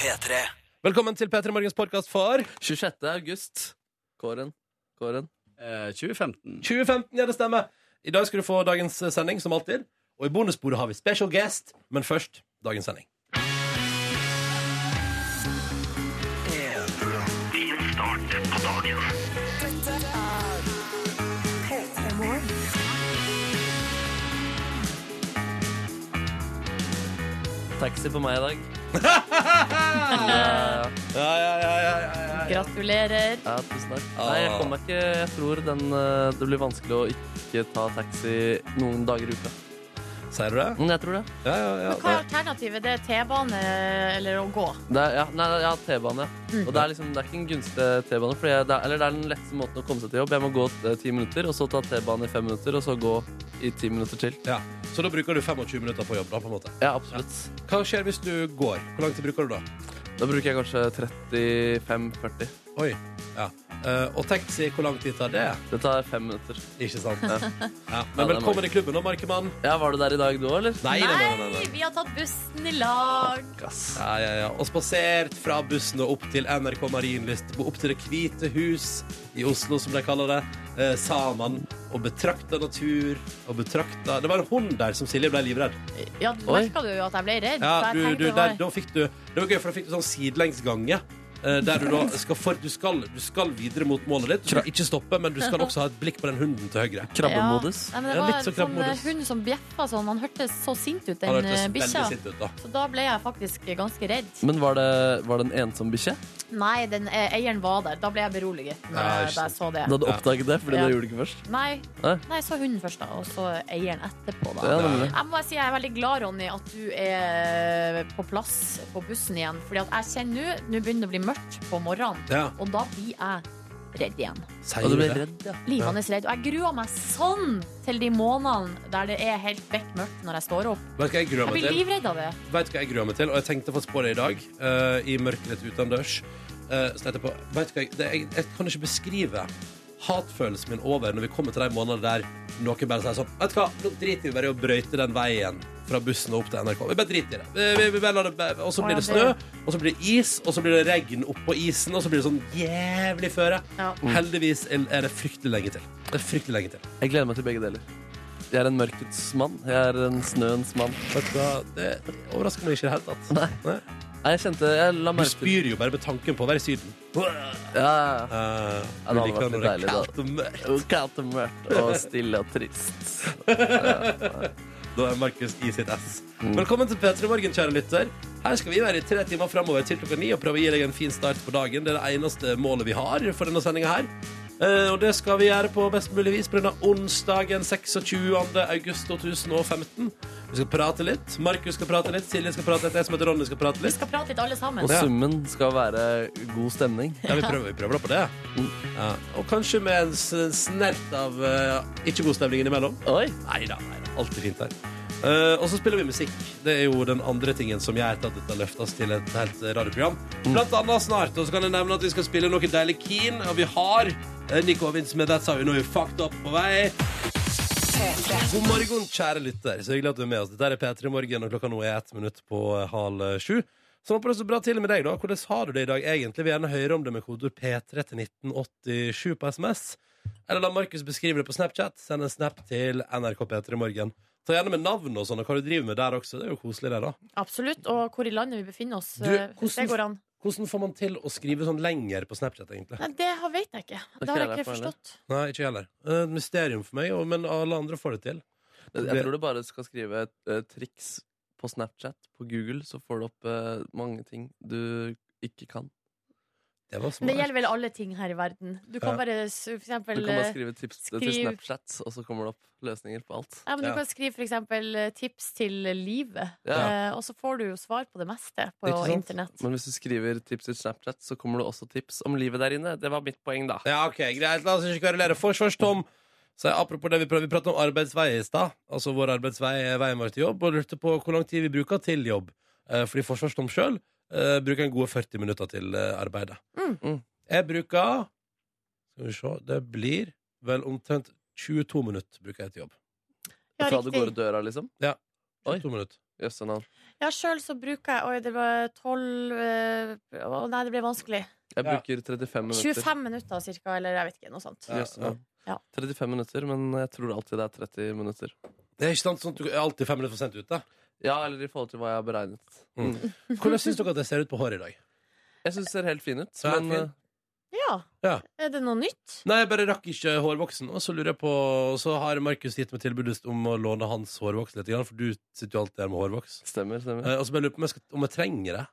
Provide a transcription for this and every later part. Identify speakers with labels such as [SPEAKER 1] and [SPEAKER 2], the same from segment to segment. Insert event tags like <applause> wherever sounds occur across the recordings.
[SPEAKER 1] P3.
[SPEAKER 2] Velkommen til P3 Morgens podkast for
[SPEAKER 3] 26. august. Kåren. Kåren.
[SPEAKER 4] Eh, 2015.
[SPEAKER 2] 2015. Ja, det stemmer. I dag skal du få dagens eh, sending, som alltid. Og i bonusbordet har vi special guest, men først dagens sending.
[SPEAKER 3] Taxi på meg i dag.
[SPEAKER 5] Ah.
[SPEAKER 3] ja,
[SPEAKER 2] Ja, ja, ja, ja, ja, ja.
[SPEAKER 5] Eh, Gratulerer.
[SPEAKER 3] ja, tusen takk. Ah. Nei, jeg kommer meg ikke Jeg tror den, eh, det blir vanskelig å ikke ta taxi noen dager i uka.
[SPEAKER 2] Sier du det?
[SPEAKER 3] Men Mm, jeg tror det.
[SPEAKER 2] Ja, ja, ja.
[SPEAKER 5] Men hva er alternativet? Det er T-bane eller å gå?
[SPEAKER 3] det er, ja, nei, ja, T-bane. ja. Og det er, liksom, det er ikke en gunstig T-bane. fordi jeg- det er- Eller det er den letteste måten å komme seg til jobb. Jeg må gå eh, ti minutter, og så ta T-bane i fem minutter, og så gå i ti minutter til.
[SPEAKER 2] Ja. Så da bruker du 25 minutter på jobb, da, på en måte.
[SPEAKER 3] Ja, absolutt.
[SPEAKER 2] Hva skjer hvis du går? Hvor lang tid bruker du da?
[SPEAKER 3] Da bruker jeg kanskje 35-40.
[SPEAKER 2] Oi. Ja. Eh, og taxi, hvor lang tid tar det?
[SPEAKER 3] Det tar fem minutter.
[SPEAKER 2] Ikke sant? Ja.
[SPEAKER 3] Ja,
[SPEAKER 2] Men
[SPEAKER 3] det er
[SPEAKER 2] velkommen
[SPEAKER 3] mange.
[SPEAKER 2] i klubben nå, Markemann.
[SPEAKER 3] Ja, Var du der i dag, du òg, eller?
[SPEAKER 2] Nei, nei, nei, nei, nei.
[SPEAKER 5] vi har tatt bussen i lag.
[SPEAKER 3] Gass.
[SPEAKER 2] Ja, ja, ja. Og spasert fra bussen og opp til NRK Marienlyst. Opp til Det hvite hus i Oslo, som de kaller det. Eh, sammen. Og betrakta natur. Og betrakta Det var en hund der som Silje ble livredd.
[SPEAKER 5] Ja, du
[SPEAKER 3] Oi.
[SPEAKER 5] merka du jo at jeg ble redd?
[SPEAKER 2] Ja,
[SPEAKER 5] for jeg
[SPEAKER 2] du,
[SPEAKER 5] tenkte
[SPEAKER 2] du,
[SPEAKER 5] det
[SPEAKER 2] der,
[SPEAKER 5] var-
[SPEAKER 2] da fikk du Det var gøy, for da fikk du sånn sidelengsgange. eh, Der du da
[SPEAKER 5] <laughs>
[SPEAKER 2] skal, for, du skal, du skal videre mot målet ditt. Du skal ikke stoppe, men du skal også ha et blikk på den hunden til høyre.
[SPEAKER 3] Krabbemodus.
[SPEAKER 5] Ja. Nei, men det
[SPEAKER 2] Ja,
[SPEAKER 5] var
[SPEAKER 2] litt
[SPEAKER 5] en
[SPEAKER 2] så
[SPEAKER 5] sånn eh,
[SPEAKER 2] krabbemodus.
[SPEAKER 5] hund som bjeffa sånn. Han hørtes så sint ut,
[SPEAKER 2] Han
[SPEAKER 5] den eh,
[SPEAKER 2] hørtes
[SPEAKER 5] bikkja.
[SPEAKER 2] veldig sint ut, da.
[SPEAKER 5] Så da ble jeg faktisk ganske redd.
[SPEAKER 3] Men var det, var det en ensom bikkje?
[SPEAKER 5] Nei, den eh, eieren var der. Da ble jeg beroliget når
[SPEAKER 2] Ja,
[SPEAKER 5] jeg-
[SPEAKER 2] ikke
[SPEAKER 5] da jeg så det.
[SPEAKER 3] Du hadde oppdaget det, fordi
[SPEAKER 5] Ja.
[SPEAKER 3] det gjorde du ikke først?
[SPEAKER 5] Nei,
[SPEAKER 3] Hæ?
[SPEAKER 5] nei, så hunden først, da. Og så eieren etterpå, da.
[SPEAKER 3] Ja, nemlig.
[SPEAKER 5] Jeg må bare si jeg er veldig glad, Ronny, at du er på plass på bussen igjen. Fordi at jeg kjenner nå Nå begynner det å bli mørkt på morgenen,
[SPEAKER 2] Ja,
[SPEAKER 5] og da blir jeg redd igjen.
[SPEAKER 2] sier
[SPEAKER 3] Og du
[SPEAKER 2] du
[SPEAKER 3] Altså, ble
[SPEAKER 2] det?
[SPEAKER 3] redd, ja.
[SPEAKER 5] Livende redd. Og jeg gruer meg sånn til de månedene der det er helt bekmørkt når jeg står opp.
[SPEAKER 2] Vet du hva jeg gruer
[SPEAKER 5] Jeg
[SPEAKER 2] meg
[SPEAKER 5] blir
[SPEAKER 2] til?
[SPEAKER 5] livredd av det.
[SPEAKER 2] Vet du hva jeg gruer meg til? Og jeg tenkte faktisk på det i dag, eh, i mørket litt utendørs. Eh, så tenkte jeg på vet du hva jeg, det, jeg, jeg kan ikke beskrive hatfølelsen min over når vi kommer til de månedene der noen bare sier sånn Vet du hva, nå driter vi bare i å brøyte den veien fra bussen og opp til NRK. Vi bare driter i det. Vi, vi, vi bare lar det bæ- og så blir det snø, og så blir det is, og så blir det regn oppå isen, og så blir det sånn jævlig føre.
[SPEAKER 5] Ja.
[SPEAKER 2] Heldigvis er er det fryktelig lenge til. Det er fryktelig lenge til.
[SPEAKER 3] Jeg gleder meg til begge deler. Jeg er en mørkets mann. Jeg er en snøens mann.
[SPEAKER 2] Vet du hva, det overrasker meg ikke i det hele tatt.
[SPEAKER 3] Nei. Nei, jeg kjente Jeg la
[SPEAKER 2] Du
[SPEAKER 3] merke til
[SPEAKER 2] spyr jo bare med tanken på å være i Syden.
[SPEAKER 3] Ja, ja, ja. Ja,
[SPEAKER 2] Uh, du
[SPEAKER 3] det hadde
[SPEAKER 2] liker
[SPEAKER 3] vært
[SPEAKER 2] når
[SPEAKER 3] litt
[SPEAKER 2] det er
[SPEAKER 3] deilig, da.
[SPEAKER 2] kaldt og mørkt.
[SPEAKER 3] Og Kaldt og mørkt og stille og trist.
[SPEAKER 2] Da er Markus i sitt ess.
[SPEAKER 3] Mm.
[SPEAKER 2] Velkommen til P3 Morgen, kjære lytter. Her skal vi være i tre timer framover til klokka ni og prøve å gi deg en fin start på dagen. Det er det eneste målet vi har for denne sendinga her. Eh, og det skal vi gjøre på best mulig vis på denne onsdagen 26. august 2015. Vi skal prate litt. Markus skal prate litt. Silje skal prate litt. Jeg som heter Ronny skal prate
[SPEAKER 5] Vi
[SPEAKER 2] litt.
[SPEAKER 5] skal prate litt, alle sammen.
[SPEAKER 3] Og summen skal være god stemning.
[SPEAKER 2] Ja, vi prøver, vi prøver da på det.
[SPEAKER 3] Mm.
[SPEAKER 2] Ja. Og kanskje med en s- snert av eh, ikke god stemning innimellom.
[SPEAKER 3] Oi!
[SPEAKER 2] Nei da, alltid fint her. Eh, og så spiller vi musikk. Det er jo den andre tingen som gjør at dette løftes til et helt radioprogram. Blant annet snart. Og så kan jeg nevne at vi skal spille noe deilig keen, og vi har eh, Nico Ovins med That's How You Know You Fucked Up på vei. God morgen, kjære lytter. Så hyggelig at du er med oss. Dette er P3 Morgen, og klokka nå er ett minutt på eh, halv sju. Så håper det står bra til med deg, da. Hvordan har du det i dag, egentlig? Vi vil gjerne høre om det med kodeord P3 til 1987 på SMS. Eller la Markus beskrive det på Snapchat. Send en snap til NRK P3 Morgen. Ta gjerne med navn og sånn, og hva du driver med der også. Det er jo koselig, det, da.
[SPEAKER 5] Absolutt. Og hvor i landet vi befinner oss.
[SPEAKER 2] Du,
[SPEAKER 5] eh, hvis
[SPEAKER 2] hvordan-
[SPEAKER 5] Det går an.
[SPEAKER 2] Hvordan får man til å skrive sånn lenger på Snapchat, egentlig?
[SPEAKER 5] Nei, det har- vet jeg ikke. Det har jeg ikke forstått.
[SPEAKER 2] Nei, ikke jeg heller. Eh, Et mysterium for meg, og- men alle andre får det til.
[SPEAKER 3] Jeg tror du bare skal skrive et eh, triks på Snapchat, på Google, så får du opp eh, mange ting du ikke kan.
[SPEAKER 2] Det var
[SPEAKER 5] Men det
[SPEAKER 2] smart.
[SPEAKER 5] gjelder vel alle ting her i verden. Du
[SPEAKER 2] Ja.
[SPEAKER 5] kan bare s- for eksempel
[SPEAKER 3] Du kan bare
[SPEAKER 5] eh,
[SPEAKER 3] skrive tips til
[SPEAKER 5] skriv-
[SPEAKER 3] Snapchat, og så kommer det opp løsninger på alt.
[SPEAKER 5] Ja, men du
[SPEAKER 2] Ja.
[SPEAKER 5] kan skrive for eksempel eh, tips til livet,
[SPEAKER 3] Ja.
[SPEAKER 5] eh, og så får du jo svar på det meste på
[SPEAKER 2] Ikke sant?
[SPEAKER 5] internett.
[SPEAKER 3] Men hvis du skriver tips til Snapchat, så kommer det også tips om livet der inne. Det var mitt poeng, da.
[SPEAKER 2] Ja, OK, greit. La oss ikke kverulere. Forsvarstom. Så apropos det vi prøvde, vi pratet om arbeidsvei i stad. Altså vår arbeidsvei er veien vår til jobb, og lurte på hvor lang tid vi bruker til jobb. Eh, Fordi Forsvarstom sjøl eh, bruker en gode 40 minutter til eh, arbeidet.
[SPEAKER 5] Mm.
[SPEAKER 3] Mm.
[SPEAKER 2] Jeg bruker Skal vi se Det blir vel omtrent 22 minutter bruker jeg til jobb.
[SPEAKER 5] Ja,
[SPEAKER 3] Fra du går ut
[SPEAKER 5] riktig.
[SPEAKER 3] døra, liksom. Oi.
[SPEAKER 2] 22 minutter.
[SPEAKER 3] Jøsse navn.
[SPEAKER 5] Ja, sjøl så bruker jeg Oi, det var tolv eh, Å nei, det ble vanskelig.
[SPEAKER 3] Jeg
[SPEAKER 2] Ja.
[SPEAKER 3] bruker 35 minutter.
[SPEAKER 5] 25 minutter cirka, eller jeg vet ikke. Noe sånt.
[SPEAKER 2] Ja,
[SPEAKER 3] Yes, ja.
[SPEAKER 5] ja.
[SPEAKER 3] 35 minutter, men jeg tror alltid det er 30 minutter.
[SPEAKER 2] Det er ikke sant, sånn at du er alltid fem minutter for sent ute.
[SPEAKER 3] Ja, eller i forhold til hva jeg har beregnet.
[SPEAKER 2] Mm. Hvordan syns dere at jeg ser ut på håret i dag?
[SPEAKER 3] Jeg syns det ser helt fin ut,
[SPEAKER 2] Ja,
[SPEAKER 3] men
[SPEAKER 2] fin.
[SPEAKER 3] eh,
[SPEAKER 5] Ja.
[SPEAKER 2] Ja.
[SPEAKER 5] Er det noe nytt?
[SPEAKER 2] Nei, jeg bare rakk ikke hårvoksen, og så lurer jeg på Så har Markus gitt meg tilbudet om å låne hans hårvoks litt, grann, for du sitter jo alltid her med hårvoks.
[SPEAKER 3] stemmer. stemmer.
[SPEAKER 2] Eh, Og så bare lurer jeg på om jeg, skal, om jeg trenger det.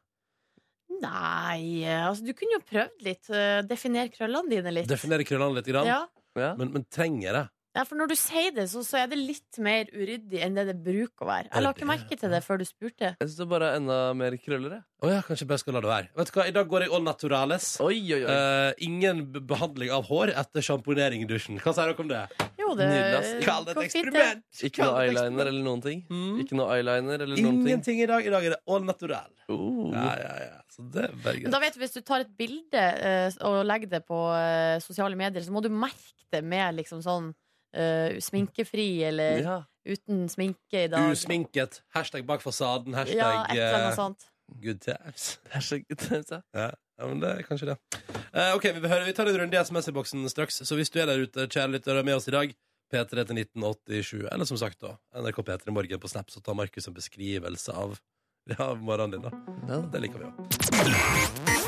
[SPEAKER 5] Nei, eh, altså du kunne jo prøvd litt. eh, Definere krøllene dine litt.
[SPEAKER 2] Definere krøllene litt, grann,
[SPEAKER 5] ja.
[SPEAKER 3] Ja.
[SPEAKER 2] men, men trenger jeg det?
[SPEAKER 5] ja, for når du sier det, så, så er det litt mer uryddig enn det det bruker å være. Jeg la ikke merke til det før du spurte.
[SPEAKER 3] Jeg syns det bare er enda mer krøller, jeg.
[SPEAKER 2] Å ja, kanskje jeg bare skal la det være. Vet du hva, I dag går jeg all naturales.
[SPEAKER 3] Oi, oi, oi.
[SPEAKER 2] Eh, ingen b- behandling av hår etter sjamponering i dusjen. Hva sier dere om det?
[SPEAKER 5] Jo, det
[SPEAKER 3] Nydelig, ass.
[SPEAKER 2] Kall det et
[SPEAKER 5] går Eh, fint,
[SPEAKER 2] eksperiment!
[SPEAKER 3] Ikke noe
[SPEAKER 2] Kall det et
[SPEAKER 3] eyeliner eller noen ting.
[SPEAKER 2] Mm.
[SPEAKER 3] Ikke noe eyeliner eller noen ting.
[SPEAKER 2] Ingenting i dag. I dag er det all natural.
[SPEAKER 3] Oh.
[SPEAKER 2] Ja, ja, ja. Så det er bare
[SPEAKER 5] Men
[SPEAKER 2] greit.
[SPEAKER 5] Da vet du, Hvis du tar et bilde eh, og legger det på eh, sosiale medier, så må du merke det med liksom sånn eh, sminkefri eller
[SPEAKER 3] Ja.
[SPEAKER 5] uten sminke i dag.
[SPEAKER 2] Usminket. Hashtag bak fasaden. Hashtag
[SPEAKER 5] ja, et eller
[SPEAKER 2] eh,
[SPEAKER 5] annet sånt.
[SPEAKER 2] good times.
[SPEAKER 3] Det er så gøy.
[SPEAKER 2] Ja. ja, men det er kanskje det. Eh, ok, Vi behøver, vi tar en runde i SMS-boksen straks. Så hvis du er der ute, kjære lytter, og er med oss i dag, P3 til 1987, eller som sagt, da, NRK P3 i morgen på Snap, så tar Markus en beskrivelse av, <laughs> av morgenen din. da
[SPEAKER 3] Ja.
[SPEAKER 2] Det liker vi jo.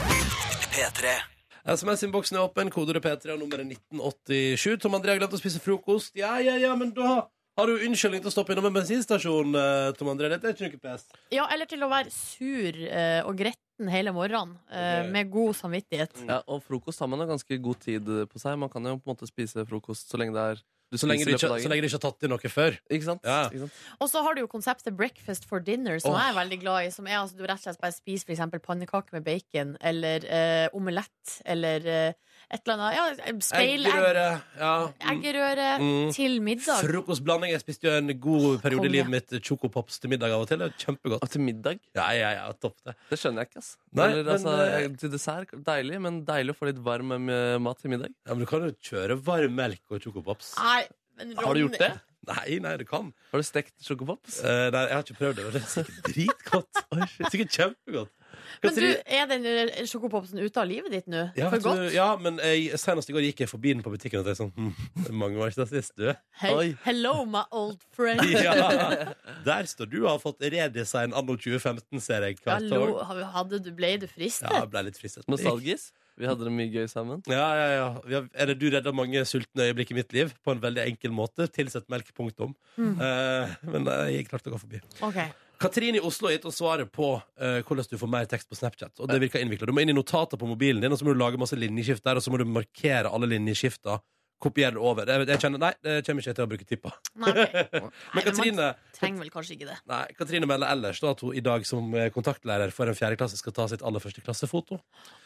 [SPEAKER 2] SMS-innboksen er åpen, kodeordet P3 og nummeret 1987. Tom André har glemt å spise frokost. Ja, ja, ja, men da har du unnskyldning til å stoppe innom en bensinstasjon, eh, Tom André. Dette er ikke noe pes.
[SPEAKER 5] Ja, eller til å være sur eh, og gretten hele morgenen eh,
[SPEAKER 2] Ok.
[SPEAKER 5] med god samvittighet.
[SPEAKER 3] Ja, og frokost har man jo ganske god tid på seg. Man kan jo på en måte spise frokost så lenge det er du
[SPEAKER 2] Så lenge
[SPEAKER 3] spiser
[SPEAKER 2] du
[SPEAKER 3] i løpet av
[SPEAKER 2] ikke, så
[SPEAKER 3] dagen.
[SPEAKER 2] lenge du ikke har tatt i noe før.
[SPEAKER 3] Ikke sant?
[SPEAKER 2] Ja.
[SPEAKER 3] Ikke sant?
[SPEAKER 5] Og så har du jo konseptet breakfast for dinner, som
[SPEAKER 2] Åh.
[SPEAKER 5] jeg er veldig glad i. Som er altså du rett og slett bare spiser for eksempel pannekaker med bacon, eller eh, omelett, eller eh, et eller annet. Ja, speil, egg,
[SPEAKER 2] Eggerøre. Ja. Mm.
[SPEAKER 5] eggerøre
[SPEAKER 2] Mm.
[SPEAKER 5] til middag.
[SPEAKER 2] Frokostblanding. Jeg spiste jo en god periode i
[SPEAKER 5] Konge.
[SPEAKER 2] livet mitt eh, chocopops til middag av og til. Det er Kjempegodt.
[SPEAKER 3] Og til middag?
[SPEAKER 2] Ja, ja, ja, topp det.
[SPEAKER 3] Det skjønner jeg ikke, ass.
[SPEAKER 2] Nei,
[SPEAKER 3] Eller,
[SPEAKER 2] men,
[SPEAKER 3] altså,
[SPEAKER 2] eh,
[SPEAKER 3] Til dessert, deilig, men deilig å få litt varm eh, mat til middag.
[SPEAKER 2] Ja, men du kan jo kjøre varm melk og chocopops.
[SPEAKER 5] Nei, men Ronny,
[SPEAKER 3] Har du gjort det?
[SPEAKER 2] Nei, nei, du kan.
[SPEAKER 3] Har du stekt sjokopops?
[SPEAKER 2] Eh, nei, jeg har ikke prøvd det, men det er sikkert
[SPEAKER 5] <laughs>
[SPEAKER 2] dritgodt. Det er sikkert kjempegodt. Hva
[SPEAKER 5] Men
[SPEAKER 2] sier
[SPEAKER 5] du,
[SPEAKER 2] du?
[SPEAKER 5] er den eh, sjokopopsen ute av livet ditt nå?
[SPEAKER 2] ja,
[SPEAKER 5] for
[SPEAKER 2] vet du,
[SPEAKER 5] godt?
[SPEAKER 2] ja, men jeg, senest i går gikk jeg forbi den på butikken og tenkte sånn hm, det er Mange var ikke der sist,
[SPEAKER 5] <laughs>
[SPEAKER 2] du.
[SPEAKER 5] Hei,
[SPEAKER 3] Oi.
[SPEAKER 5] hello, my old friend.
[SPEAKER 2] <laughs> Ja. Der står du og har fått redesign anno 2015, ser jeg. hvert
[SPEAKER 5] Hallo,
[SPEAKER 2] år.
[SPEAKER 5] hadde du, ble du fristet?
[SPEAKER 2] Ja, jeg ble litt fristet.
[SPEAKER 3] Nostalgisk. Vi hadde det mye gøy sammen.
[SPEAKER 2] Ja, ja, ja. Vi har- Er det du redda mange sultne øyeblikk i mitt liv på en veldig enkel måte? Tilsett melk, punktum.
[SPEAKER 5] Mm.
[SPEAKER 2] Eh, men eh, jeg klarte å gå forbi.
[SPEAKER 5] Ok.
[SPEAKER 2] Katrin i Oslo har gitt oss svaret på eh, hvordan du får mer tekst på Snapchat. Og det virker innviklet. Du må inn i notater på mobilen din, og så må du lage masse linjeskift der, og så må du markere alle linjeskifta. Kopiere det over. Jeg, jeg kjenner, nei, det kommer ikke jeg til å bruke tid på.
[SPEAKER 5] Nei,
[SPEAKER 2] <laughs>
[SPEAKER 5] ok. Nei,
[SPEAKER 2] Men Katrine,
[SPEAKER 5] man trenger vel kanskje ikke det.
[SPEAKER 2] nei, Katrine melder ellers da, at hun i dag som eh, kontaktlærer for en fjerdeklasse skal ta sitt aller første klassefoto.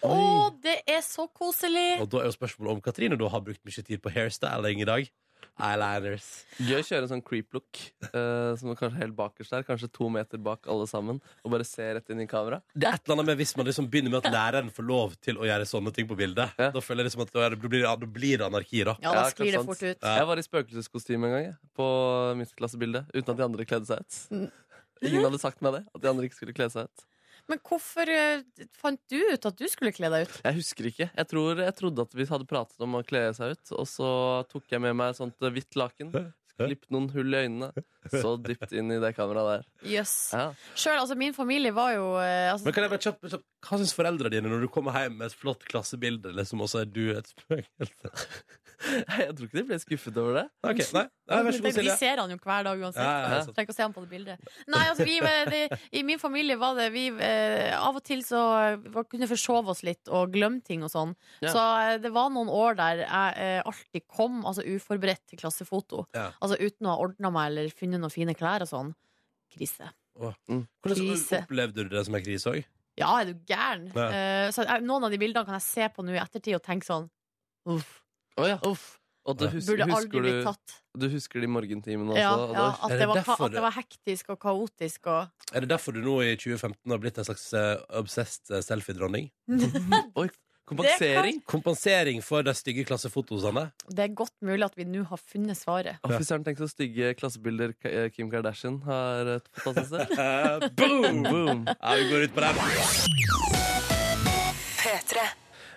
[SPEAKER 5] Å, det er så koselig!
[SPEAKER 2] Og da er jo spørsmålet om Katrine da har brukt mye tid på hairstyling i dag. Eyeliners.
[SPEAKER 3] Gøy å kjøre en sånn creep look, eh, som er kanskje helt bakerst der. Kanskje to meter bak alle sammen, og bare se rett inn i kamera.
[SPEAKER 2] Det er et eller annet med hvis man liksom begynner med at læreren får lov til å gjøre sånne ting på bildet.
[SPEAKER 3] Ja.
[SPEAKER 2] Da føler jeg liksom at da er det- da blir, det- da blir det anarki, da.
[SPEAKER 5] Ja, da
[SPEAKER 3] Ja,
[SPEAKER 5] sklir det
[SPEAKER 3] klart
[SPEAKER 5] fort
[SPEAKER 3] sant.
[SPEAKER 5] ut.
[SPEAKER 2] Ja.
[SPEAKER 3] Jeg var i spøkelseskostyme en gang, jeg, på mitt klassebilde, uten at de andre kledde seg
[SPEAKER 5] Mm.
[SPEAKER 3] ut. Ingen hadde sagt meg det, at de andre ikke skulle kle seg ut.
[SPEAKER 5] Men hvorfor eh, fant du ut at du skulle kle deg ut?
[SPEAKER 3] Jeg husker ikke. Jeg, tror, jeg trodde at vi hadde pratet om å kle seg ut, og så tok jeg med meg et sånt eh, hvitt laken. Klipp noen hull i øynene. Så dypt inn i det kameraet der.
[SPEAKER 5] Jøss.
[SPEAKER 3] Ja.
[SPEAKER 5] Sjøl, altså, min familie var jo eh, altså,
[SPEAKER 2] Men kan jeg bare kjapt, kjapt Hva syns foreldrene dine når du kommer hjem med et flott klassebilde, liksom, og så er du et spøkelse? <laughs>
[SPEAKER 3] Jeg tror ikke de ble skuffet over det.
[SPEAKER 2] Ok, nei, nei, vær så god,
[SPEAKER 5] Vi
[SPEAKER 2] Silje.
[SPEAKER 5] ser han jo hver dag uansett.
[SPEAKER 2] Ja, ja, sånn. ja, sant.
[SPEAKER 5] Trenger ikke å se han på det bildet. Nei, altså, vi, var- det, I min familie var det vi, eh, Av og til så eh, var, kunne forsove oss litt og glemme ting og sånn.
[SPEAKER 3] Ja.
[SPEAKER 5] Så eh, det var noen år der jeg eh, alltid kom altså, uforberedt til klassefoto.
[SPEAKER 2] Ja.
[SPEAKER 5] Altså Uten å ha ordna meg eller funnet noen fine klær og sånn. Krise.
[SPEAKER 2] Hvordan
[SPEAKER 5] Krise.
[SPEAKER 2] opplevde du det som en krise òg?
[SPEAKER 5] Ja, er du gæren?
[SPEAKER 2] Ja.
[SPEAKER 5] Eh, så jeg, noen av de bildene kan jeg se på nå i ettertid og tenke sånn Uff.
[SPEAKER 3] Uff. Og du
[SPEAKER 2] Ja.
[SPEAKER 3] hus-
[SPEAKER 5] Burde aldri
[SPEAKER 3] husker,
[SPEAKER 5] blitt
[SPEAKER 3] du,
[SPEAKER 5] tatt.
[SPEAKER 3] du husker de morgentimene også?
[SPEAKER 5] Ja,
[SPEAKER 3] og
[SPEAKER 5] ja,
[SPEAKER 3] det-
[SPEAKER 2] Er
[SPEAKER 5] at, det
[SPEAKER 2] det
[SPEAKER 5] var, ka-
[SPEAKER 2] derfor
[SPEAKER 5] at det var hektisk og kaotisk og
[SPEAKER 2] eh, Er det derfor du nå i 2015 har blitt en slags uh, obsessed eh, selfie-dronning?
[SPEAKER 3] Oi, Kompensering?
[SPEAKER 2] Kompensering for de stygge
[SPEAKER 5] <laughs>
[SPEAKER 2] klassefotosene.
[SPEAKER 5] Det er godt mulig at vi nå har funnet svaret.
[SPEAKER 3] Å, fy søren, tenk så stygge klassebilder Ka- eh, Kim Kardashian har eh, fått av seg selv.
[SPEAKER 2] Eh, boom!
[SPEAKER 3] Boom.
[SPEAKER 2] Ja, vi går ut på den.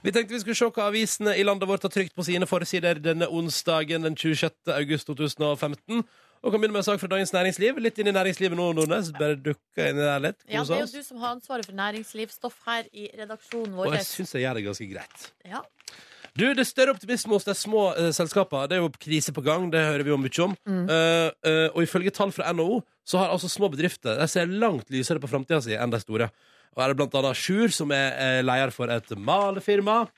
[SPEAKER 2] Vi tenkte vi skulle se hva avisene i landet vårt har trykt på sine forsider denne onsdagen den 26. august 2015. Og kan begynne med en sak fra Dagens Næringsliv. Litt inn i næringslivet nå, Nordnes. Bare dukka inn i der litt.
[SPEAKER 5] Ja,
[SPEAKER 2] Kose
[SPEAKER 5] det er
[SPEAKER 2] oss.
[SPEAKER 5] jo du som har ansvaret for næringslivsstoff her i redaksjonen
[SPEAKER 2] Og
[SPEAKER 5] vår.
[SPEAKER 2] jeg syns jeg gjør det ganske greit.
[SPEAKER 5] Ja.
[SPEAKER 2] Du, Det er større optimisme hos de små eh, selskapene. Det er jo krise på gang. det hører vi jo mye om. Eh, eh, og ifølge tall fra NHO så har altså små bedrifter de ser langt lysere på framtida si enn de store. Og er det blant annet Sjur, som er eh, leder for et malefirma,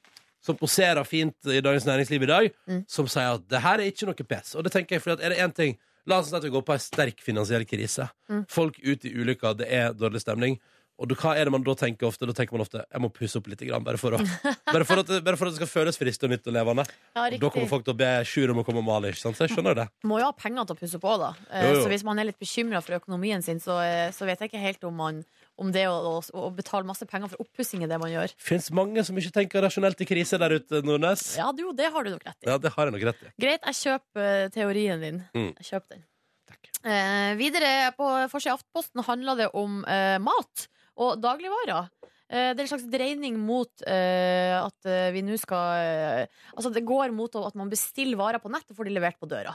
[SPEAKER 2] som poserer fint i Dagens Næringsliv i dag,
[SPEAKER 5] Mm.
[SPEAKER 2] som sier at det her er ikke noe pes. Og det tenker jeg, fordi at er det én ting La oss si at vi går på en sterk finansiell krise.
[SPEAKER 5] Mm.
[SPEAKER 2] Folk ute i ulykker, det er dårlig stemning. Og da- hva er det man da tenker ofte? Da tenker man ofte jeg må pusse opp litt, grann, bare, for å,
[SPEAKER 5] <laughs>
[SPEAKER 2] bare, for at, det- bare for at det skal føles friskt og nytt og levende.
[SPEAKER 5] Ja,
[SPEAKER 2] Og da kommer
[SPEAKER 5] riktig.
[SPEAKER 2] folk til å be Sjur om å komme og male, ikke sant? Så jeg skjønner jo det.
[SPEAKER 5] Må jo ha penger til å pusse på, da. Eh,
[SPEAKER 2] Jo, jo.
[SPEAKER 5] Så hvis man er litt bekymra for økonomien sin, så, eh, så vet jeg ikke helt om man om det å, å, å betale masse penger for oppussing er det man gjør.
[SPEAKER 2] Fins mange som ikke tenker rasjonelt i krise der ute, Nordnes. Ja.
[SPEAKER 5] Ja, du, det har du nok rett i.
[SPEAKER 2] det har jeg nok rett i.
[SPEAKER 5] Greit, jeg kjøper eh, teorien din.
[SPEAKER 2] Mm.
[SPEAKER 5] Jeg kjøper den.
[SPEAKER 2] Takk.
[SPEAKER 5] Eh, videre på forsida av Aftenposten handler det om eh, mat og dagligvarer. Eh, det er en slags dreining mot eh, at eh, vi nå skal eh, Altså, det går mot at man bestiller varer på nett og får de levert på døra.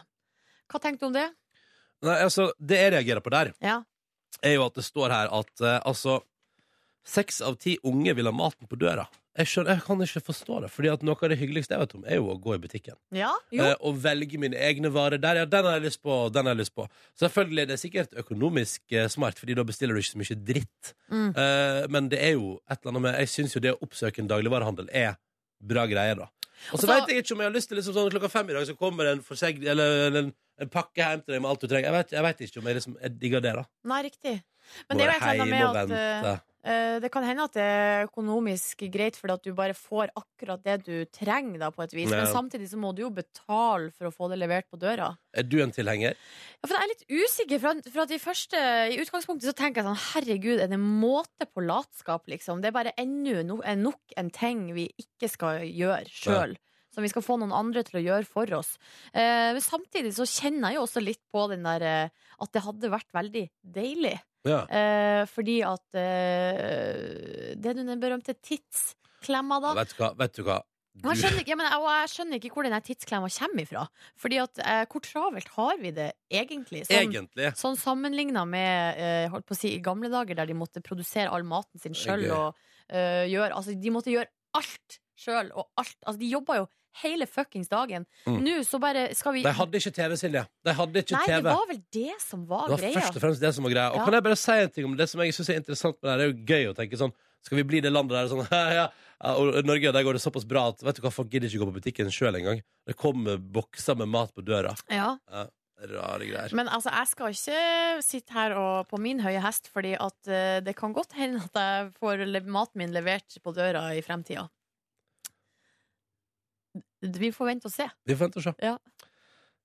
[SPEAKER 5] Hva tenker du om det?
[SPEAKER 2] Nei, altså, det jeg reagerer på der,
[SPEAKER 5] Ja.
[SPEAKER 2] er jo at det står her at eh, altså Seks av ti unge vil ha maten på døra. Jeg, skjønner, jeg kan ikke forstå det. Fordi at noe av det hyggeligste jeg vet om, er jo å gå i butikken.
[SPEAKER 5] Ja? Jo.
[SPEAKER 2] Eh, og velge mine egne varer der. Ja, den har jeg lyst på, og den har jeg lyst på. Selvfølgelig, det er sikkert økonomisk eh, smart, Fordi da bestiller du ikke så mye dritt.
[SPEAKER 5] Mm.
[SPEAKER 2] Eh, men det er jo et eller annet med Jeg syns jo det å oppsøke en dagligvarehandel er bra greier, da. Og så
[SPEAKER 5] Og så-
[SPEAKER 2] veit jeg ikke om jeg har lyst til liksom sånn klokka fem i dag, så kommer det en, forsegg, eller en, en pakke hjem til deg med alt du trenger. Jeg vet, jeg vet ikke om jeg liksom jeg digger det, da.
[SPEAKER 5] Nei, riktig. Men det er jo
[SPEAKER 2] Går
[SPEAKER 5] et eller annet
[SPEAKER 2] hjem og
[SPEAKER 5] med at eh,
[SPEAKER 2] venter.
[SPEAKER 5] Eh, Det kan hende at det er økonomisk greit, fordi at du bare får akkurat det du trenger. Da, på et vis.
[SPEAKER 2] Ja.
[SPEAKER 5] Men samtidig så må du jo betale for å få det levert på døra.
[SPEAKER 2] Er du en tilhenger?
[SPEAKER 5] Ja, for jeg er litt usikker, for, at- for at i, første, i utgangspunktet så tenker jeg sånn Herregud, er det måte på latskap, liksom? Det er bare enda no, er nok en ting vi ikke skal gjøre sjøl. Som vi skal få noen andre til å gjøre for oss. Eh, men samtidig så kjenner jeg jo også litt på den der eh, at det hadde vært veldig deilig.
[SPEAKER 2] Ja.
[SPEAKER 5] Eh, fordi at eh, Det er jo den berømte tidsklemma, da.
[SPEAKER 2] Vet du hva? Vet du hva? Du,
[SPEAKER 5] Og jeg skjønner ikke, ja, men jeg, og jeg skjønner ikke hvor den her tidsklemma kommer ifra. Fordi at eh, hvor travelt har vi det egentlig? Sånn,
[SPEAKER 2] egentlig
[SPEAKER 5] sånn sammenligna med eh, holdt på å si, i gamle dager, der de måtte produsere all maten sin sjøl
[SPEAKER 2] gøy.
[SPEAKER 5] og eh, gjøre Altså, de måtte gjøre alt sjøl og alt. Altså, de jobba jo hele fuckings dagen.
[SPEAKER 2] Mm.
[SPEAKER 5] Nå så bare skal vi
[SPEAKER 2] De hadde ikke TV, Silje. De hadde ikke
[SPEAKER 5] Nei,
[SPEAKER 2] TV.
[SPEAKER 5] det var vel det som var,
[SPEAKER 2] Det var
[SPEAKER 5] greia.
[SPEAKER 2] først og fremst det som var greia. Og
[SPEAKER 5] Ja.
[SPEAKER 2] kan jeg bare si en ting om det som jeg synes er interessant med det her? Det er jo gøy å tenke sånn Skal vi bli det landet der sånn <laughs> ja, ja, Og i Norge, der går det såpass bra at vet du hva, folk gidder ikke gå på butikken sjøl engang. Det kommer bokser med mat på døra.
[SPEAKER 5] Ja.
[SPEAKER 2] Rare greier.
[SPEAKER 5] Men altså, jeg skal ikke sitte her og, på min høye hest, fordi at eh, det kan godt hende at jeg får le- maten min levert på døra i fremtida. D- Vi får vente og se.
[SPEAKER 2] Vi får vente og se.
[SPEAKER 5] Ja.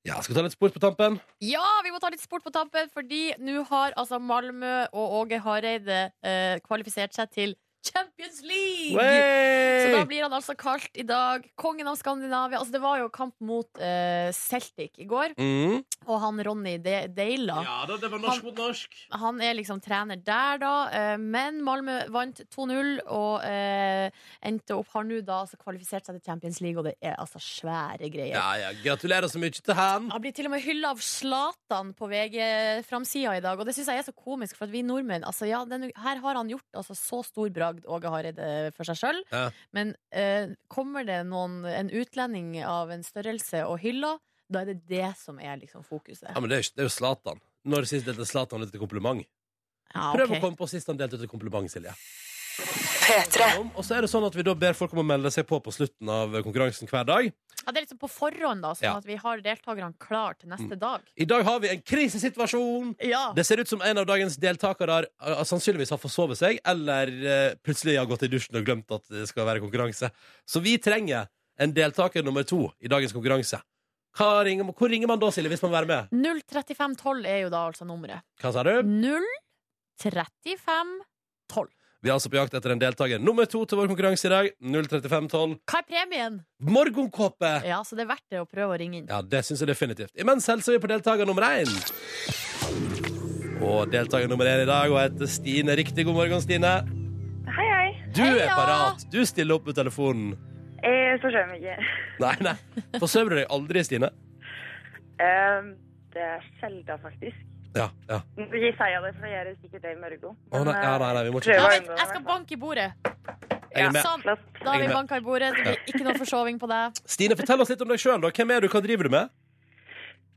[SPEAKER 2] Ja, skal vi ta litt sport på tampen?
[SPEAKER 5] Ja, vi må ta litt sport på tampen, fordi nå har altså Malmö og Åge Hareide eh, kvalifisert seg til Champions League! Så da
[SPEAKER 2] Wey!
[SPEAKER 5] blir han altså kalt i dag kongen av Skandinavia. Altså, det var jo kamp mot eh, Celtic i går,
[SPEAKER 2] Mm.
[SPEAKER 5] og han Ronny De Deila
[SPEAKER 2] Ja da, det var
[SPEAKER 5] norsk
[SPEAKER 2] mot norsk.
[SPEAKER 5] Han er liksom trener der, da. eh, Men Malmö vant 2-0 og eh, endte opp har nå da altså kvalifisert seg til Champions League, og det er altså svære greier.
[SPEAKER 2] Ja ja, gratulerer så mye til han.
[SPEAKER 5] Han blir til og med hylla av Zlatan på VG-framsida i dag, og det syns jeg er så komisk, for at vi nordmenn altså, ja, den, Her har han gjort altså, så stor bragd, Åge Hareide, for seg sjøl,
[SPEAKER 2] Ja.
[SPEAKER 5] men eh, kommer det noen, en utlending av en størrelse og hyller, da er det det som er liksom fokuset.
[SPEAKER 2] Ja, men det er, ikke- det er jo Zlatan. Når sist delte Zlatan ut et kompliment?
[SPEAKER 5] Ja,
[SPEAKER 2] Prøv
[SPEAKER 5] Ah, ok.
[SPEAKER 2] å komme på sist han delte ut et kompliment, Silje. Om, Og så er det sånn at vi da ber folk om å melde seg på på slutten av konkurransen hver dag.
[SPEAKER 5] Ja, det er liksom på forhånd, da, sånn
[SPEAKER 2] Ja.
[SPEAKER 5] at vi har deltakerne klar til neste dag.
[SPEAKER 2] I dag har vi en krisesituasjon!
[SPEAKER 5] Ja.
[SPEAKER 2] Det ser ut som en av dagens deltakere har, eh, sannsynligvis har forsovet seg, eller eh, plutselig har gått i dusjen og glemt at det skal være konkurranse. Så vi trenger en deltaker nummer to i dagens konkurranse. Hva ringer, hvor ringer man da, Silje, hvis man vil være med?
[SPEAKER 5] 03512 er jo da altså nummeret.
[SPEAKER 2] Hva sa du?
[SPEAKER 5] 03512.
[SPEAKER 2] Vi er altså på jakt etter en deltaker nummer to til vår konkurranse i dag. 03512.
[SPEAKER 5] Hva er premien?
[SPEAKER 2] Morgenkåpe!
[SPEAKER 5] Ja, så det er verdt det å prøve å ringe inn.
[SPEAKER 2] Ja, det syns jeg definitivt. Imens hilser vi på deltaker nummer én. Og deltaker nummer én i dag hun heter Stine. Riktig god morgen, Stine.
[SPEAKER 1] Hei, hei.
[SPEAKER 2] Du
[SPEAKER 5] Heia!
[SPEAKER 2] er parat. Du stiller opp med telefonen.
[SPEAKER 1] Jeg forsøker meg ikke. <laughs>
[SPEAKER 2] Nei, nei. Forsøver du deg aldri, Stine?
[SPEAKER 1] Ehm, det er sjelda, faktisk.
[SPEAKER 2] Ja. ja.
[SPEAKER 1] Nå vil jeg si det, for jeg gjør sikkert det i eh, morgen.
[SPEAKER 2] Å, nei, ja, nei, nei, vi må ikke
[SPEAKER 1] Prøv.
[SPEAKER 5] Ja,
[SPEAKER 1] var
[SPEAKER 5] vent,
[SPEAKER 1] unngå
[SPEAKER 5] jeg
[SPEAKER 1] det,
[SPEAKER 5] skal
[SPEAKER 1] i hvert fall.
[SPEAKER 5] banke i bordet.
[SPEAKER 2] Jeg er med.
[SPEAKER 5] Sånn.
[SPEAKER 1] Flott.
[SPEAKER 5] Da har
[SPEAKER 2] Jeg er
[SPEAKER 5] vi
[SPEAKER 2] med.
[SPEAKER 5] banka i bordet. Det blir ikke noe forsoving på deg.
[SPEAKER 2] Stine, fortell oss litt om deg sjøl. Hvem er du, hva driver du med?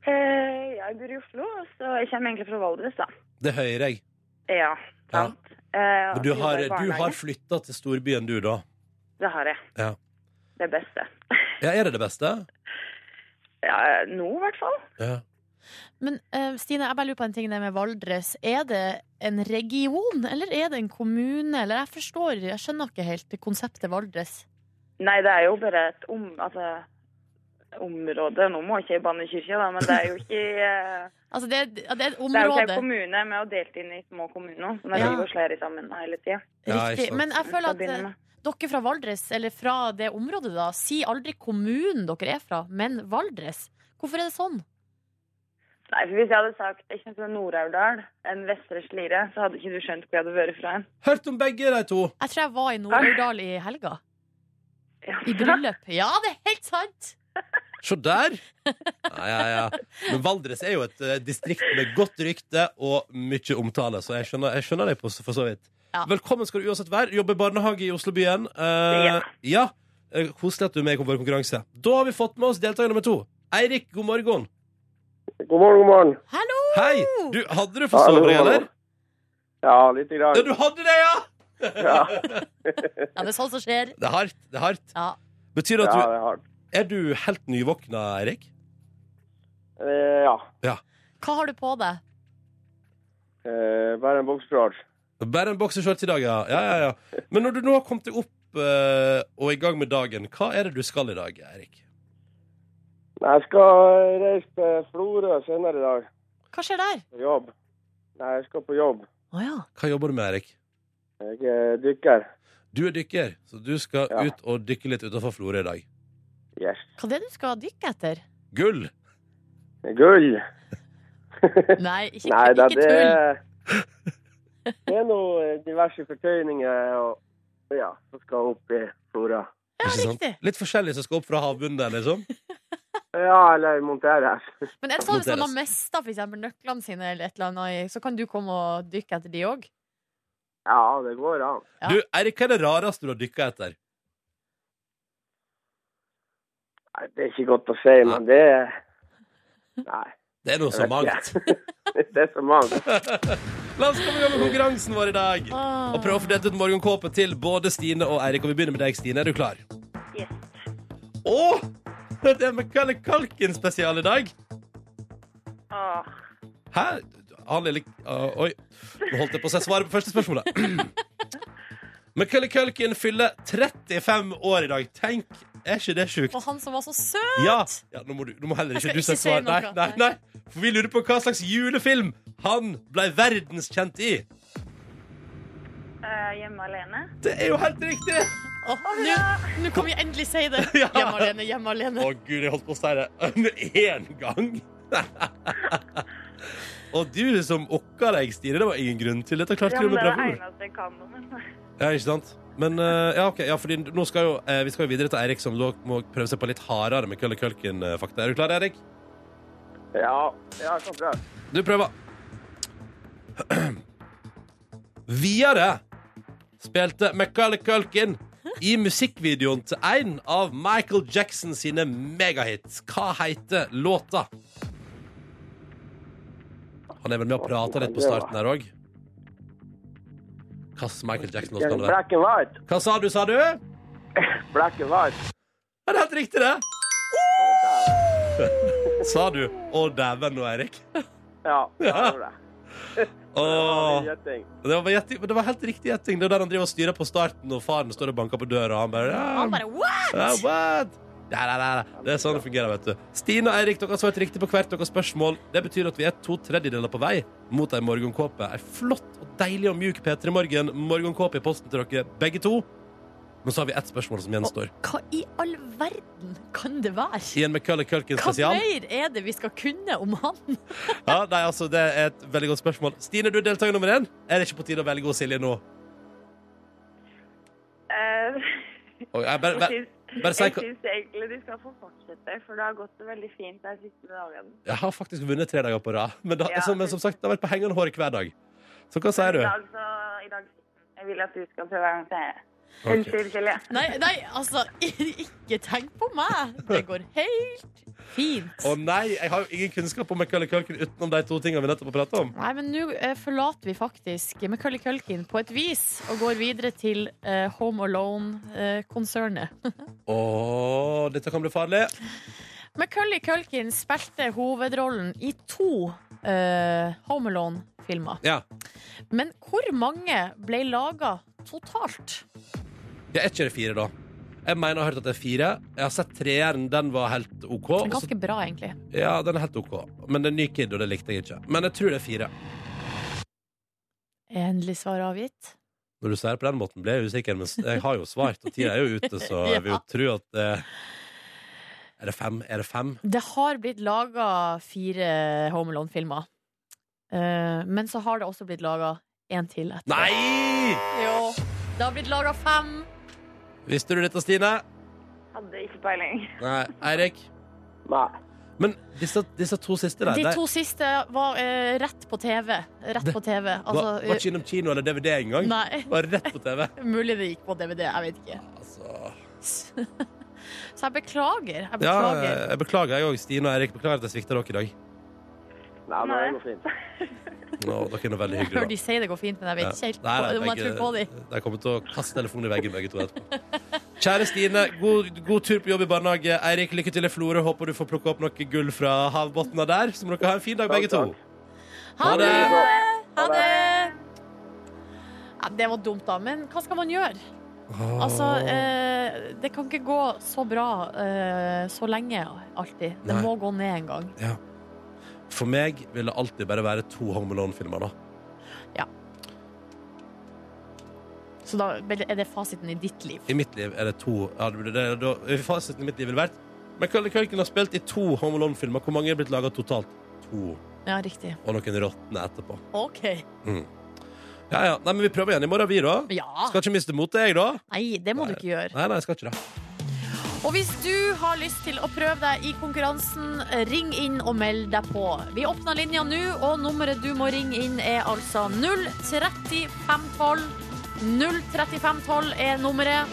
[SPEAKER 1] Eh, jeg bor i Oslo, så jeg kommer egentlig fra Valdres, da.
[SPEAKER 2] Det hører jeg.
[SPEAKER 1] Ja, sant. Eh,
[SPEAKER 2] Men du
[SPEAKER 1] jeg
[SPEAKER 2] har,
[SPEAKER 1] jobber i
[SPEAKER 2] du
[SPEAKER 1] barnehage.
[SPEAKER 2] har flytta til storbyen, du, da.
[SPEAKER 1] Det har jeg.
[SPEAKER 2] Ja.
[SPEAKER 1] Det beste.
[SPEAKER 2] Ja, er det det beste?
[SPEAKER 1] Ja, nå, i hvert fall.
[SPEAKER 2] Ja.
[SPEAKER 5] Men eh, Stine, jeg bare lurer på en ting det med Valdres. Er det en region, eller er det en kommune? Eller jeg forstår, jeg skjønner ikke helt det konseptet Valdres.
[SPEAKER 1] Nei, det er jo bare et om... Altså, område. Nå må jeg ikke banne i kirka, da, men det er jo ikke...
[SPEAKER 2] <laughs>
[SPEAKER 1] eh,
[SPEAKER 5] Altså, det, er- ja, det er et
[SPEAKER 1] Det er jo ikke
[SPEAKER 5] område.
[SPEAKER 1] en kommune med å delt inn i små kommuner, som er
[SPEAKER 5] Ja.
[SPEAKER 1] liv og slære sammen hele tiden.
[SPEAKER 2] Ja, ikke
[SPEAKER 5] Riktig.
[SPEAKER 2] sant.
[SPEAKER 5] Men jeg
[SPEAKER 1] Til
[SPEAKER 5] føler
[SPEAKER 1] å
[SPEAKER 5] at
[SPEAKER 1] begynne
[SPEAKER 5] eh,
[SPEAKER 1] med.
[SPEAKER 5] dere fra Valdres, eller fra det området, da, sier aldri kommunen dere er fra, men Valdres. Hvorfor er det sånn?
[SPEAKER 1] Nei, for Hvis jeg hadde sagt jeg kommer fra Nord-Aurdal, en vestre slire, så hadde ikke du skjønt hvor jeg hadde vært fra. hen.
[SPEAKER 2] Hørt om begge de to.
[SPEAKER 5] Jeg tror jeg var i Nord-Aurdal i helga.
[SPEAKER 1] Ja.
[SPEAKER 5] I bryllup. Ja, det er helt sant!
[SPEAKER 2] Se der! Ja, ja, ja. Men Valdres er jo et eh, distrikt med godt rykte og mye omtale, så jeg skjønner, jeg skjønner deg på, for så vidt.
[SPEAKER 5] Ja.
[SPEAKER 2] Velkommen skal du uansett være. Jobber i barnehage i Oslobyen. Eh,
[SPEAKER 1] Ja.
[SPEAKER 2] ja. Eh, Koselig at du er med i vår konkurranse. Da har vi fått med oss deltaker nummer to. Eirik, god morgen.
[SPEAKER 4] God morgen, god morgen.
[SPEAKER 5] Hallo!
[SPEAKER 2] Hei! Du, hadde du forsovet deg, eller?
[SPEAKER 4] Ja, lite grann.
[SPEAKER 2] Ja, du hadde det, ja!
[SPEAKER 4] <laughs> Ja,
[SPEAKER 5] Ja, det er sånt som skjer.
[SPEAKER 2] Det er hardt. det er hardt.
[SPEAKER 5] Ja.
[SPEAKER 2] Betyr
[SPEAKER 4] ja,
[SPEAKER 2] det
[SPEAKER 4] det
[SPEAKER 2] at <laughs> du
[SPEAKER 4] er hardt.
[SPEAKER 2] Er du helt nyvåkna, Eirik?
[SPEAKER 4] Eh, ja,
[SPEAKER 5] Hva har du på deg?
[SPEAKER 4] eh, bare en bokskjort.
[SPEAKER 2] Bare en boksershorts i dag, ja. ja, ja, ja. Men når du nå har kommet deg opp eh, og i gang med dagen, hva er det du skal i dag, Eirik?
[SPEAKER 4] Nei, Jeg skal reise til Florø senere i dag
[SPEAKER 5] Hva skjer der?
[SPEAKER 4] på jobb. Nei, jeg skal på jobb.
[SPEAKER 5] Å ja.
[SPEAKER 2] Hva jobber du med, Eirik?
[SPEAKER 4] Jeg er dykker.
[SPEAKER 2] Du er dykker, så du skal
[SPEAKER 4] Ja.
[SPEAKER 2] ut og dykke litt utenfor Florø i dag.
[SPEAKER 4] Yes.
[SPEAKER 5] Hva er det du skal dykke etter?
[SPEAKER 2] Gull!
[SPEAKER 4] Gull!
[SPEAKER 5] Nei, ikke,
[SPEAKER 4] Nei, da,
[SPEAKER 5] ikke
[SPEAKER 4] det
[SPEAKER 5] tull.
[SPEAKER 2] <laughs>
[SPEAKER 4] er Det er noe eh, diverse fortøyninger og ja, som skal opp i Florø.
[SPEAKER 5] Ja,
[SPEAKER 2] Ikke sant?
[SPEAKER 5] riktig.
[SPEAKER 2] Litt forskjellig som skal opp fra havbunnen der, liksom.
[SPEAKER 4] Ja, eller monteres. <laughs>
[SPEAKER 5] Men er det sånn hvis man har
[SPEAKER 2] Noteres.
[SPEAKER 5] mista f.eks. nøklene sine, eller et eller annet, i- så kan du komme og dykke etter de òg?
[SPEAKER 4] Ja, det går an.
[SPEAKER 5] Ja.
[SPEAKER 2] Du, Eirik, hva er det rareste du har dykka etter?
[SPEAKER 4] Nei, det er ikke godt å si, men det er Nei.
[SPEAKER 2] Det er noe så
[SPEAKER 4] Jeg vet
[SPEAKER 2] mangt.
[SPEAKER 4] ikke. <laughs> det er så mangt.
[SPEAKER 2] La oss komme i gang med konkurransen vår i dag.
[SPEAKER 5] Ah.
[SPEAKER 2] Og prøve å fordele ut morgenkåpe til både Stine og Eirik. Og vi begynner med deg, Stine. Er du klar?
[SPEAKER 1] <laughs> Yes.
[SPEAKER 2] Å! Det er Mikael Kalken-spesial i dag.
[SPEAKER 1] Åh,
[SPEAKER 2] Hæ? Han lille Å, Oi. Nå holdt jeg på å si svaret på første spørsmålet. <clears throat> Mikael Kalken fyller 35 år i dag. Tenk, er ikke det sjukt?
[SPEAKER 5] Og han som var så søt!
[SPEAKER 2] Ja. ja nå, må du, nå må heller
[SPEAKER 5] Jeg
[SPEAKER 2] ikke
[SPEAKER 5] skal
[SPEAKER 2] du si
[SPEAKER 5] ikke si
[SPEAKER 2] svar. Nei,
[SPEAKER 5] noe.
[SPEAKER 2] nei, nei. For vi lurer på hva slags julefilm han ble verdenskjent i.
[SPEAKER 1] eh, hjemme alene?
[SPEAKER 2] Det er jo helt riktig!
[SPEAKER 5] Åh, Nå nå kan vi endelig si det!
[SPEAKER 2] <laughs> Ja.
[SPEAKER 5] Hjemme alene, hjemme alene.
[SPEAKER 2] Å gud, jeg holdt på å si det én gang. <laughs> Og du som okka deg, Stine, det var ingen grunn til. Dette klarte
[SPEAKER 1] Ja,
[SPEAKER 2] du
[SPEAKER 1] men
[SPEAKER 2] med
[SPEAKER 1] det er det
[SPEAKER 2] bravur.
[SPEAKER 1] eneste jeg kan om det.
[SPEAKER 2] Ja, ikke sant? Men eh, ja, ok. Ja, fordi nå skal jo, eh, vi skal jo videre til Eirik, som da må prøve seg på litt hardere med Kølle Kølken-fakta. eh, Er du klar, Eirik?
[SPEAKER 4] Ja, ja, jeg kan prøve.
[SPEAKER 2] Du prøver. <clears throat> Videre spilte Michael Culkin i musikkvideoen til en av Michael Jackson sine megahits. Hva heter låta? Han er vel med og prater litt på starten her òg. Hvilken Michael Jackson-låt kan det være?
[SPEAKER 4] Black and white.
[SPEAKER 2] Hva sa du, sa du? Er
[SPEAKER 4] Black and white.
[SPEAKER 2] det helt riktig, det? Sa du 'Å, dæven' nå, Eirik?
[SPEAKER 4] Ja, jeg gjorde det.
[SPEAKER 2] Åh.
[SPEAKER 4] Det var min gjetting.
[SPEAKER 2] Det var, gjetting- det var helt riktig gjetting. Det er der han driver og styrer på starten, og faren står og banker på døra, og han bare, ja,
[SPEAKER 5] Han bare what?!
[SPEAKER 2] ja, what? Ja, ja, ja, ja. Det er sånn det fungerer, vet du. Stine og Eirik, dere har svart riktig på hvert deres spørsmål. Det betyr at vi er to tredjedeler på vei mot ei morgenkåpe. Ei flott og deilig og mjuk P3 Morgen. Morgenkåpe i posten til dere begge to. Men så har vi ett spørsmål som gjenstår.
[SPEAKER 5] Hva i all verden kan det være?
[SPEAKER 2] I en McCullough Culkin
[SPEAKER 5] Hva
[SPEAKER 2] spesial.
[SPEAKER 5] mer er det vi skal kunne om han?
[SPEAKER 2] Ja, nei, altså, det er et veldig godt spørsmål. Stine, du er deltaker nummer én. Er det ikke på tide å velge henne, Silje nå?
[SPEAKER 1] Eh, <laughs>
[SPEAKER 2] Oi, jeg bare,
[SPEAKER 1] jeg
[SPEAKER 2] bare,
[SPEAKER 1] syns-
[SPEAKER 2] bare si
[SPEAKER 1] jeg
[SPEAKER 2] hva-
[SPEAKER 1] syns egentlig de skal få fortsette, for det har gått veldig fint de siste dagene.
[SPEAKER 2] Jeg har faktisk vunnet tre dager på rad. Men, da,
[SPEAKER 1] Ja.
[SPEAKER 2] som, men som sagt, det har vært på hengende håret hver dag. Så hva sier
[SPEAKER 1] I
[SPEAKER 2] du?
[SPEAKER 1] dag, så, i dag Jeg vil at du skal prøve en gang til.
[SPEAKER 2] Ok.
[SPEAKER 1] Unnskyld, Silje.
[SPEAKER 5] Nei, nei, altså, <laughs> ikke tenk på meg! Det går helt fint.
[SPEAKER 2] Å nei, jeg har jo ingen kunnskap om McCullough Culkin utenom de to tingene vi nettopp har pratet om.
[SPEAKER 5] Nei, men nå eh, forlater vi faktisk McCully Culkin på et vis og går videre til eh, Home eh, Alone-konsernet.
[SPEAKER 2] Å, dette kan bli farlig.
[SPEAKER 5] McCully Culkin spilte hovedrollen i to eh, Home Alone-filmer.
[SPEAKER 2] Ja.
[SPEAKER 5] Men hvor mange ble laga totalt?
[SPEAKER 2] Jeg er ikke det fire, da. Jeg mener jeg har hørt at det er fire. Jeg har sett treeren. Den var helt OK.
[SPEAKER 5] Det er
[SPEAKER 2] og så-
[SPEAKER 5] Ganske bra, egentlig.
[SPEAKER 2] Ja, den er helt OK. Men det er en ny kid, og det likte jeg ikke. Men jeg tror det er fire.
[SPEAKER 5] Endelig svar avgitt.
[SPEAKER 2] Når du sier det på den måten, blir jeg usikker, men jeg har jo svart, og tida er jo ute, så jeg vil jo tro at det Er det fem? Er det fem?
[SPEAKER 5] Det har blitt laga fire Home Alone-filmer. Eh, men så har det også blitt laga én til etter.
[SPEAKER 2] Nei!
[SPEAKER 5] Jo. Det har blitt laga fem.
[SPEAKER 2] Visste du dette, Stine?
[SPEAKER 1] Hadde ikke peiling.
[SPEAKER 2] Nei. Eirik?
[SPEAKER 4] Nei.
[SPEAKER 2] Men disse, disse to siste der
[SPEAKER 5] De
[SPEAKER 2] de-
[SPEAKER 5] to siste var eh, rett på TV. Rett
[SPEAKER 2] Det-
[SPEAKER 5] på TV. Altså, eh,
[SPEAKER 2] var, var ikke innom kino eller DVD engang.
[SPEAKER 5] Nei, <laughs>
[SPEAKER 2] Var rett på TV.
[SPEAKER 5] mulig det gikk på DVD. Jeg vet ikke. <laughs>
[SPEAKER 2] Altså
[SPEAKER 5] Så jeg beklager. Jeg
[SPEAKER 2] Ja,
[SPEAKER 5] beklager.
[SPEAKER 2] jeg beklager, jeg òg. Stine og Eirik, beklager at jeg svikta dere i dag.
[SPEAKER 4] Nei, men det er noe fint.
[SPEAKER 2] Nå, dere er veldig
[SPEAKER 5] jeg hører de
[SPEAKER 2] hyggelige. da.
[SPEAKER 5] sier det går fint, men jeg vet ikke helt
[SPEAKER 2] Nei, nei,
[SPEAKER 5] om jeg
[SPEAKER 2] begge-
[SPEAKER 5] tror på dem.
[SPEAKER 2] De kommer til å kaste telefonen i veggen, begge to. etterpå. Kjære Stine, god, god tur på jobb i barnehage. Eirik, lykke til i Florø. Håper du får plukka opp noe gull fra havbunnen der. Så må dere ha en fin dag, begge to.
[SPEAKER 4] Takk,
[SPEAKER 5] Ha
[SPEAKER 2] Ha
[SPEAKER 5] <laughs> det!
[SPEAKER 2] det!
[SPEAKER 5] Ha det! Ja, det var dumt, da. Men hva skal man gjøre? Altså, eh, det kan ikke gå så bra eh, så lenge alltid. Det
[SPEAKER 2] Nei.
[SPEAKER 5] må gå ned en gang.
[SPEAKER 2] For meg vil det alltid bare være to Home Alone-filmer, da.
[SPEAKER 5] Så da er det fasiten i ditt liv.
[SPEAKER 2] I mitt liv er det to ja, det, det, det, Fasiten i mitt liv ville vært Men Kalle Kølken har spilt i to Home Alone-filmer. Hvor mange er blitt laga totalt? To.
[SPEAKER 5] Ja, riktig.
[SPEAKER 2] Og noen råtne etterpå.
[SPEAKER 5] OK.
[SPEAKER 2] Ja, ja. Nei, men vi prøver igjen i morgen, vi, da.
[SPEAKER 5] Ja.
[SPEAKER 2] Skal ikke miste motet, jeg, da.
[SPEAKER 5] Nei, det må du ikke gjøre.
[SPEAKER 2] Nei, nei, jeg skal ikke det.
[SPEAKER 5] Og hvis du har lyst til å prøve deg i konkurransen, ring inn og meld deg på. Vi åpner linja nå, og nummeret du må ringe inn er altså 03512. 03512 er nummeret.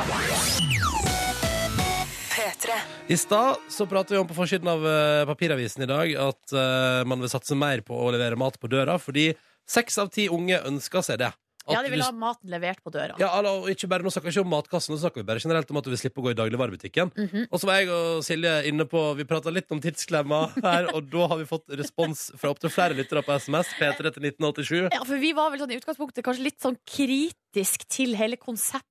[SPEAKER 2] I stad så pratet vi om på forsiden av eh, papiravisen i dag at eh, man vil satse mer på å levere mat på døra, fordi seks av ti unge ønsker seg det. At
[SPEAKER 5] Ja, de vil
[SPEAKER 2] du-
[SPEAKER 5] ha maten levert på døra.
[SPEAKER 2] Ja, alle- og ikke bare, Nå snakker vi ikke om matkassen, nå snakker vi bare generelt om at du vil slippe å gå i dagligvarebutikken.
[SPEAKER 5] Mhm.
[SPEAKER 2] Og så var jeg og Silje inne på Vi prata litt om tidsklemma her, og da har vi fått respons fra opptil flere lyttere på SMS. P3 til 1987.
[SPEAKER 5] Ja, for vi var vel sånn i utgangspunktet kanskje litt sånn kritisk til hele konseptet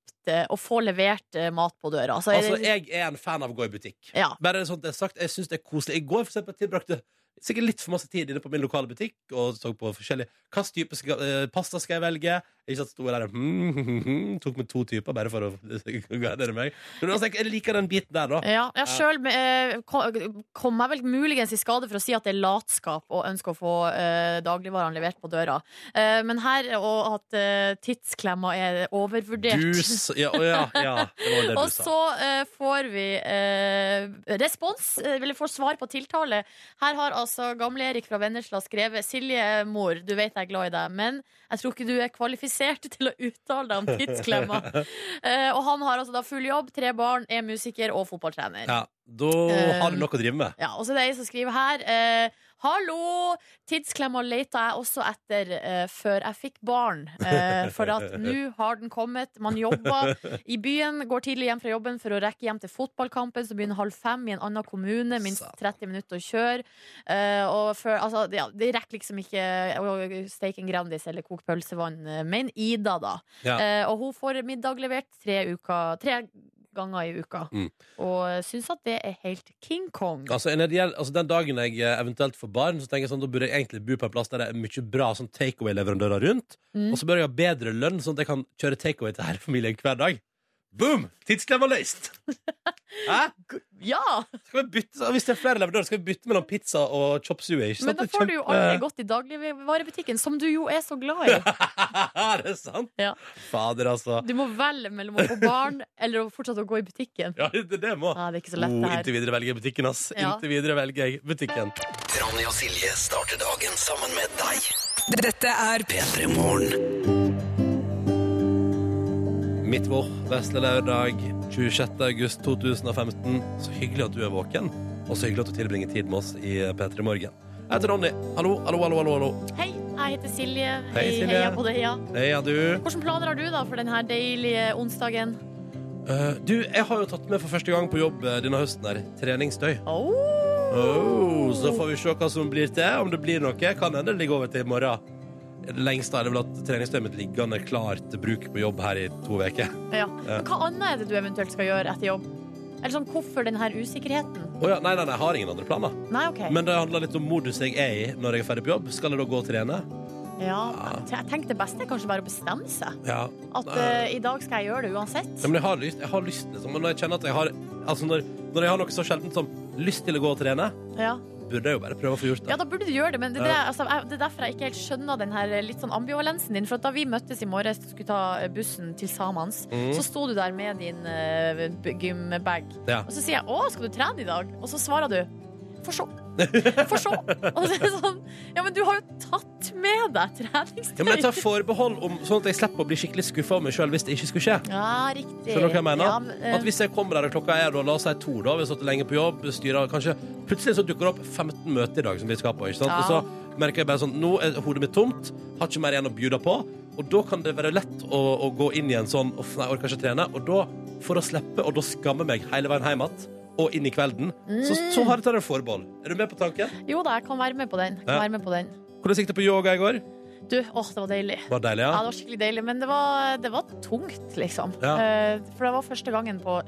[SPEAKER 5] å få levert eh, mat på døra. Så er
[SPEAKER 2] Altså,
[SPEAKER 5] det-
[SPEAKER 2] jeg er en fan av å gå i butikk.
[SPEAKER 5] ja.
[SPEAKER 2] Bare sånn det er sagt, jeg synes det er koselig. I går for eksempel tilbrakte sikkert litt for masse tid inne på min lokale butikk og så på forskjellige Hva type skal, eh, pasta skal jeg velge? Ikke at sto jeg der og hmm, hmm, hmm, <laughs> tok med to typer bare for å <laughs> gardere meg. Men altså, jeg liker den biten der, da.
[SPEAKER 5] Ja, jeg sjøl eh, kom- kom jeg vel muligens i skade for å si at det er latskap å ønske å få eh, dagligvarene levert på døra. Eh, men her, og at eh, tidsklemma er overvurdert.
[SPEAKER 2] Dus Ja, å ja, ja. Det var det
[SPEAKER 5] Og
[SPEAKER 2] du sa.
[SPEAKER 5] så eh, får vi eh, respons, eh, eller får svar på tiltale. Her har altså Gamle-Erik fra Vennesla skrevet Silje, mor, du vet jeg er glad i deg, men jeg tror ikke du er kvalifisert til å uttale deg om tidsklemma.
[SPEAKER 2] <laughs>
[SPEAKER 5] Eh, og han har altså da full jobb, tre barn, er musiker og fotballtrener.
[SPEAKER 2] Ja, da
[SPEAKER 5] Eh.
[SPEAKER 2] har du noe å drive med.
[SPEAKER 5] Ja, og så er det ei som skriver her. Eh, Hallo! Tidsklemma leita jeg også etter eh, før jeg fikk barn. Eh,
[SPEAKER 2] <laughs>
[SPEAKER 5] for at nå har den kommet. Man jobber i byen, går tidlig hjem fra jobben for å rekke hjem til fotballkampen, som begynner halv fem i en annen kommune. Minst 30 minutter å kjøre. Eh, og før, altså, ja, de rekker liksom ikke å steke en Grandis eller koke pølsevann. eh, Men Ida, da.
[SPEAKER 2] Ja.
[SPEAKER 5] Eh, og hun får middag levert tre uker tre ganger i uka.
[SPEAKER 2] Mm.
[SPEAKER 5] Og syns at det er helt King Kong.
[SPEAKER 2] Altså, en ideell- altså Den dagen jeg eh, eventuelt får barn, Så tenker jeg sånn, da burde jeg egentlig bo på en plass der det er mye bra sånn takeaway-leverandører rundt.
[SPEAKER 5] Mm.
[SPEAKER 2] Og så bør jeg ha bedre lønn, sånn at jeg kan kjøre takeaway til hele familien hver dag. Boom! Tidsklemma
[SPEAKER 5] <laughs>
[SPEAKER 2] løst! Hæ?
[SPEAKER 5] Ja!
[SPEAKER 2] Skal vi bytte, hvis det er flere leverandører, skal vi bytte mellom pizza og chop suey.
[SPEAKER 5] Men da får du jo aldri godt i dagligvarebutikken, som du jo er så glad i.
[SPEAKER 2] <laughs> Er det sant?
[SPEAKER 5] Ja.
[SPEAKER 2] Fader, altså.
[SPEAKER 5] Du må velge mellom å få barn eller å fortsette å gå i butikken.
[SPEAKER 2] Ja, det, det må.
[SPEAKER 5] Nei, det er ikke så lett,
[SPEAKER 2] Oh,
[SPEAKER 5] det her.
[SPEAKER 2] inntil videre velger jeg butikken, ass.
[SPEAKER 5] Ja.
[SPEAKER 2] Inntil videre velger jeg butikken.
[SPEAKER 6] Ronny og Silje starter dagen sammen med deg.
[SPEAKER 7] Dette er
[SPEAKER 6] P3 Morgen.
[SPEAKER 2] Mitt vår, vesle lørdag 26. august 2015. Så hyggelig at du er våken, og så hyggelig at du tilbringer tid med oss i P3 Morgen. Jeg heter Ronny. Hallo, hallo, hallo. hallo, hallo.
[SPEAKER 5] Hei, jeg heter Silje.
[SPEAKER 2] Hei,
[SPEAKER 5] i
[SPEAKER 2] Silje.
[SPEAKER 5] Heia på deg, ja.
[SPEAKER 2] Heia, du.
[SPEAKER 5] Hvilke planer har du da for denne deilige onsdagen?
[SPEAKER 2] Eh, du, jeg har jo tatt med for første gang på jobb eh, denne høsten her treningstøy.
[SPEAKER 5] Oh.
[SPEAKER 2] Oh, så får vi se hva som blir til, om det blir noe. Kan hende det ligger over til i morgen. Det lengste er det vel at treningstøyet mitt liggende klar til bruk på jobb her i to uker.
[SPEAKER 5] Ja. Men hva annet er det du eventuelt skal gjøre etter jobb? Eller sånn, Hvorfor denne usikkerheten?
[SPEAKER 2] Å ja, nei, nei, nei, jeg har ingen andre planer.
[SPEAKER 5] Nei, OK.
[SPEAKER 2] Men det handler litt om modus jeg er i når jeg er ferdig på jobb. Skal jeg da gå og trene?
[SPEAKER 5] ja, jeg tenkte det beste er kanskje bare å bestemme seg.
[SPEAKER 2] Ja.
[SPEAKER 5] At
[SPEAKER 2] Ah. Nei.
[SPEAKER 5] eh, i dag skal jeg gjøre det uansett.
[SPEAKER 2] Ja, men jeg har lyst, jeg har lyst liksom. Men når jeg kjenner at jeg har Altså når, når jeg har noe så sjeldent som lyst til å gå og trene,
[SPEAKER 5] Ja.
[SPEAKER 2] burde jeg jo bare prøve å få gjort det.
[SPEAKER 5] Ja, da burde du gjøre det, men det, er det, altså, jeg, det er derfor jeg ikke helt skjønner den her litt sånn ambivalensen din. For at da vi møttes i morges og skulle ta eh, bussen til Samans,
[SPEAKER 2] Mhm.
[SPEAKER 5] så sto du der med din eh, b- gymbag.
[SPEAKER 2] Ja.
[SPEAKER 5] Og så sier jeg 'Å, skal du trene i dag?' Og så svarer du 'Får
[SPEAKER 2] <laughs>
[SPEAKER 5] sjå'. Får sjå. Og så er det sånn Ja, men du har jo tatt med deg treningstøy.
[SPEAKER 2] Ja, men jeg tar forbehold om sånn at jeg slipper å bli skikkelig skuffa av meg sjøl hvis det ikke skulle skje.
[SPEAKER 5] Ja, riktig.
[SPEAKER 2] Skjønner du hva jeg mener?
[SPEAKER 5] Ja, men, eh,
[SPEAKER 2] At hvis jeg kommer der og klokka er da, la oss si to, da, vi har stått lenge på jobb, styrer kanskje Plutselig så dukker det opp 15 møter i dag som vi skal på, ikke sant?
[SPEAKER 5] Ja.
[SPEAKER 2] Og så merker jeg bare sånn Nå er hodet mitt tomt, har ikke mer igjen å bjuda på. Og da kan det være lett å, å gå inn i en sånn Uff, nei, jeg orker ikke å trene. Og da, for å slippe, og da skamme meg hele veien hjem igjen. Og inn i kvelden. Så,
[SPEAKER 5] Mm.
[SPEAKER 2] så har jeg tatt en forbehold. Er du med på tanken?
[SPEAKER 5] Jo da, jeg kan være med på den. Jeg Kan
[SPEAKER 2] Ja.
[SPEAKER 5] være med på den.
[SPEAKER 2] Hvordan gikk det på yoga i går?
[SPEAKER 5] Du, åh, det var deilig.
[SPEAKER 2] Var det deilig,
[SPEAKER 5] Ja,
[SPEAKER 2] ja?
[SPEAKER 5] det var skikkelig deilig, men det var, det var tungt, liksom.
[SPEAKER 2] Ja.
[SPEAKER 5] Eh, For det var første gangen på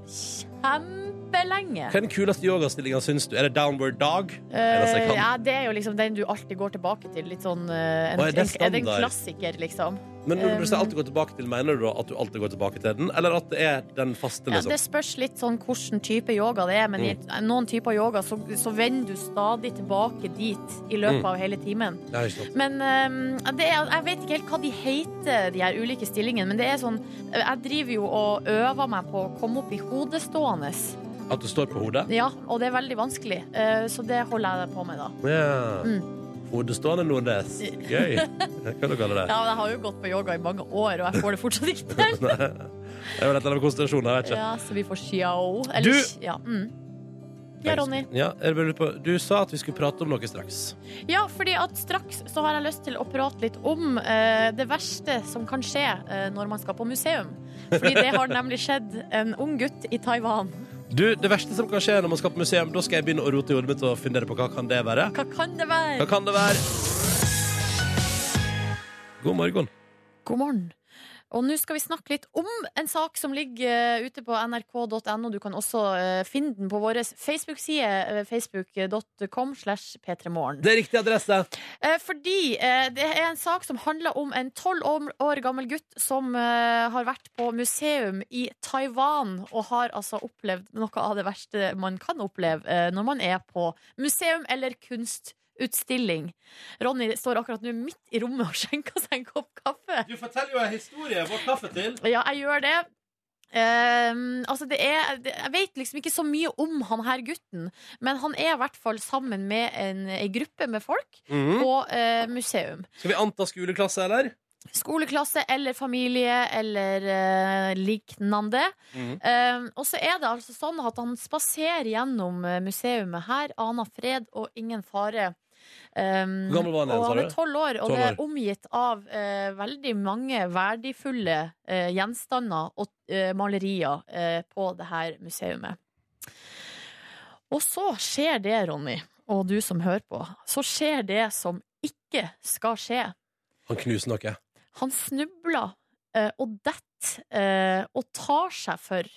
[SPEAKER 5] kjempelenge.
[SPEAKER 2] Hva er den kuleste yogastillinga, syns du? Er det downward dog? Er det så jeg
[SPEAKER 5] Eh,
[SPEAKER 2] kan?
[SPEAKER 5] ja, det er jo liksom den du alltid går tilbake til. Litt sånn eh, en,
[SPEAKER 2] Å, er det
[SPEAKER 5] en, er det en
[SPEAKER 2] standard?
[SPEAKER 5] klassiker, liksom.
[SPEAKER 2] Men når du
[SPEAKER 5] Um,
[SPEAKER 2] sier alltid går tilbake til, mener du da at du alltid går tilbake til den, eller at det er Mm. den faste,
[SPEAKER 5] Ja,
[SPEAKER 2] liksom?
[SPEAKER 5] det spørs litt sånn hvilken type yoga det er, men i noen typer yoga så, så vender du stadig tilbake dit i løpet
[SPEAKER 2] Mm.
[SPEAKER 5] av hele timen.
[SPEAKER 2] Det er ikke sant.
[SPEAKER 5] Men eh, det er, jeg vet ikke helt hva de heter, de her ulike stillingene, men det er sånn Jeg driver jo og øver meg på å komme opp i hodestående.
[SPEAKER 2] At du står på hodet?
[SPEAKER 5] Ja, og det er veldig vanskelig, eh, så det Mm. holder jeg på med, da.
[SPEAKER 2] Ja. Hodestående nordnes. Gøy. Hva kan du kalle det?
[SPEAKER 5] Ja, men Jeg har jo gått på yoga i mange år, og jeg får det fortsatt ikke til.
[SPEAKER 2] Nei. Det er vel et eller annet med konsentrasjon, jeg vet ikke.
[SPEAKER 5] <laughs> Ja, så vi får sjau. Eller,
[SPEAKER 2] Du-
[SPEAKER 5] ja, mm. ja, Ronny.
[SPEAKER 2] Ja, jeg lurer på- du sa at vi skulle prate om noe straks.
[SPEAKER 5] Ja, fordi at straks så har jeg lyst til å prate litt om eh, det verste som kan skje eh, når man skal på museum. Fordi det har nemlig skjedd en ung gutt i Taiwan.
[SPEAKER 2] Du, det verste som kan skje når man skal på museum, da skal jeg begynne å rote i hodet mitt og fundere på hva kan det være.
[SPEAKER 5] Hva kan det
[SPEAKER 2] Hva
[SPEAKER 5] være?
[SPEAKER 2] kan det være? God morgen.
[SPEAKER 5] God morgen. Og nå skal vi snakke litt om en sak som ligger eh, ute på nrk.no. Du kan også eh, finne den på vår Facebook-side, eh, facebook.com slash p3morgen.
[SPEAKER 2] Det er riktig adresse.
[SPEAKER 5] Eh, fordi eh, det er en sak som handler om en tolv år gammel gutt som eh, har vært på museum i Taiwan og har altså opplevd noe av det verste man kan oppleve eh, når man er på museum eller kunstutstilling. Ronny står akkurat nå midt i rommet og <laughs> skjenker seg en kopp kaffe.
[SPEAKER 2] Du forteller jo en historie. Hva kaffe til?
[SPEAKER 5] Ja, jeg gjør det. Ehm, altså det er, det, jeg vet liksom ikke så mye om han her gutten, men han er i hvert fall sammen med en, en gruppe med folk
[SPEAKER 2] Mm.
[SPEAKER 5] på eh, museum.
[SPEAKER 2] Skal vi anta skoleklasse, eller?
[SPEAKER 5] Skoleklasse eller familie eller eh, liknande.
[SPEAKER 2] Mhm.
[SPEAKER 5] Eh, og så er det altså sånn at han spaserer gjennom eh, museet her, aner fred og ingen fare. Um,
[SPEAKER 2] Hvor gammel var han igjen,
[SPEAKER 5] og
[SPEAKER 2] sa
[SPEAKER 5] han
[SPEAKER 2] du?
[SPEAKER 5] er tolv år, og
[SPEAKER 2] 12
[SPEAKER 5] det
[SPEAKER 2] år.
[SPEAKER 5] er omgitt av eh, veldig mange verdifulle eh, gjenstander og eh, malerier eh, på det her museet. Og så skjer det, Ronny, og du som hører på, så skjer det som ikke skal skje.
[SPEAKER 2] Han knuser noe.
[SPEAKER 5] Han snubler eh, og detter eh, og tar seg for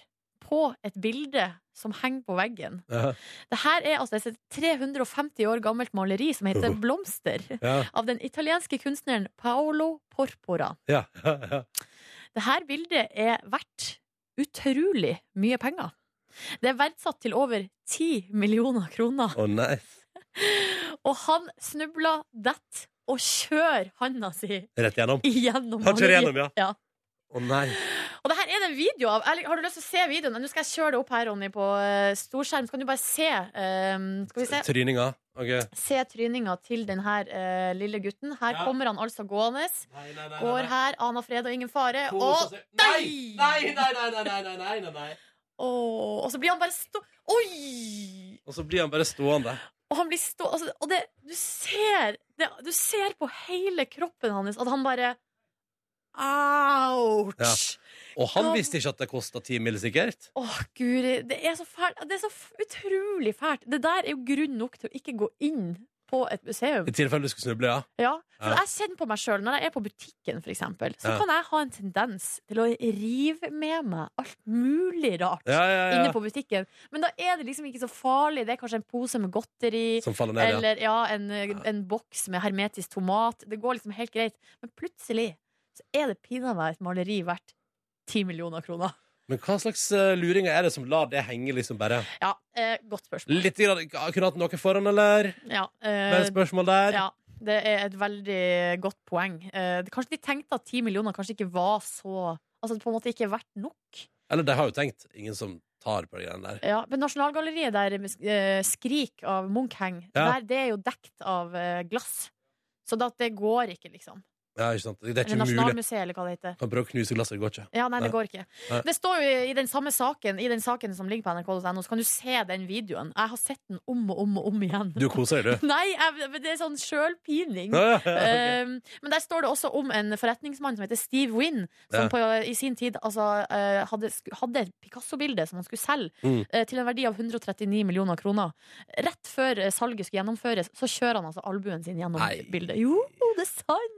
[SPEAKER 5] på et bilde som henger på veggen.
[SPEAKER 2] Ja.
[SPEAKER 5] Det her er altså et 350 år gammelt maleri som heter Blomster,
[SPEAKER 2] Ja,
[SPEAKER 5] av den italienske kunstneren Paolo Porpora.
[SPEAKER 2] ja, ja.
[SPEAKER 5] Det her bildet er verdt utrolig mye penger. Det er verdsatt til over 10 millioner kroner.
[SPEAKER 2] Å nei.
[SPEAKER 5] Og han snubla, detter og kjører handa si
[SPEAKER 2] Rett gjennom.
[SPEAKER 5] igjennom
[SPEAKER 2] Han kjører
[SPEAKER 5] maleriet.
[SPEAKER 2] gjennom, ja.
[SPEAKER 5] Ja.
[SPEAKER 2] Å nei.
[SPEAKER 5] Og det her er det en video av. Eller, Har du lyst til å se videoen? Nå skal jeg kjøre det opp her, Ronny, på eh, storskjerm. Så kan du bare se eh, Skal vi se.
[SPEAKER 2] Tryninga. Ok.
[SPEAKER 5] Se tryninga til denne lille gutten. Her
[SPEAKER 2] Ja.
[SPEAKER 5] kommer han altså gående.
[SPEAKER 2] Nei, nei, nei,
[SPEAKER 5] Går her, aner fred og ingen fare. Og,
[SPEAKER 2] Nei! Nei, nei, nei, nei, nei, nei, nei, nei.
[SPEAKER 5] Åh, og så blir han bare stå... Oi!
[SPEAKER 2] Og så blir han bare stående.
[SPEAKER 5] Og han blir stå... Altså, og det, du ser det, Du ser på hele kroppen hans at han bare Ouch!
[SPEAKER 2] Ja. Og han
[SPEAKER 5] Kom.
[SPEAKER 2] visste ikke at det kosta ti mil, sikkert.
[SPEAKER 5] Åh, guri. Det er så fælt. Det er så f- utrolig fælt. Det der er jo grunn nok til å ikke gå inn på et museum.
[SPEAKER 2] I tilfelle du skulle snuble, ja.
[SPEAKER 5] Ja, for
[SPEAKER 2] Ja.
[SPEAKER 5] jeg kjenner på meg sjøl når jeg er på butikken, for eksempel, så
[SPEAKER 2] Ja.
[SPEAKER 5] kan jeg ha en tendens til å rive med meg alt mulig rart.
[SPEAKER 2] Ja, ja,
[SPEAKER 5] Inne
[SPEAKER 2] ja.
[SPEAKER 5] på butikken Men da er det liksom ikke så farlig. Det er kanskje en pose med godteri.
[SPEAKER 2] Som faller ned, Sånn ja.
[SPEAKER 5] Eller ja, en, en boks med hermetisk tomat. Det går liksom helt greit. Men plutselig så er det pinadø et maleri verdt ti millioner kroner.
[SPEAKER 2] Men hva slags eh, luringer er det som lar det henge, liksom bare?
[SPEAKER 5] Ja, eh, godt spørsmål.
[SPEAKER 2] Litt grann, Kunne hatt noe foran, eller?
[SPEAKER 5] Ja,
[SPEAKER 2] Bare
[SPEAKER 5] eh,
[SPEAKER 2] et spørsmål der.
[SPEAKER 5] ja, det er et veldig godt poeng. Eh, det- kanskje de tenkte at ti millioner kanskje ikke var så Altså det på en måte ikke er verdt nok.
[SPEAKER 2] Eller de har jo tenkt. Ingen som tar på de greiene der.
[SPEAKER 5] Ja, men Nasjonalgalleriet der eh, Skrik av Munch henger,
[SPEAKER 2] Ja.
[SPEAKER 5] der det er jo dekt av eh, glass. Så da, det går ikke, liksom.
[SPEAKER 2] Ja, ikke sant? Det er
[SPEAKER 5] Eller
[SPEAKER 2] ikke mulig.
[SPEAKER 5] Nasjonalmuseet, eller hva det heter.
[SPEAKER 2] Kan prøve å knuse glasset, det går ikke.
[SPEAKER 5] Ja, nei, det
[SPEAKER 2] Nei.
[SPEAKER 5] går ikke.
[SPEAKER 2] Nei.
[SPEAKER 5] Det står jo i den samme saken, i den saken som ligger på nrk.no, så kan du se den videoen. Jeg har sett den om og om og om igjen.
[SPEAKER 2] Du koser deg, du.
[SPEAKER 5] <laughs> Nei, jeg, men det er sånn sjølpining.
[SPEAKER 2] Ja, <laughs> ja, ja,
[SPEAKER 5] <laughs>
[SPEAKER 2] ok.
[SPEAKER 5] Um, men der står det også om en forretningsmann som heter Steve Wynn, som
[SPEAKER 2] Ja.
[SPEAKER 5] på, i sin tid altså, eh, hadde, sku- hadde et Picasso-bilde som han skulle selge,
[SPEAKER 2] Mm.
[SPEAKER 5] eh, til en verdi av 139 millioner kroner. Rett før eh, salget skulle gjennomføres, så kjører han altså albuen sin gjennom
[SPEAKER 2] Nei.
[SPEAKER 5] bildet. Jo, det er sant!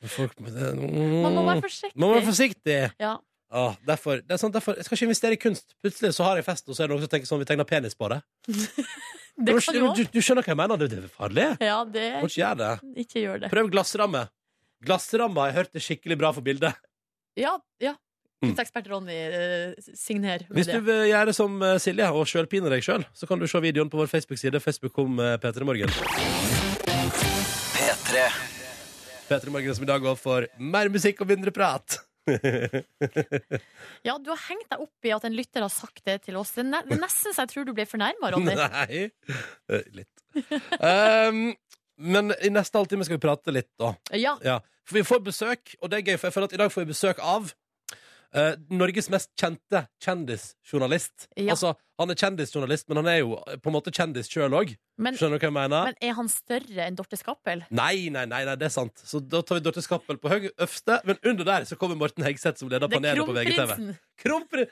[SPEAKER 2] Men Folk, man
[SPEAKER 5] Man må være forsiktig.
[SPEAKER 2] Mm. Man må være forsiktig.
[SPEAKER 5] Ja.
[SPEAKER 2] Ah, derfor, det er sånn, derfor, jeg skal ikke investere i kunst. Plutselig så har jeg fest, og så er det noen som tenker sånn vi tegner penis på det.
[SPEAKER 5] Det
[SPEAKER 2] du,
[SPEAKER 5] kan
[SPEAKER 2] du,
[SPEAKER 5] jo
[SPEAKER 2] du, du skjønner hva jeg mener? Det, det er farlig.
[SPEAKER 5] Ja, det
[SPEAKER 2] Må ikke gjøre det.
[SPEAKER 5] Ikke gjør det.
[SPEAKER 2] Prøv glassramme. Glassramme har jeg hørt er skikkelig bra for bildet.
[SPEAKER 5] Ja, ja.
[SPEAKER 2] Mm.
[SPEAKER 5] Kunsekspert Ronny, eh, signer med
[SPEAKER 2] Hvis du
[SPEAKER 5] det.
[SPEAKER 2] vil gjøre som eh, Silje og sjølpine deg sjøl, så kan du se videoen på vår Facebook-side. Facebook kom P3 Morgen.
[SPEAKER 6] P3
[SPEAKER 2] P3 Morgen som i dag går for mer musikk og mindre prat.
[SPEAKER 5] Ja, du har hengt deg opp i at en lytter har sagt det til oss. Det er ne-
[SPEAKER 2] <laughs>
[SPEAKER 5] det er nesten så jeg tror du ble fornærma, Ronny.
[SPEAKER 2] Nei. Eh, Litt. Um, men i neste halvtime skal vi prate litt, da.
[SPEAKER 5] Ja,
[SPEAKER 2] Ja, for vi får besøk, og det er gøy, for jeg føler at i dag får vi besøk av eh, Norges mest kjente kjendisjournalist.
[SPEAKER 5] Ja.
[SPEAKER 2] Altså, han er kjendisjournalist, men han er jo eh, på en måte kjendis sjøl òg.
[SPEAKER 5] men,
[SPEAKER 2] Skjønner du hva jeg mener?
[SPEAKER 5] men er han større enn Dorte Skappel?
[SPEAKER 2] Nei, nei, nei, nei, det er sant. Så da tar vi Dorte Skappel på høy øfte, men under der så kommer Morten Hegseth, som leder
[SPEAKER 5] Det er
[SPEAKER 2] panelet på VGTV.
[SPEAKER 5] kronprinsen!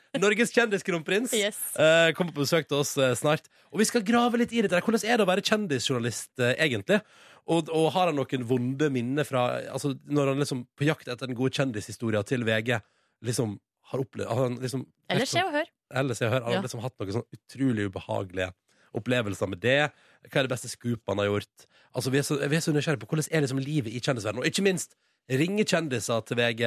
[SPEAKER 2] Kronprin Norges kjendiskronprins.
[SPEAKER 5] Yes.
[SPEAKER 2] Eh, kommer på besøk til oss eh, snart. Og vi skal grave litt i det. der. Hvordan er det å være kjendisjournalist, eh, egentlig? Og, og har han noen vonde minner fra altså, Når han liksom på jakt etter den gode kjendishistoria til VG liksom har opplevd har han liksom,
[SPEAKER 5] Eller Se og Hør.
[SPEAKER 2] Ellers jeg hører, han
[SPEAKER 5] Ja.
[SPEAKER 2] har liksom hatt noen sånn utrolig ubehagelige opplevelser med det. Hva er det beste scoopet han har gjort? Altså, vi er så, vi er så nysgjerrige på hvordan er liksom livet i kjendisverdenen. Og ikke minst, ringe kjendiser til VG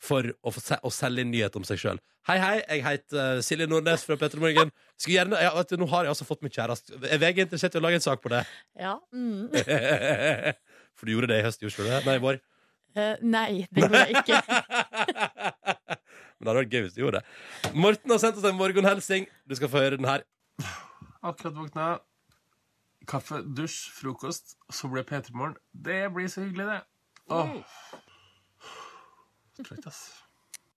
[SPEAKER 2] for å, få se, å selge inn nyhet om seg sjøl. Hei, hei, jeg heter eh, Silje Nordnes fra Petter Morgen. Skulle gjerne, ja, vet du, nå har jeg altså fått min kjæreste. Er VG interessert i å lage en sak på det?
[SPEAKER 5] Ja. Mm.
[SPEAKER 2] For du gjorde det i høst, gjorde du ikke det? Nei, i vår.
[SPEAKER 5] Eh, nei, det gjorde jeg ikke.
[SPEAKER 8] <laughs>
[SPEAKER 2] Men det hadde vært gøy hvis du gjorde det. Morten har sendt oss en morgenhelsing. Du skal få høre den her.
[SPEAKER 7] Akkurat våkna. Kaffe, dusj, frokost, og så blir det P3 Morgen. Det blir så hyggelig, det. Åh.
[SPEAKER 2] Mm.
[SPEAKER 7] Trøtt, ass.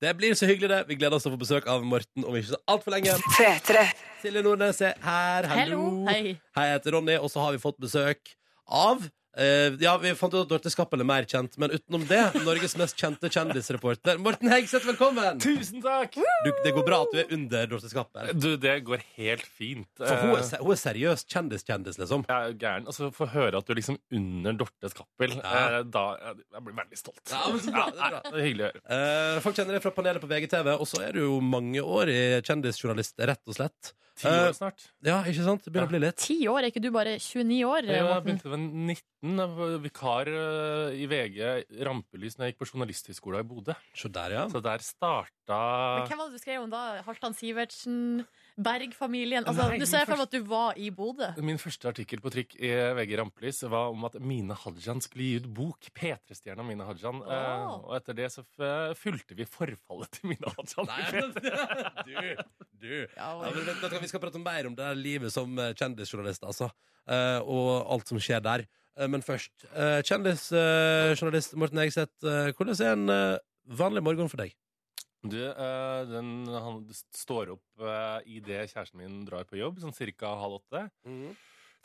[SPEAKER 2] Det blir så hyggelig, det. Vi gleder oss til å få besøk av Morten om ikke så altfor lenge. Silje Nordnes er her. Hallo.
[SPEAKER 5] Hello. Hei.
[SPEAKER 2] Hei, jeg heter Ronny, og så har vi fått besøk av Eh, ja, Vi fant ut at Dorte Skappel er mer kjent, men utenom det, Norges mest kjente kjendisreporter. Morten Hegseth, velkommen!
[SPEAKER 8] Tusen takk!
[SPEAKER 2] Du, det går bra at du er under Dorte Skappel.
[SPEAKER 8] Du, det går helt fint.
[SPEAKER 2] For hun er, se- hun er seriøs kjendiskjendis, liksom.
[SPEAKER 8] Jeg er jo gæren. Altså, Få høre at du liksom under Dortes Kappel.
[SPEAKER 2] Ja.
[SPEAKER 8] eh, Da jeg blir veldig stolt.
[SPEAKER 2] Ja, men så bra, det er bra.
[SPEAKER 8] Ja, det er hyggelig å høre.
[SPEAKER 2] Eh, folk kjenner deg fra panelet på VGTV, og så er du jo mange år i kjendisjournalist, rett og slett.
[SPEAKER 8] Ti
[SPEAKER 2] Eh,
[SPEAKER 8] år snart.
[SPEAKER 2] Ja, ikke sant? Det begynner å bli litt.
[SPEAKER 5] Ti år, er ikke du bare 29 år?
[SPEAKER 8] Jeg
[SPEAKER 5] Morten?
[SPEAKER 8] begynte ved 19. Jeg var vikar eh, i VG Rampelys når jeg gikk på Journalisthøgskolen i Bodø.
[SPEAKER 2] Se der, ja.
[SPEAKER 8] Så der starta
[SPEAKER 5] Men hvem var det du skrev om da? Halvdan Sivertsen? Berg-familien? Altså,
[SPEAKER 8] Nei,
[SPEAKER 5] du ser
[SPEAKER 8] men
[SPEAKER 5] jeg for meg at du var i Bodø.
[SPEAKER 8] Min første artikkel på trykk i VG Rampelys var om at Mine Hajan skulle gi ut bok. P3-stjerna Mine Hajan. Eh,
[SPEAKER 5] Åh.
[SPEAKER 8] Og etter det så f- fulgte vi forfallet til Mine Hajan.
[SPEAKER 2] Nei, <laughs> du, du.
[SPEAKER 5] Ja,
[SPEAKER 2] Ja, men, vet du hva, vi skal prate mer om det her livet som eh, kjendisjournalist, altså. Eh, og alt som skjer der. Eh, men først, kjendisjournalist Morten Hegseth, eh, hvordan er en eh, vanlig morgen for deg?
[SPEAKER 8] <laughs> Du, eh, den, han står opp eh, i idet kjæresten min drar på jobb, sånn cirka halv åtte.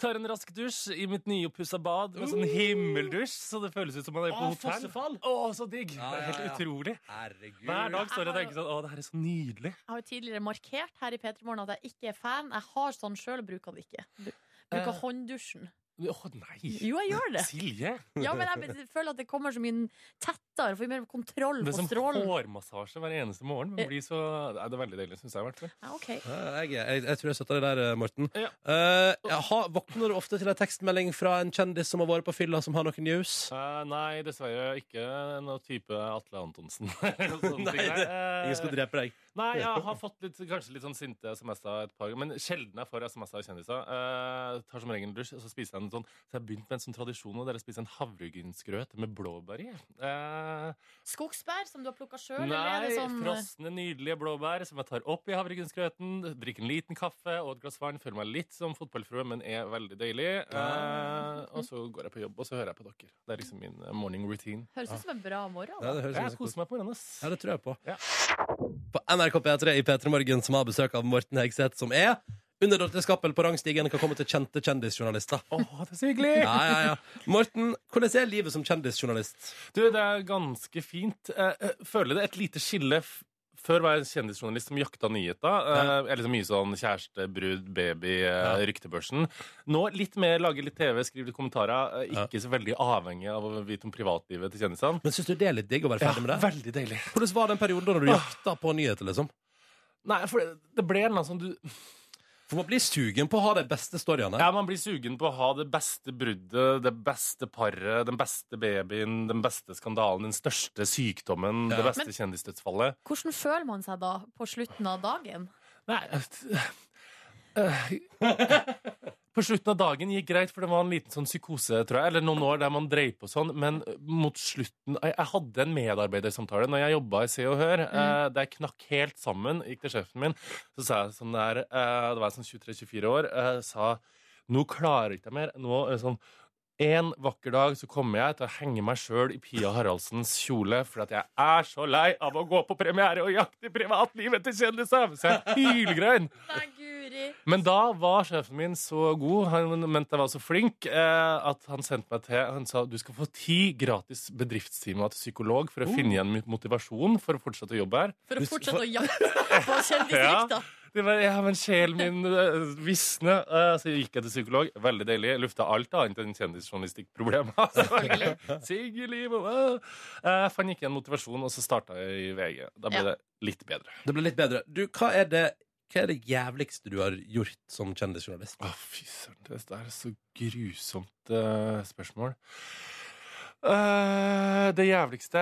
[SPEAKER 8] Tar en rask dusj i mitt nyoppussa bad med sånn himmeldusj, så det føles ut som man er
[SPEAKER 2] Uh.
[SPEAKER 8] på
[SPEAKER 2] Åh,
[SPEAKER 8] hotell.
[SPEAKER 2] fossefall!
[SPEAKER 8] Å, så digg!
[SPEAKER 2] Ja, ja,
[SPEAKER 8] Helt
[SPEAKER 2] ja.
[SPEAKER 8] utrolig.
[SPEAKER 2] Herregud.
[SPEAKER 8] Hver dag står jeg og tenker sånn Å, det her er så nydelig.
[SPEAKER 5] Jeg har jo tidligere markert her i P3 Morgen at jeg ikke er fan. Jeg har sånn sjøl, bruker det ikke. Bru- Bruker
[SPEAKER 8] Eh.
[SPEAKER 5] hånddusjen.
[SPEAKER 8] Å nei!
[SPEAKER 5] Jo, jeg gjør det.
[SPEAKER 8] Silje!
[SPEAKER 5] Ja, men jeg be- føler at det kommer så mye tettere, får mer kontroll på
[SPEAKER 8] Det er som
[SPEAKER 5] strålen.
[SPEAKER 8] hårmassasje hver eneste morgen. Men blir så Nei, det er veldig deilig, syns jeg. i hvert fall.
[SPEAKER 5] Ja, ok.
[SPEAKER 2] Eh, Jeg, jeg, jeg tror jeg støtter deg der, eh, Morten.
[SPEAKER 8] Ja.
[SPEAKER 2] Eh, jeg har, våkner du ofte til en tekstmelding fra en kjendis som har vært på fylla, som har noen news?
[SPEAKER 8] Eh, nei, dessverre ikke noe type Atle Antonsen. <laughs> Sånn
[SPEAKER 2] Nei,
[SPEAKER 8] ting der.
[SPEAKER 2] det-
[SPEAKER 8] Eh,
[SPEAKER 2] Ingen skal drepe deg.
[SPEAKER 8] Nei, jeg har fått litt, kanskje litt sånn sinte SMS-er et par ganger. Men sjelden jeg får SMS-er av kjendiser. Eh, tar som regel en dusj, og så spiser jeg en sånn Så jeg har begynt med en sånn tradisjon nå, der jeg spiser en havregrynsgrøt med blåbær i. Eh,
[SPEAKER 5] Skogsbær som du har plukka sjøl, eller er
[SPEAKER 8] nei,
[SPEAKER 5] det sånn
[SPEAKER 8] frosne, nydelige blåbær som jeg tar opp i havregrynsgrøten. Drikker en liten kaffe og et glass vann. Føler meg litt som fotballfrue, men er veldig deilig. Eh, og så går jeg på jobb, og så hører jeg på dere. Det er liksom min eh, morning routine.
[SPEAKER 5] Høres ut som en bra morgen.
[SPEAKER 2] Ja,
[SPEAKER 5] da.
[SPEAKER 2] det høres ut
[SPEAKER 8] Jeg
[SPEAKER 2] som-
[SPEAKER 8] koser meg på morgenen, ass.
[SPEAKER 2] Ja, det tror jeg på.
[SPEAKER 8] Ja.
[SPEAKER 2] På NRK P3 i P3 Morgen, som har besøk av Morten Hegseth, som er under Dorte Skappel på rangstigen, kan komme til kjente kjendisjournalister.
[SPEAKER 8] Åh, det er så hyggelig!
[SPEAKER 2] Ja, ja, ja. Morten, hvordan er livet som kjendisjournalist?
[SPEAKER 8] Du, det er ganske fint. Eh, eh, føler det et lite skille f før var jeg en kjendisjournalist som jakta nyheter. Eh, eller så mye sånn kjæreste, brud, baby, eh, ryktebørsen. Nå litt mer lage litt TV, skrive litt kommentarer. Eh, ikke så veldig avhengig av å vite om privatlivet til kjendisene.
[SPEAKER 2] Men Syns du det er litt digg å være ferdig med det?
[SPEAKER 8] veldig deilig.
[SPEAKER 2] Hvordan var den perioden da du jakta på nyheter? liksom?
[SPEAKER 8] Nei, for det, det ble en eller annen sånn du
[SPEAKER 2] For man blir sugen på å ha de beste storyene.
[SPEAKER 8] Ja, man blir sugen på å ha det beste bruddet, det beste paret, den beste babyen, den beste skandalen, den største sykdommen, det
[SPEAKER 2] Ja.
[SPEAKER 8] beste
[SPEAKER 5] Men-
[SPEAKER 8] kjendisdødsfallet.
[SPEAKER 5] Hvordan føler man seg da på slutten av dagen?
[SPEAKER 8] Nei øh, øh. På slutten av dagen gikk greit, for det var en liten sånn psykose, tror jeg. Eller noen år der man dreiv på sånn. Men mot slutten Jeg, jeg hadde en medarbeidersamtale når jeg jobba i Se og Hør, eh, der jeg knakk helt sammen. Gikk til sjefen min, så sa jeg sånn der eh, Da var jeg sånn 23-24 år. Eh, sa Nå klarer ikke jeg mer. Nå eh, sånn en vakker dag så kommer jeg til å henge meg sjøl i Pia Haraldsens kjole fordi at jeg er så lei av å gå på premiere og jakte privatlivet til kjendiser! Så jeg hylgrein.
[SPEAKER 5] Nei, guri!
[SPEAKER 8] Men da var sjefen min så god, han mente jeg var så flink, eh, at han sendte meg til Han sa du skal få ti gratis bedriftstimer til psykolog for å finne igjen min motivasjon for å fortsette å jobbe her.
[SPEAKER 5] For
[SPEAKER 2] Du-
[SPEAKER 5] å fortsette å jakte på kjendisrykter.
[SPEAKER 8] Det var, <laughs> ja, men sjelen min eh, visne. Eh, Så gikk jeg til psykolog. Veldig deilig. Jeg Lufta alt annet enn kjendisjournalistikkproblemer. <laughs> Singelliv og eh, Jeg fant ikke igjen motivasjon, og så starta jeg i VG. Da ble
[SPEAKER 5] Ja.
[SPEAKER 8] det litt bedre.
[SPEAKER 2] Det ble litt bedre. Du, hva er det, hva er det jævligste du har gjort som kjendisjournalist?
[SPEAKER 8] Å, fy søren. Det der er så grusomt eh, spørsmål. Eh, det jævligste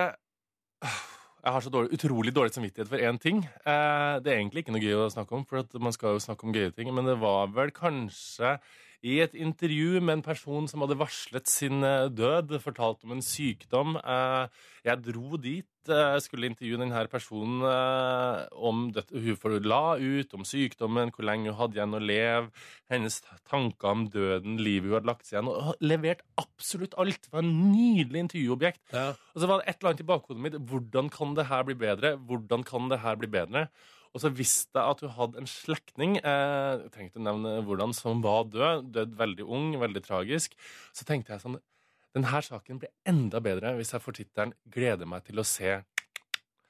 [SPEAKER 8] Jeg har så dårlig, utrolig dårlig samvittighet for én ting. Eh, det er egentlig ikke noe gøy å snakke om, for at man skal jo snakke om gøye ting, men det var vel kanskje i et intervju med en person som hadde varslet sin eh, død, fortalt om en sykdom. Eh, Jeg dro dit, eh, skulle intervjue denne personen eh, om dette, hun forla ut, om sykdommen, hvor lenge hun hadde igjen å leve, hennes tanker om døden, livet hun hadde lagt seg igjen, og levert absolutt alt. Det var en nydelig intervjuobjekt.
[SPEAKER 2] Ja.
[SPEAKER 8] Og så var det et eller annet i bakhodet mitt. Hvordan kan det her bli bedre? Hvordan kan det her bli bedre? Og så visste jeg at hun hadde en slektning eh, jeg trengte å nevne hvordan, som var død. Død veldig ung, veldig tragisk. Så tenkte jeg sånn Denne saken blir enda bedre hvis jeg får tittelen 'Gleder meg til å se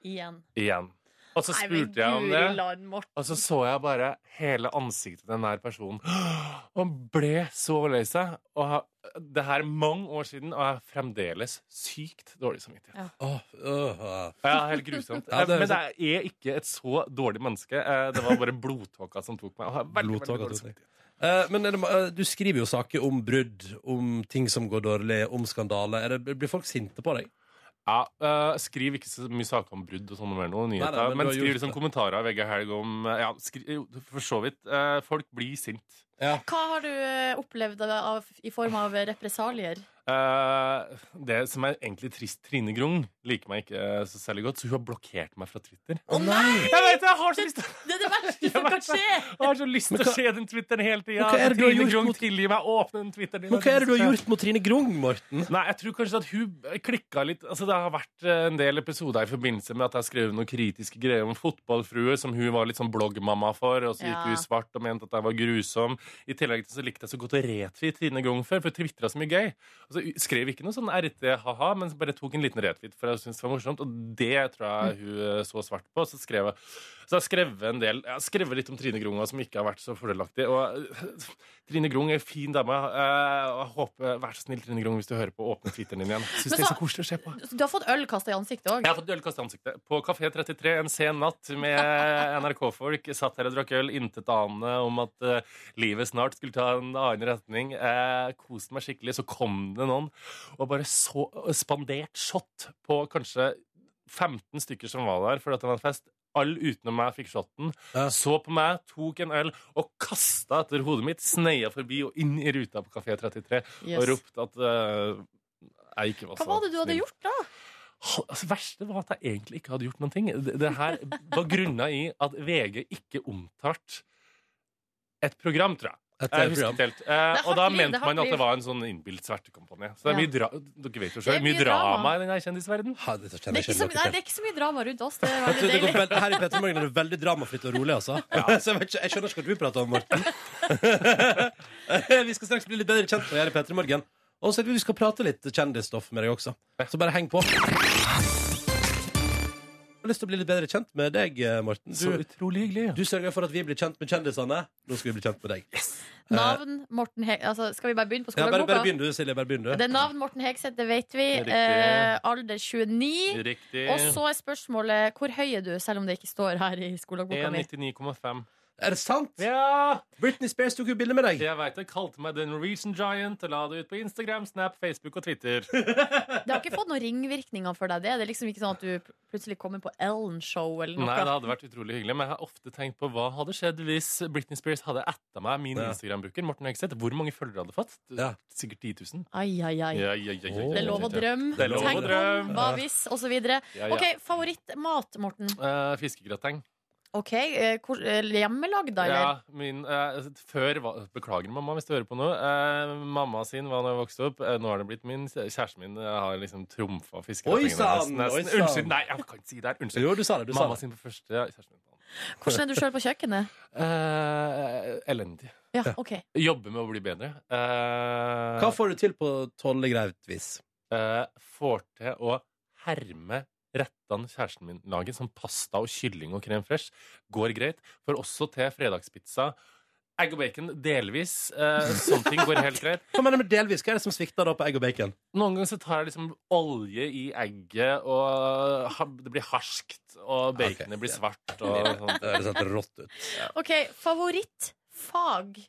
[SPEAKER 5] Igjen.
[SPEAKER 8] igjen'. Og så
[SPEAKER 5] Nei, men
[SPEAKER 8] spurte jeg om
[SPEAKER 5] Guri
[SPEAKER 8] det.
[SPEAKER 5] land, Morten.
[SPEAKER 8] Og så så jeg bare hele ansiktet til den der personen. <gasps> Og han ble så lei seg. Og ha- det her er mange år siden, og jeg har fremdeles sykt dårlig samvittighet.
[SPEAKER 2] Åh, øh, øh.
[SPEAKER 8] Ja, helt grusomt.
[SPEAKER 2] <laughs> Ja, det er
[SPEAKER 8] Men jeg er ikke et så dårlig menneske. Eh, Det var bare blodtåka som tok meg. Og jeg har veldig, veldig
[SPEAKER 2] Blodtåka
[SPEAKER 8] dårlig
[SPEAKER 2] tok deg.
[SPEAKER 8] samvittighet.
[SPEAKER 2] Eh, men er det, ma- eh, du skriver jo saker om brudd, om ting som går dårlig, om skandaler. Er det- Blir folk sinte på deg?
[SPEAKER 8] Ja, eh, skriv ikke så mye saker om brudd og sånne mer noe, nyheter,
[SPEAKER 2] Nei, nei, men
[SPEAKER 8] men,
[SPEAKER 2] du har gjort
[SPEAKER 8] skriv liksom
[SPEAKER 2] det.
[SPEAKER 8] kommentarer i VG Helg om eh, Ja, skri, jo, for så vidt. eh, folk blir sint.
[SPEAKER 5] Hva har du eh, opplevd av, i form av represalier?
[SPEAKER 8] Eh, det som er egentlig trist, Trine Grung liker meg ikke eh, så særlig godt, så hun har blokkert meg fra Twitter.
[SPEAKER 2] Å nei!
[SPEAKER 8] Jeg vet det! Jeg har så lyst,
[SPEAKER 5] Det er det verste
[SPEAKER 8] <laughs>
[SPEAKER 5] som kan skje!
[SPEAKER 8] jeg har så lyst til å se den Twitteren hele tida.
[SPEAKER 2] Men hva er det du har
[SPEAKER 8] Trine
[SPEAKER 2] gjort
[SPEAKER 8] Grung,
[SPEAKER 2] mot-
[SPEAKER 8] tilgi meg! Åpne den Twitteren din.
[SPEAKER 2] Men hva er det du har gjort mot Trine Grung, Morten?
[SPEAKER 8] Nei, jeg tror kanskje at hun klikka litt Altså, det har vært eh, en del episoder i forbindelse med at jeg har skrevet noen kritiske greier om fotballfruer, som hun var litt sånn bloggmamma for, og så
[SPEAKER 5] Ja.
[SPEAKER 8] gikk hun i svart og mente at jeg var grusom. I tillegg til så likte jeg så godt å retweet Trine Grung før, for hun tvitra så mye gøy. Altså, hun skrev ikke noe sånn RT ha-ha, men bare tok en liten retweet, for jeg syntes det var morsomt, og det tror
[SPEAKER 5] Mm.
[SPEAKER 8] jeg hun eh, så svart på. Så skrev jeg så jeg har skrevet en del Jeg har skrevet litt om Trine Grung, og som ikke har vært så fordelaktig. Og eh, Trine Grung er en fin dame. eh, og jeg håper, Vær så snill, Trine Grung, hvis du hører på, åpne Twitteren din igjen. Jeg
[SPEAKER 5] Men
[SPEAKER 8] Synes det er
[SPEAKER 5] så-
[SPEAKER 8] så koselig å se på.
[SPEAKER 5] Du har fått øl kasta i ansiktet òg.
[SPEAKER 8] Jeg har fått ølkast i ansiktet. På Kafé 33 en sen natt
[SPEAKER 5] <laughs>
[SPEAKER 8] med NRK-folk. Satt her og drakk øl, intet anende om at eh, livet snart skulle ta en annen retning. Uh, koste meg skikkelig. Så kom det noen og bare så, og spandert shot på kanskje 15 stykker som var der fordi at det var en fest. Alle utenom meg fikk shotten.
[SPEAKER 2] Ja.
[SPEAKER 8] Så på meg, tok en øl og kasta etter hodet mitt. Sneia forbi og inn i ruta på Kafé 33 og
[SPEAKER 5] Yes.
[SPEAKER 8] ropte at eh, jeg ikke var
[SPEAKER 5] Hva
[SPEAKER 8] så
[SPEAKER 5] var det du hadde
[SPEAKER 8] snill.
[SPEAKER 5] gjort da?
[SPEAKER 8] Ha- Altså, verste var at jeg egentlig ikke hadde gjort noen ting. Det, det her var grunna i at VG ikke omtalte et program, tror jeg.
[SPEAKER 2] Etter
[SPEAKER 8] Jeg
[SPEAKER 2] et
[SPEAKER 8] husker
[SPEAKER 2] program.
[SPEAKER 8] ikke helt. Eh,
[SPEAKER 5] Det er
[SPEAKER 8] og da
[SPEAKER 5] hardt liv,
[SPEAKER 8] mente
[SPEAKER 5] det er hardt
[SPEAKER 8] man at
[SPEAKER 5] liv.
[SPEAKER 8] det var en sånn innbilt svertekampanje. Så det er
[SPEAKER 5] Ja.
[SPEAKER 8] mye dra dere vet jo
[SPEAKER 5] Det
[SPEAKER 8] selv,
[SPEAKER 5] er
[SPEAKER 8] mye
[SPEAKER 5] mye drama.
[SPEAKER 8] drama i den her kjendisverdenen.
[SPEAKER 2] Ha, det kjenner jeg
[SPEAKER 5] Det er
[SPEAKER 2] ikke noe
[SPEAKER 5] ikke så, nei, det
[SPEAKER 2] til.
[SPEAKER 5] er ikke så mye drama rundt oss. Det er
[SPEAKER 2] Jeg tror
[SPEAKER 5] veldig
[SPEAKER 2] det går
[SPEAKER 5] deilig.
[SPEAKER 2] veld- Her i Petter Morgen er det veldig dramafritt og rolig, altså. <laughs> Så jeg, vet ikke, jeg skjønner ikke hva du prater om, <laughs> Morten. vi skal straks bli litt bedre kjent med deg her i Petter Morgen. Og så er det vi skal prate litt kjendisstoff med deg også. Så bare heng på. Jeg har lyst til å bli litt bedre kjent med deg, eh, Morten.
[SPEAKER 8] Så
[SPEAKER 2] Du,
[SPEAKER 8] utrolig hyggelig.
[SPEAKER 2] du sørger for at vi blir kjent med kjendisene. Nå skal vi bli kjent med deg.
[SPEAKER 5] Navn Morten He altså, Skal vi bare begynne på
[SPEAKER 2] Ja, bare, bare
[SPEAKER 5] skoleboka?
[SPEAKER 2] begynn du, Silje. Bare begynn du.
[SPEAKER 5] Det er navn Morten Hegseth, det vet vi.
[SPEAKER 8] Det er riktig.
[SPEAKER 5] Eh, alder 29.
[SPEAKER 8] Riktig.
[SPEAKER 5] Og så er spørsmålet hvor høy er du, selv om det ikke står her i skoleboka mi.
[SPEAKER 8] 1,99,5.
[SPEAKER 2] Er det sant?
[SPEAKER 8] Ja!
[SPEAKER 2] Britney Spears tok jo bilde med deg.
[SPEAKER 8] Jeg veit jeg kalte meg The Norwegian Giant og la det ut på Instagram, Snap, Facebook og Twitter.
[SPEAKER 5] Det har ikke fått noen ringvirkninger for deg, det. Det er liksom ikke sånn at du plutselig kommer på Ellen-show eller
[SPEAKER 8] Nei, det
[SPEAKER 5] noe.
[SPEAKER 8] hadde vært utrolig hyggelig, men jeg har ofte tenkt på hva hadde skjedd hvis Britney Spears hadde etta meg min
[SPEAKER 2] Ja.
[SPEAKER 8] Instagram-bruker, Morten Hegseth. Hvor mange følgere hadde jeg fått?
[SPEAKER 2] Ja.
[SPEAKER 8] Sikkert 10 000.
[SPEAKER 5] Ai, ai, ai.
[SPEAKER 8] Ja, ja, ja, ja, ja,
[SPEAKER 5] Det er lov å
[SPEAKER 8] ja, ja.
[SPEAKER 5] drømme.
[SPEAKER 8] Det er lov å
[SPEAKER 5] Tenk om,
[SPEAKER 8] drømme.
[SPEAKER 5] hva hvis, osv.
[SPEAKER 8] Ja, ja.
[SPEAKER 5] OK, favorittmat, Morten.
[SPEAKER 8] Eh, fiskegrateng.
[SPEAKER 5] Ok, eh, hvor, eh, Hjemmelagd, da, eller?
[SPEAKER 8] Ja, min, eh, før var- Beklager, mamma, hvis du hører på nå. Eh, mamma sin var da jeg vokste opp. Eh, nå har det blitt min. Kjæresten min eh, har liksom trumfa
[SPEAKER 2] Oi,
[SPEAKER 8] fiskegrateng.
[SPEAKER 2] sann, oi, sann.
[SPEAKER 8] Unnskyld, nei, jeg kan ikke si det her. Unnskyld.
[SPEAKER 2] Jo, du sa det. Du sa
[SPEAKER 8] mamma
[SPEAKER 2] det.
[SPEAKER 8] sin på første, ja, kjæresten min på andre.
[SPEAKER 5] Hvordan er du sjøl på kjøkkenet?
[SPEAKER 8] Eh, elendig.
[SPEAKER 5] Ja, ok
[SPEAKER 8] Jobber med å bli bedre. Eh,
[SPEAKER 2] Hva får du til på tollegreit vis?
[SPEAKER 8] eh, får til å herme rettene kjæresten min lager, som pasta og kylling og krem fresh, går greit. Får også til fredagspizza. Egg og bacon delvis.
[SPEAKER 2] <laughs>
[SPEAKER 8] Eh, sånne ting går helt greit.
[SPEAKER 2] Hva mener du med delvis? Hva er det som svikter da på egg og bacon?
[SPEAKER 8] Noen ganger så tar jeg liksom olje i egget, og ha- det blir harskt, og baconet
[SPEAKER 2] Ah, Ok,
[SPEAKER 8] blir
[SPEAKER 2] ja.
[SPEAKER 8] svart.
[SPEAKER 2] <laughs>
[SPEAKER 8] Og sånn.
[SPEAKER 2] Det høres helt rått ut.
[SPEAKER 5] Ok, favorittfag.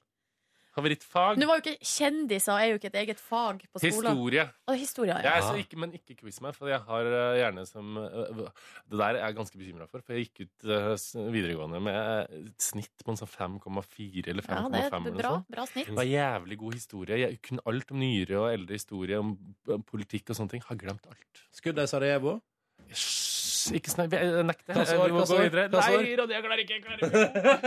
[SPEAKER 8] Favorittfag?
[SPEAKER 5] Nå var jo ikke kjendiser er jo ikke et eget fag på skolen.
[SPEAKER 8] Historie.
[SPEAKER 5] Å, historie, ja.
[SPEAKER 8] Jeg er så ikke, men ikke quiz meg, for jeg har eh, gjerne som eh, Det der er jeg ganske bekymra for, for jeg gikk ut eh, s- videregående med eh, et snitt på en sånn 5,4 eller 5,5
[SPEAKER 5] ja det er
[SPEAKER 8] eller noe
[SPEAKER 5] bra,
[SPEAKER 8] sånt.
[SPEAKER 5] bra snitt.
[SPEAKER 8] Det var jævlig god historie. Jeg kunne alt om nyere og eldre historie, om eh, politikk og sånne ting. Har glemt alt.
[SPEAKER 2] Skudd i Sarajevo.
[SPEAKER 8] Hysj, Ikke snakk Jeg nekter.
[SPEAKER 2] Hva så,
[SPEAKER 8] Vi må
[SPEAKER 2] hva
[SPEAKER 8] gå
[SPEAKER 2] så,
[SPEAKER 8] videre.
[SPEAKER 2] hva så?
[SPEAKER 8] Nei, Ronny, jeg klarer ikke. Jeg klarer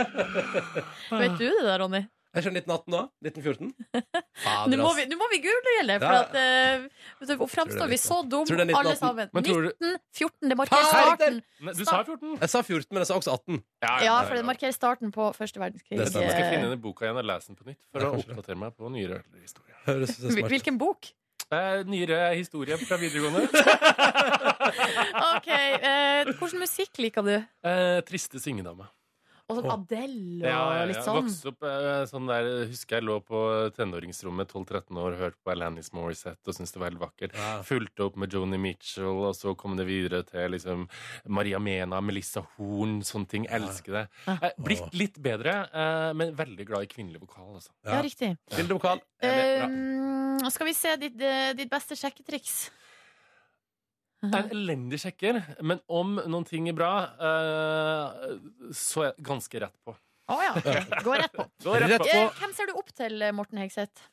[SPEAKER 5] <laughs>
[SPEAKER 8] ikke.
[SPEAKER 5] Vet du det der, Ronny?
[SPEAKER 2] Jeg skjønner 1918 da. 1914.
[SPEAKER 5] Nå
[SPEAKER 2] Fader,
[SPEAKER 5] må
[SPEAKER 2] ass.
[SPEAKER 5] vi, nå må vi google, for
[SPEAKER 2] altså- Ja.
[SPEAKER 5] at eh, så framstår vi så dum,
[SPEAKER 2] Tror du det er
[SPEAKER 5] alle
[SPEAKER 2] 1918?
[SPEAKER 5] sammen.
[SPEAKER 8] Men tror du-
[SPEAKER 5] 1914, det markerer
[SPEAKER 2] Faen!
[SPEAKER 5] starten.
[SPEAKER 8] Nei, Du sa 14.
[SPEAKER 2] Jeg sa 14, men jeg sa også 18.
[SPEAKER 5] Ja, for det markerer starten på første verdenskrig.
[SPEAKER 2] Det stemmer.
[SPEAKER 8] Jeg skal
[SPEAKER 5] Eh,
[SPEAKER 8] finne den boka igjen og lese den på nytt
[SPEAKER 2] Ja,
[SPEAKER 8] for å
[SPEAKER 2] kanskje det.
[SPEAKER 8] oppdatere meg på nyere og eldre historie.
[SPEAKER 2] Høres så
[SPEAKER 5] hvil-
[SPEAKER 2] smart ut.
[SPEAKER 5] Hvilken bok?
[SPEAKER 8] Eh, nyere historie fra videregående.
[SPEAKER 5] OK. Eh, hvordan musikk liker du?
[SPEAKER 8] Eh, triste syngedame.
[SPEAKER 5] Og sånn
[SPEAKER 8] Åh.
[SPEAKER 5] Adele og
[SPEAKER 8] Ja, ja,
[SPEAKER 5] litt
[SPEAKER 8] ja.
[SPEAKER 5] sånn.
[SPEAKER 8] Vokste opp eh, sånn der Husker jeg lå på tenåringsrommet 12-13 år, hørte på Alanis Morissette og syntes det var helt vakkert. Fulgte opp med Joni Mitchell, og så kom det videre til liksom Maria Mena, Melissa Horn, sånne ting. Elsker det. Eh, blitt litt bedre, eh, men veldig glad i kvinnelig vokal, altså.
[SPEAKER 5] Ja, riktig.
[SPEAKER 2] Bildevokal.
[SPEAKER 5] Um, skal vi se ditt, eh, ditt beste sjekketriks?
[SPEAKER 8] Det er en elendig sjekker, men om noen ting er bra, eh, så er jeg ganske rett på.
[SPEAKER 5] Å ja. <laughs> Gå rett på.
[SPEAKER 8] Gå rett på.
[SPEAKER 5] Eh, hvem ser du opp til, eh, Morten Hegseth?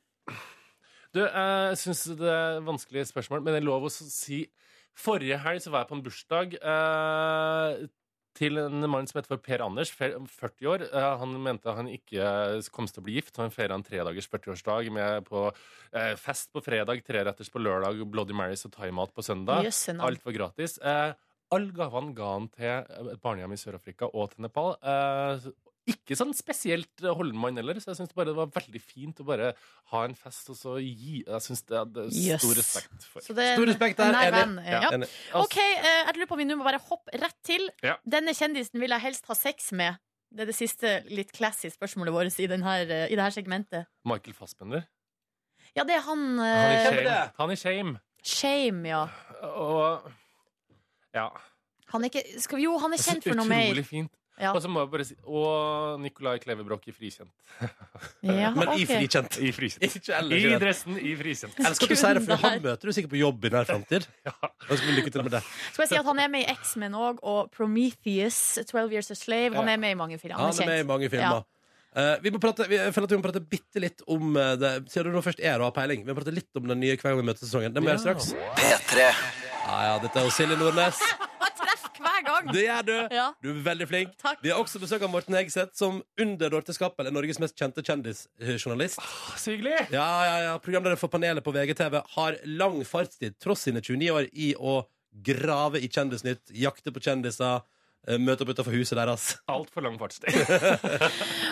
[SPEAKER 8] Du, eh, jeg syns det er vanskelige spørsmål, men det er lov å si Forrige helg så var jeg på en bursdag eh, til en mann som heter for Per Anders, fe- 40 år. Eh, han mente han ikke kom til å bli gift, så han feira en tredagers 40-årsdag med på eh, fest på fredag, treretters på lørdag, Bloody Marys og thaimat på søndag.
[SPEAKER 5] Jøsse navn.
[SPEAKER 8] Alt var gratis. Eh, alle gavene ga han til eh, et barnehjem i Sør-Afrika og til Nepal. Eh, ikke sånn spesielt Holmann heller, så jeg syns bare det var veldig fint å bare ha en fest og så gi Jeg syns det hadde stor
[SPEAKER 5] Yes.
[SPEAKER 8] respekt for. Altså,
[SPEAKER 5] Så det er
[SPEAKER 2] Stor
[SPEAKER 5] en-
[SPEAKER 2] respekt
[SPEAKER 5] en
[SPEAKER 2] der,
[SPEAKER 5] nær
[SPEAKER 2] enig.
[SPEAKER 5] venn, eh, ja.
[SPEAKER 2] Enig.
[SPEAKER 5] OK, eh, jeg lurer på om vi nå må bare hoppe rett til.
[SPEAKER 8] Ja.
[SPEAKER 5] Denne kjendisen vil jeg helst ha sex med. Det er det siste litt classy spørsmålet vårt i, den her, eh, i det her segmentet.
[SPEAKER 8] Michael Fassbender.
[SPEAKER 5] Ja, det er han
[SPEAKER 8] Han i
[SPEAKER 5] eh,
[SPEAKER 8] Shame. Han i shame.
[SPEAKER 5] Shame, ja.
[SPEAKER 8] Og ja.
[SPEAKER 5] Han er ikke skal, vi- Jo, han er
[SPEAKER 8] Det er
[SPEAKER 5] kjent
[SPEAKER 8] så
[SPEAKER 5] for noe mer.
[SPEAKER 8] utrolig Altså, fint.
[SPEAKER 5] Ja.
[SPEAKER 8] Og så må jeg bare si Og Nicolai Klevebrok i Frikjent.
[SPEAKER 5] Ja,
[SPEAKER 2] Men i
[SPEAKER 5] ok.
[SPEAKER 2] frikjent.
[SPEAKER 8] I Frikjent.
[SPEAKER 2] <laughs> Ikke ellers.
[SPEAKER 8] I
[SPEAKER 2] i det.
[SPEAKER 8] dressen i Frikjent.
[SPEAKER 2] Elsker at du sier det, for
[SPEAKER 5] Kun
[SPEAKER 2] han
[SPEAKER 5] der.
[SPEAKER 2] møter du sikkert på jobb i nær framtid. Lykke til med det.
[SPEAKER 5] Skal jeg si at Han er med i X-Men òg, og Prometheus, 12 Years a Slave. Han er med i mange filmer.
[SPEAKER 2] Han
[SPEAKER 5] Han er
[SPEAKER 2] er med i
[SPEAKER 5] kjent.
[SPEAKER 2] mange filmer. Eh, vi må prate, vi, jeg føler at vi må prate bitte litt om eh, det. Siden du nå først er og har peiling, vi må prate litt om den nye Hver gang vi møtes sesongen. Det må vi gjøre straks.
[SPEAKER 6] P3
[SPEAKER 2] Ja, ja, dette er jo Silje Nordnes.
[SPEAKER 5] Jeg treffer hver gang!
[SPEAKER 2] Det gjør du.
[SPEAKER 5] Ja.
[SPEAKER 2] Du er veldig flink.
[SPEAKER 5] Takk.
[SPEAKER 2] Vi har også besøk av Morten Hegseth, som under Dorte Skappel er Norges mest kjente kjendisjournalist.
[SPEAKER 8] Så hyggelig!
[SPEAKER 2] Ja, ja, ja. Programleder for panelet på VGTV har lang fartstid, tross sine 29 år, i å grave i Kjendisnytt, jakte på kjendiser, eh, møte opp utenfor huset deres.
[SPEAKER 8] Altfor lang <laughs> fartstid.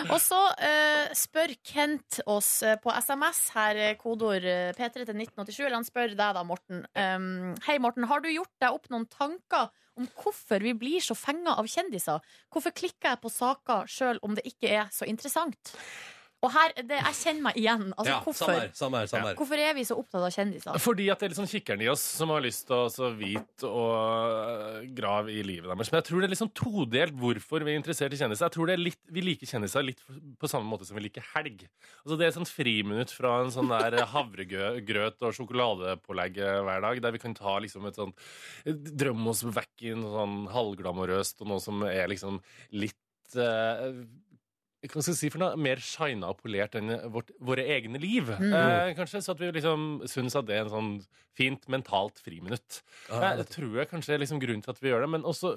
[SPEAKER 5] Og så eh, spør Kent oss eh, på SMS her, eh, kodeord eh, P3 til 1987, eller han spør deg da, Morten. Um, Hei, Morten, har du gjort deg opp noen tanker om hvorfor vi blir så fenga av kjendiser? Hvorfor klikker jeg på saker sjøl om det ikke er så interessant? Og her, det, jeg kjenner meg igjen. Altså,
[SPEAKER 2] ja, samme her.
[SPEAKER 5] hvorfor?
[SPEAKER 2] Samme her, samme her.
[SPEAKER 5] Hvorfor er vi så opptatt av kjendiser?
[SPEAKER 8] Fordi at det er litt sånn kikkeren i oss som har lyst til å så vite og øh, grave i livet deres. Men jeg tror det er litt sånn todelt hvorfor vi er interessert i kjendiser. Jeg tror det er litt, Vi liker kjendiser litt på samme måte som vi liker helg. Altså Det er et sånt friminutt fra en sånn der <laughs> havregrøt og sjokoladepålegg eh, hver dag, der vi kan ta liksom et sånt drøm oss vekk i noe sånn halvglamorøst og noe som er liksom litt eh, hva skal jeg si for noe, mer shina og polert enn vårt, våre egne liv. Eh, kanskje, Så at vi liksom syns at det er en sånn fint mentalt friminutt.
[SPEAKER 2] Ja,
[SPEAKER 8] det tror jeg kanskje er liksom grunnen til at vi gjør det. Men også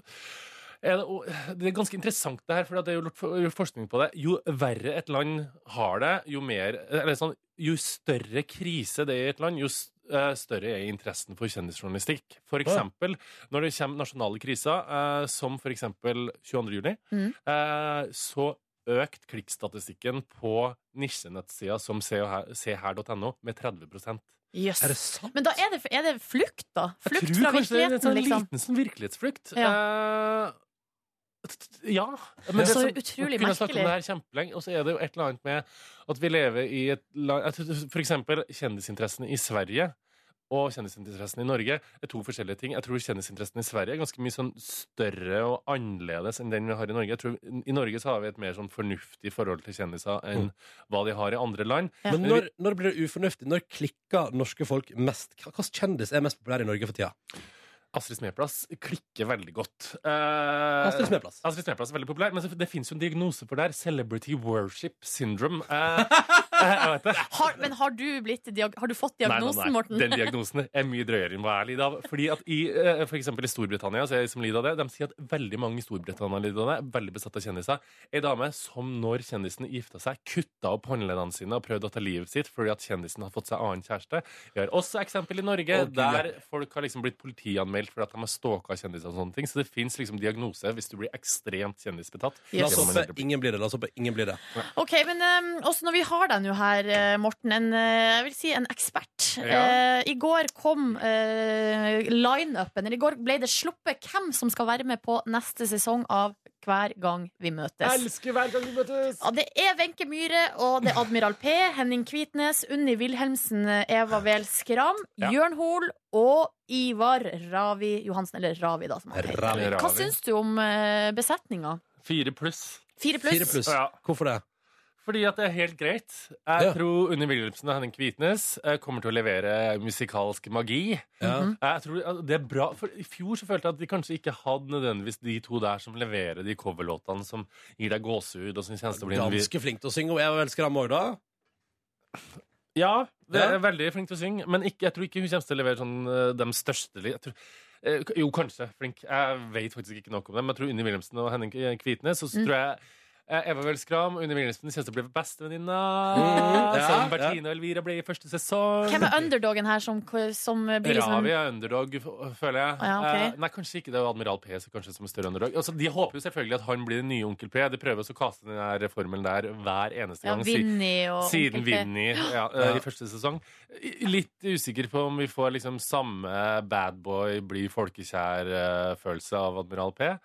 [SPEAKER 8] er det, og det er ganske interessant det her, for det er jo gjort for- gjort forskning på det. Jo verre et land har det, jo mer Eller sånn, jo større krise det er i et land, jo s- eh, større er interessen for kjendisjournalistikk. For eksempel når det kommer nasjonale kriser, eh, som for eksempel 22. juli,
[SPEAKER 5] Mm.
[SPEAKER 8] eh, så økt klikkstatistikken på nisjenettsider som seher.no med 30
[SPEAKER 5] Jøss.
[SPEAKER 2] Er det sant?
[SPEAKER 5] Men da er det, er det flukt, da?
[SPEAKER 8] jeg
[SPEAKER 5] Flukt
[SPEAKER 8] tror
[SPEAKER 5] fra
[SPEAKER 8] kanskje det er en
[SPEAKER 5] virkeligheten,
[SPEAKER 8] sånn
[SPEAKER 5] liksom.
[SPEAKER 8] liten sånn virkelighetsflukt. Eh, t- t- ja.
[SPEAKER 5] Men så
[SPEAKER 8] som-
[SPEAKER 5] utrolig
[SPEAKER 8] kunne snakke om det
[SPEAKER 5] merkelig.
[SPEAKER 8] her kjempelenge, og så er det jo et eller annet med at vi lever i et land jeg tror- For eksempel kjendisinteressene i Sverige. Og kjendisinteressen i Norge er to forskjellige ting. Jeg tror kjendisinteressen i Sverige er ganske mye sånn større og annerledes enn den vi har i Norge. Jeg tror I Norge så har vi et mer sånn fornuftig forhold til kjendiser enn hva de har i andre land.
[SPEAKER 5] Ja.
[SPEAKER 2] Men når, når blir det ufornuftig? Når klikker norske folk mest? Hva slags kjendis er mest populær i Norge for tida?
[SPEAKER 8] Astrid Smeplass klikker veldig godt. Eh,
[SPEAKER 2] Astrid Smeplass.
[SPEAKER 8] Astrid Smeplass er veldig populær, men så- det fins jo en diagnose for det her. Celebrity worship syndrome. Eh, eh, jeg vet det.
[SPEAKER 5] Har, men har du, blitt, diag- har du fått
[SPEAKER 8] Nei,
[SPEAKER 5] <laughs>
[SPEAKER 8] nei,
[SPEAKER 5] diagnosen,
[SPEAKER 8] nei.
[SPEAKER 5] Morten?
[SPEAKER 8] Den diagnosen er mye drøyere enn hva jeg lider av. Fordi at i, eh, for eksempel i Storbritannia så er jeg som lider av det, de sier at veldig mange i Storbritannia lider av det, veldig besatt av kjendiser. Ei dame som når kjendisen gifta seg, kutta opp håndleddene sine og prøvde å ta livet sitt fordi at kjendisen har fått seg annen kjæreste. Vi har også eksempel i Norge
[SPEAKER 2] Å, Gud, ja.
[SPEAKER 8] der folk har liksom blitt politianmeldt fordi at de har stalka kjendiser og sånne ting. Så det fins liksom diagnose hvis du blir ekstremt kjendisbetatt.
[SPEAKER 2] La oss
[SPEAKER 8] Det må man
[SPEAKER 2] håpe
[SPEAKER 8] aldri bli.
[SPEAKER 2] ingen blir det. La oss håpe ingen blir det.
[SPEAKER 5] Ok, men um, også når vi har deg nå nå her, eh, Morten, en, eh, jeg vil si en ekspert. Eh, I går kom eh, line-upen, eller i går ble det sluppet hvem som skal være med på neste sesong av Hver gang vi møtes.
[SPEAKER 9] Elsker hver gang vi møtes!
[SPEAKER 5] Ja, det er Wenche Myhre og det er Admiral P, Henning Kvitnes, Unni Wilhelmsen, eh, Eva Wehl Skram,
[SPEAKER 8] Ja.
[SPEAKER 5] Jørn Hoel og Ivar Ravi Johansen. Eller Ravi, da, som han heter.
[SPEAKER 2] Ravi.
[SPEAKER 5] Hva syns du om eh, besetninga?
[SPEAKER 8] Fire pluss.
[SPEAKER 5] Fire pluss?
[SPEAKER 2] Fire pluss.
[SPEAKER 8] Ja.
[SPEAKER 2] Hvorfor det?
[SPEAKER 8] Fordi at det er helt greit. Jeg
[SPEAKER 2] Ja.
[SPEAKER 8] tror Unni Wilhelmsen og Henning Kvitnes eh, kommer til å levere musikalsk magi.
[SPEAKER 5] Mhm.
[SPEAKER 2] Ja.
[SPEAKER 8] Jeg tror at det er bra, for I fjor så følte jeg at de kanskje ikke hadde nødvendigvis de to der som leverer de coverlåtene som gir deg gåsehud. og som kjennes til å bli en vi-
[SPEAKER 2] Ganske flink til å synge, og jeg var vel skram òg, da.
[SPEAKER 8] Ja, det er
[SPEAKER 2] Ja.
[SPEAKER 8] veldig flink til å synge, men ikke, jeg tror ikke hun kommer til å levere sånn, eh, de største li- jeg tror, eh, k- Jo, kanskje. Flink. Jeg vet faktisk ikke nok om dem. men Jeg tror Unni Wilhelmsen og Henning eh, Kvitnes. Og så
[SPEAKER 5] Mm.
[SPEAKER 8] tror jeg eh, Eva Weel Skram og Unni Wilhelmsen kommer til å bli bestevenninna.
[SPEAKER 2] Mm, ja,
[SPEAKER 8] Som
[SPEAKER 2] ja.
[SPEAKER 8] Bertine og Elvira ble i første sesong.
[SPEAKER 5] Hvem er underdogen her som, som blir liksom
[SPEAKER 8] Ravi
[SPEAKER 5] en,
[SPEAKER 8] er underdog, f- føler jeg.
[SPEAKER 5] Å, ja, ok.
[SPEAKER 8] Eh, Nei, kanskje ikke. Det er jo Admiral P som kanskje som er større underdog. Altså, de håper jo selvfølgelig at han blir den nye Onkel P. De prøver også å kaste den der formelen der hver eneste
[SPEAKER 5] ja,
[SPEAKER 8] gang. Si-
[SPEAKER 5] Vinni og
[SPEAKER 8] siden
[SPEAKER 5] Onkel P?
[SPEAKER 8] Vinni
[SPEAKER 5] <gasps>
[SPEAKER 8] ja, eh, i første sesong. I- Litt usikker på om vi får liksom samme bad boy, bli folkekjær-følelse av Admiral P.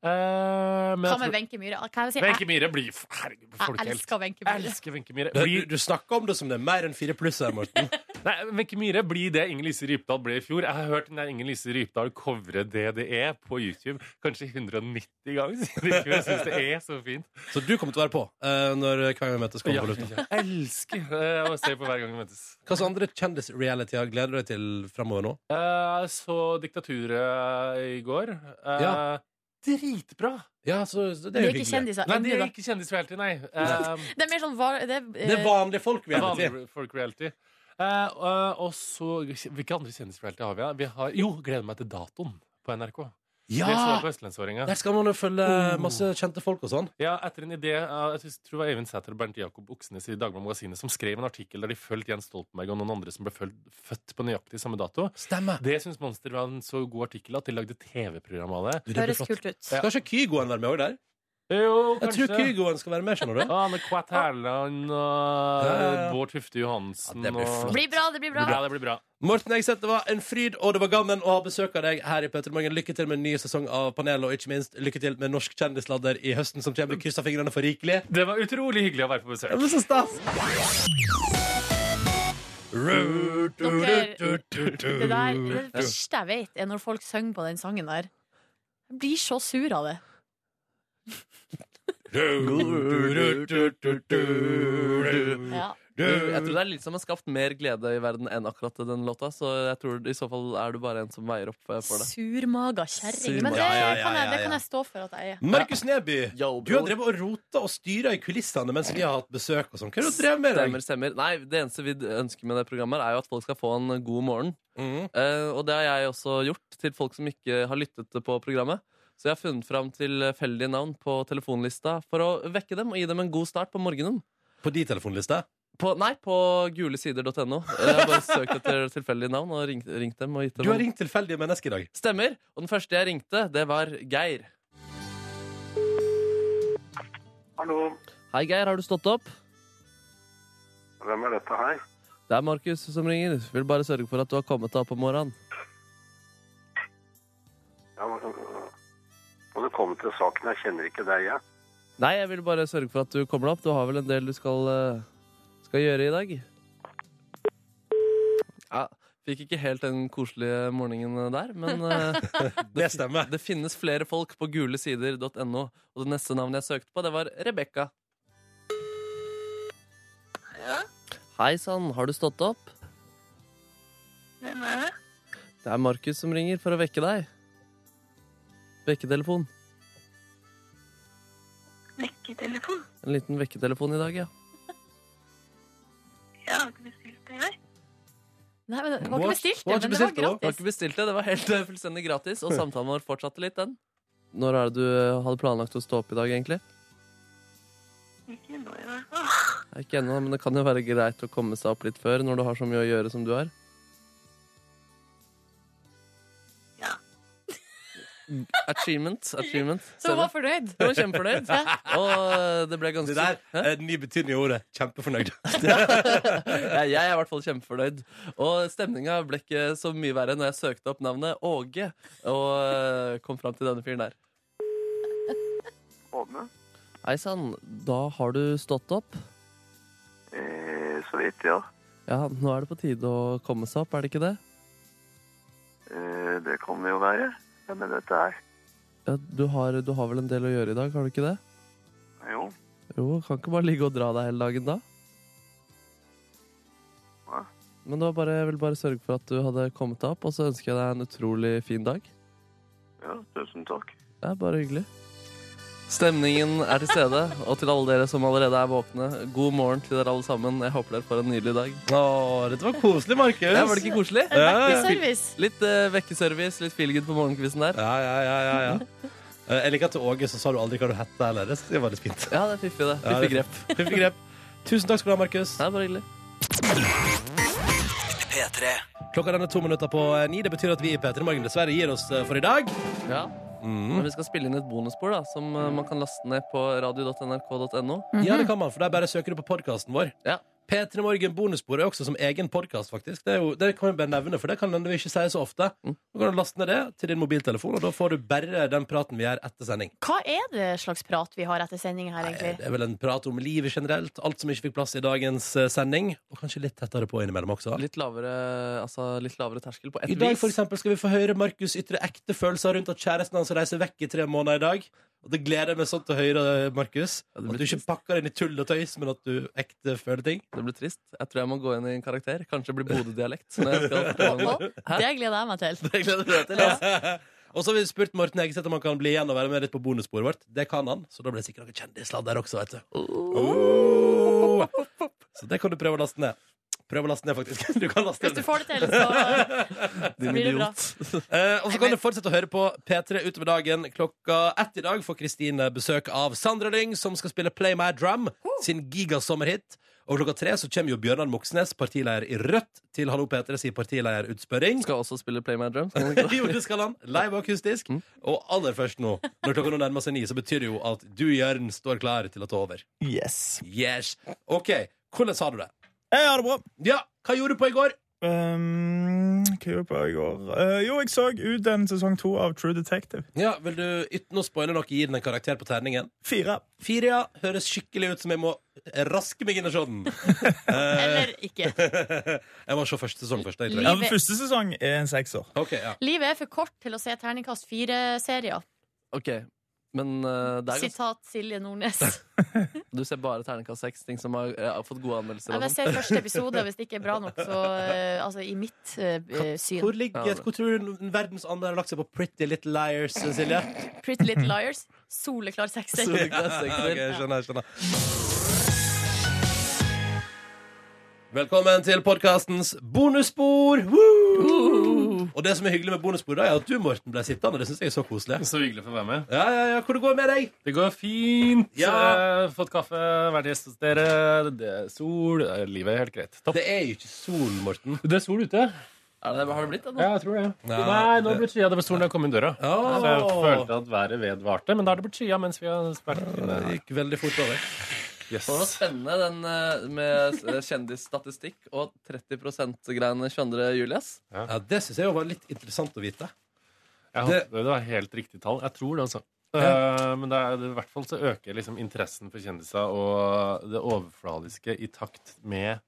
[SPEAKER 8] Eh, men
[SPEAKER 5] Hva med
[SPEAKER 8] altså, jeg tror-
[SPEAKER 5] Wenche Myhre? Hva jeg,
[SPEAKER 8] Wenche
[SPEAKER 5] si? jeg,
[SPEAKER 8] Myhre blir f- Herregud,
[SPEAKER 5] jeg
[SPEAKER 8] folkehelt.
[SPEAKER 5] elsker Wenche
[SPEAKER 8] Jeg
[SPEAKER 5] Myhre.
[SPEAKER 8] elsker Wenche Myhre.
[SPEAKER 2] Du,
[SPEAKER 8] Blir,
[SPEAKER 2] du snakker om det som det er mer enn fire pluss her,
[SPEAKER 8] <laughs>
[SPEAKER 2] Morten.
[SPEAKER 8] nei, Wenche Myhre blir det Inger Lise Rypdal ble i fjor. Jeg har hørt den der Inger Lise Rypdal covre DDE på YouTube kanskje 190 ganger siden i fjor. Jeg syns det er så fint.
[SPEAKER 2] Så du kommer til å være på eh, når Hver gang vi møtes kommer
[SPEAKER 8] Ja,
[SPEAKER 2] på lufta.
[SPEAKER 8] jeg elsker eh, å se på hver gang vi møtes.
[SPEAKER 2] Hva slags andre kjendisreality gleder du deg til framover nå?
[SPEAKER 8] Eh, så Diktaturet i går. Eh,
[SPEAKER 2] Ja.
[SPEAKER 8] Dritbra!
[SPEAKER 2] Ja, så, så
[SPEAKER 5] Det
[SPEAKER 2] det er
[SPEAKER 5] er
[SPEAKER 2] jo
[SPEAKER 5] ikke
[SPEAKER 2] hyggelig.
[SPEAKER 5] kjendiser
[SPEAKER 8] Nei,
[SPEAKER 5] ennå,
[SPEAKER 8] det er
[SPEAKER 5] da.
[SPEAKER 8] ikke kjendisreality, nei.
[SPEAKER 2] <laughs>
[SPEAKER 8] Eh,
[SPEAKER 5] Det er mer sånn var, det, er,
[SPEAKER 2] Det er
[SPEAKER 5] eh,
[SPEAKER 2] vanlige folk vi
[SPEAKER 8] det er
[SPEAKER 2] er til.
[SPEAKER 8] vanlig folk reality. Eh, og- og så Hvilke andre kjendisreality har vi? da? vi har, jo, gleder meg til datoen på NRK. Vi så Oh.
[SPEAKER 2] Ja!
[SPEAKER 8] på Østlandsåringa.
[SPEAKER 2] Der skal man jo følge masse kjente folk og sånn.
[SPEAKER 8] Ja, etter en idé av jeg synes- tror det var Øyvind Sæther og Bernt Jakob Oksnes i Dagbladet Magasinet som skrev en artikkel der de fulgte Jens Stoltenberg og noen andre som ble følt, født på nøyaktig samme dato.
[SPEAKER 2] Stemmer.
[SPEAKER 8] Det syns Monster var en så god artikkel at de lagde TV-program av det.
[SPEAKER 2] Du, det blir
[SPEAKER 5] høres
[SPEAKER 2] flott.
[SPEAKER 5] kult ut.
[SPEAKER 8] Ja.
[SPEAKER 2] Kanskje Kygoen være med òg der?
[SPEAKER 8] Jo,
[SPEAKER 2] Jeg tror
[SPEAKER 8] kanskje.
[SPEAKER 2] Kygoen skal være med, skjønner du.
[SPEAKER 8] Ja, Anne Kvatt Herland og
[SPEAKER 2] Ja, ja, ja.
[SPEAKER 8] Bård Tufte Johansen.
[SPEAKER 2] Ja, det blir
[SPEAKER 8] og-
[SPEAKER 2] flott.
[SPEAKER 5] Det blir bra, det blir
[SPEAKER 8] Det blir
[SPEAKER 5] bra.
[SPEAKER 8] bra, det blir bra.
[SPEAKER 2] Morten Egseth, det var en fryd og det var gammen å ha besøk av deg her i Petermangen. Lykke til med en ny sesong av Panelet, og ikke minst lykke til med Norsk kjendisladder i høsten, som kommer. Kryss av fingrene for rikelig.
[SPEAKER 8] Det var utrolig hyggelig å være på
[SPEAKER 2] Det
[SPEAKER 8] besøk.
[SPEAKER 2] blir så stas!
[SPEAKER 5] Dere- Det der, det verste jeg vet, er når folk synger på den sangen der. Jeg blir så sur av det. Ja.
[SPEAKER 3] Jeg tror det er litt som har skapt mer glede i verden enn akkurat den låta. Så jeg tror i så fall er du bare en som veier opp eh, for det.
[SPEAKER 5] Surmaga kjerring. Men
[SPEAKER 3] Surmaga.
[SPEAKER 5] det
[SPEAKER 2] Ja, ja, ja,
[SPEAKER 5] kan, jeg,
[SPEAKER 2] ja,
[SPEAKER 5] det
[SPEAKER 2] ja. Mm.
[SPEAKER 5] kan jeg stå for at jeg er.
[SPEAKER 2] Markus Neby,
[SPEAKER 3] Yo,
[SPEAKER 2] du
[SPEAKER 3] bror.
[SPEAKER 2] har drevet og rota og styra i kulissene mens vi har hatt besøk og sånn. Hva er det du drev med? i
[SPEAKER 3] Stemmer,
[SPEAKER 2] dag?
[SPEAKER 3] stemmer. Nei, det eneste vi ønsker med det programmet, er jo at folk skal få en god morgen.
[SPEAKER 2] Mhm.
[SPEAKER 3] Eh, og det har jeg også gjort til folk som ikke har lyttet på programmet. Så jeg har funnet fram tilfeldige navn på telefonlista for å vekke dem og gi dem en god start på morgenen.
[SPEAKER 2] På de telefonliste?
[SPEAKER 3] På, nei, på gulesider.no. Eh, Jeg har bare søkt etter tilfeldige navn og ringt, ringt dem. og gitt dem
[SPEAKER 2] Du har
[SPEAKER 3] en-
[SPEAKER 2] ringt tilfeldige mennesker i dag.
[SPEAKER 3] Stemmer. Og den første jeg ringte, det var Geir.
[SPEAKER 4] Hallo,
[SPEAKER 3] Hei, Geir. Har du stått opp?
[SPEAKER 4] hvem er dette her?
[SPEAKER 3] Det er Markus som ringer. Vil bare sørge for at du har kommet deg opp om morgenen.
[SPEAKER 4] Ja, må du komme til saken, jeg kjenner ikke deg, jeg.
[SPEAKER 3] Nei, jeg vil bare sørge for at du kommer deg opp. Du har vel en del du skal, eh, skal gjøre i dag. Ja, fikk ikke helt den koselige morgenen der, men eh,
[SPEAKER 2] Det stemmer.
[SPEAKER 3] det finnes flere folk på gulesider.no. Og det neste navnet jeg søkte på, det var Rebekka. Hei sann, har du stått opp?
[SPEAKER 1] Hvem er det?
[SPEAKER 3] Det er Markus som ringer for å vekke deg. Vekketelefon.
[SPEAKER 1] Vekketelefon?
[SPEAKER 3] En liten vekketelefon i dag, ja.
[SPEAKER 1] Jeg har ikke bestilt det, jeg.
[SPEAKER 5] Nei, men det var ikke
[SPEAKER 2] What?
[SPEAKER 5] bestilt,
[SPEAKER 2] What?
[SPEAKER 5] det, men det
[SPEAKER 3] Du
[SPEAKER 2] Bestilt, da?
[SPEAKER 5] var
[SPEAKER 3] har
[SPEAKER 5] gratis.
[SPEAKER 3] ikke bestilt det, det var helt eh, fullstendig gratis.
[SPEAKER 2] Hm.
[SPEAKER 3] Og samtalen vår fortsatte litt, den. Når er det du eh, hadde planlagt å stå opp i dag, egentlig?
[SPEAKER 1] Ikke nå i hvert fall.
[SPEAKER 3] Nei, Ikke ennå, men det kan jo være greit å komme seg opp litt før når du har så mye å gjøre som du har.
[SPEAKER 1] Ja.
[SPEAKER 3] Mm, Achievement. achievement
[SPEAKER 5] Så hun var fornøyd?
[SPEAKER 3] Jeg var <laughs> kjempefornøyd. Og eh, det ble ganske
[SPEAKER 2] Det der
[SPEAKER 3] Hæ?
[SPEAKER 2] er den nye betydningen av ordet.
[SPEAKER 3] <laughs>
[SPEAKER 2] Kjempefornøyd.
[SPEAKER 3] Ja, jeg er i hvert fall kjempefornøyd. Og stemninga ble ikke så mye verre når jeg søkte opp navnet Åge og eh, kom fram til denne fyren der.
[SPEAKER 9] Ådne?
[SPEAKER 3] Hei sann, da har du stått opp.
[SPEAKER 9] Eh, så vidt, ja.
[SPEAKER 3] Ja, nå er det på tide å komme seg opp, er det ikke det?
[SPEAKER 9] Eh, det kan det jo være. Ja, men dette er
[SPEAKER 3] Ja, du, har, du har vel en del å gjøre i dag, har du ikke det?
[SPEAKER 9] Jo.
[SPEAKER 3] Jo, kan ikke bare ligge og dra deg hele dagen da?
[SPEAKER 9] Nei.
[SPEAKER 3] Men det var bare, jeg ville bare sørge for at du hadde kommet deg opp, og så ønsker jeg deg en utrolig fin dag.
[SPEAKER 9] Ja, tusen takk.
[SPEAKER 3] Det er bare hyggelig. Stemningen er til stede, og til alle dere som allerede er våkne, god morgen til dere alle sammen. Jeg håper dere får en nydelig dag.
[SPEAKER 2] Å, dette var koselig, Markus.
[SPEAKER 3] Ja, var det ikke koselig?
[SPEAKER 5] En
[SPEAKER 2] Ja,
[SPEAKER 5] vekkende
[SPEAKER 2] ja.
[SPEAKER 5] service.
[SPEAKER 3] Litt eh, vekkeservice, litt feelgood på morgenkvisten der.
[SPEAKER 2] Ja, ja, ja, ja, ja. Eh, Jeg liker at til Åge så sa du aldri hva du heter heller. Det synes jeg var litt fint.
[SPEAKER 3] Ja, det er fiffig, det.
[SPEAKER 2] Ja,
[SPEAKER 3] Fiffig
[SPEAKER 2] det er
[SPEAKER 3] grep.
[SPEAKER 2] Fiffig grep. Tusen takk skal du ha, Markus.
[SPEAKER 3] Det er bare hyggelig.
[SPEAKER 6] P3.
[SPEAKER 2] Klokka den er to minutter på eh, ni. Det betyr at vi i P3 Morgen dessverre gir oss eh, for i dag.
[SPEAKER 3] Ja. Men vi skal spille inn et bonusspor da, som eh, man kan laste ned på radio.nrk.no.
[SPEAKER 2] Ja, det kan man, for der bare søker du på podkasten vår.
[SPEAKER 3] Mhm. Ja.
[SPEAKER 2] P3 Morgen bonusspor er også som egen podkast, faktisk. Det, er jo, det kan vi bare nevne, for det kan vi ikke si så ofte.
[SPEAKER 3] Mm.
[SPEAKER 2] Du kan laste ned det til din mobiltelefon, og da får du bare den praten vi gjør etter sending.
[SPEAKER 5] Hva er det slags prat vi har etter sending her,
[SPEAKER 2] Nei,
[SPEAKER 5] egentlig?
[SPEAKER 2] Eh, Det er vel en prat om livet generelt, alt som ikke fikk plass i dagens eh, sending. Og kanskje litt tettere på innimellom også.
[SPEAKER 3] Litt lavere, altså, litt lavere terskel på ett
[SPEAKER 2] I dag
[SPEAKER 3] vis.
[SPEAKER 2] for eksempel, skal vi få høre Markus ytre ekte følelser rundt at kjæresten hans reiser vekk i tre måneder i dag. Og Det gleder jeg meg sånn til å høre, Markus.
[SPEAKER 3] Ja, det
[SPEAKER 2] At
[SPEAKER 3] blir
[SPEAKER 2] du ikke pakker inn i tull og tøys, men at du ekte føler ting.
[SPEAKER 3] Det blir trist. Jeg tror jeg må gå inn i en karakter. Kanskje det blir Bodø-dialekt. når
[SPEAKER 2] <laughs>
[SPEAKER 3] jeg skal fortelle om det. Hæ?
[SPEAKER 5] Det gleder jeg meg til.
[SPEAKER 3] Det gleder jeg meg til, altså.
[SPEAKER 2] <laughs> Og så har vi spurt Morten Hegseth om han kan bli igjen og være med litt på bonussporet vårt. Det kan han, så da blir det sikkert noe kjendissladd der også, vet du. Oh. Så det kan du prøve å laste ned. Prøv å laste ned, faktisk. <laughs> Du kan laste
[SPEAKER 5] Hvis
[SPEAKER 2] ned.
[SPEAKER 5] du får det til, så
[SPEAKER 3] Din
[SPEAKER 5] blir det bra.
[SPEAKER 3] idiot.
[SPEAKER 2] Eh, og så kan du fortsette å høre på P3 utover dagen. Klokka ett i dag får Kristine besøk av Sandra Lyng, som skal spille Play My Drum, sin gigasommerhit. Og klokka tre så kommer jo Bjørnar Moxnes, partileder i Rødt, til Hallo P3 sin partilederutspørring.
[SPEAKER 3] Skal også spille Play My Drum. Skal han ikke det?
[SPEAKER 2] <laughs> Jo, det skal han. Live og akustisk.
[SPEAKER 3] Mm.
[SPEAKER 2] Og aller først nå, når klokka nå nærmer seg ni, så betyr det jo at du, Jørn, står klar til å ta over.
[SPEAKER 10] Yes.
[SPEAKER 2] Yes. OK, hvordan har du det?
[SPEAKER 10] Jeg har det bra.
[SPEAKER 2] Ja, hva gjorde du på i går?
[SPEAKER 10] Um, hva gjorde jeg på i går? Eh, jo, jeg så ut en sesong to av True Detective.
[SPEAKER 2] Ja, Vil du uten å spoile noe gi den en karakter på terningen?
[SPEAKER 10] Fire.
[SPEAKER 2] Fire ja, høres skikkelig ut som jeg må raske meg inn i
[SPEAKER 8] <laughs>
[SPEAKER 2] sjåden.
[SPEAKER 3] Eh.
[SPEAKER 5] Eller ikke.
[SPEAKER 2] Eh, <laughs> jeg må se første sesong først. Jeg tror jeg.
[SPEAKER 10] Ja, men første sesong er en sekser.
[SPEAKER 2] Ok, ja.
[SPEAKER 5] Livet er for kort til å se terningkast fire-serier.
[SPEAKER 3] Ok, men eh, det er ganske,
[SPEAKER 5] Sitat Silje
[SPEAKER 3] <laughs>
[SPEAKER 5] Nordnes.
[SPEAKER 3] du ser bare terningkast seks, ting som har, eh, har fått gode anmeldelser.
[SPEAKER 5] Nei,
[SPEAKER 3] og
[SPEAKER 5] men jeg ser første episode, og hvis det ikke er bra nok, så eh, Altså, i mitt eh, syn.
[SPEAKER 2] Hvor, ligger, hvor tror du verdens andre har lagt seg på Pretty Little Liars, Silje?
[SPEAKER 5] Pretty Little Liars. Soleklar sekser.
[SPEAKER 3] sånt. Det er sekser.
[SPEAKER 2] Ok, skjønner, skjønner. Velkommen til podkastens bonusspor! Woo! Og det som er hyggelig med bonusspor, da, er at du, Morten, ble sittende. Det syns jeg er så koselig.
[SPEAKER 8] Så hyggelig å få være med.
[SPEAKER 2] Ja, ja, ja, Hvor det går med deg?
[SPEAKER 8] Det går fint.
[SPEAKER 2] Ja.
[SPEAKER 8] Eh, Fått kaffe, vært gjest hos dere. Det er sol. eh, Livet er helt greit. Topp.
[SPEAKER 2] Det er jo ikke sol, Morten.
[SPEAKER 8] Det er sol ute.
[SPEAKER 3] Er det, har det blitt det nå?
[SPEAKER 8] Ja, jeg tror det.
[SPEAKER 2] Ja,
[SPEAKER 8] Nei,
[SPEAKER 2] det-
[SPEAKER 8] nå har det blitt skya. Det var solen da jeg kom inn døra.
[SPEAKER 2] Åh.
[SPEAKER 8] Så jeg følte at været vedvarte, men da har det blitt skya mens vi har vært inne.
[SPEAKER 2] Det gikk veldig fort over.
[SPEAKER 8] Yes.
[SPEAKER 3] Og Det var spennende den eh, med eh, kjendisstatistikk og 30 %-greiene 22. juli. ass.
[SPEAKER 2] Ja, Det syns jeg jo var litt interessant å vite.
[SPEAKER 8] Jeg
[SPEAKER 2] Det-
[SPEAKER 8] håper- det var helt riktig tall. Jeg tror det, altså. Eh, men det er, det, i hvert fall så øker liksom interessen for kjendiser og det overfladiske i takt med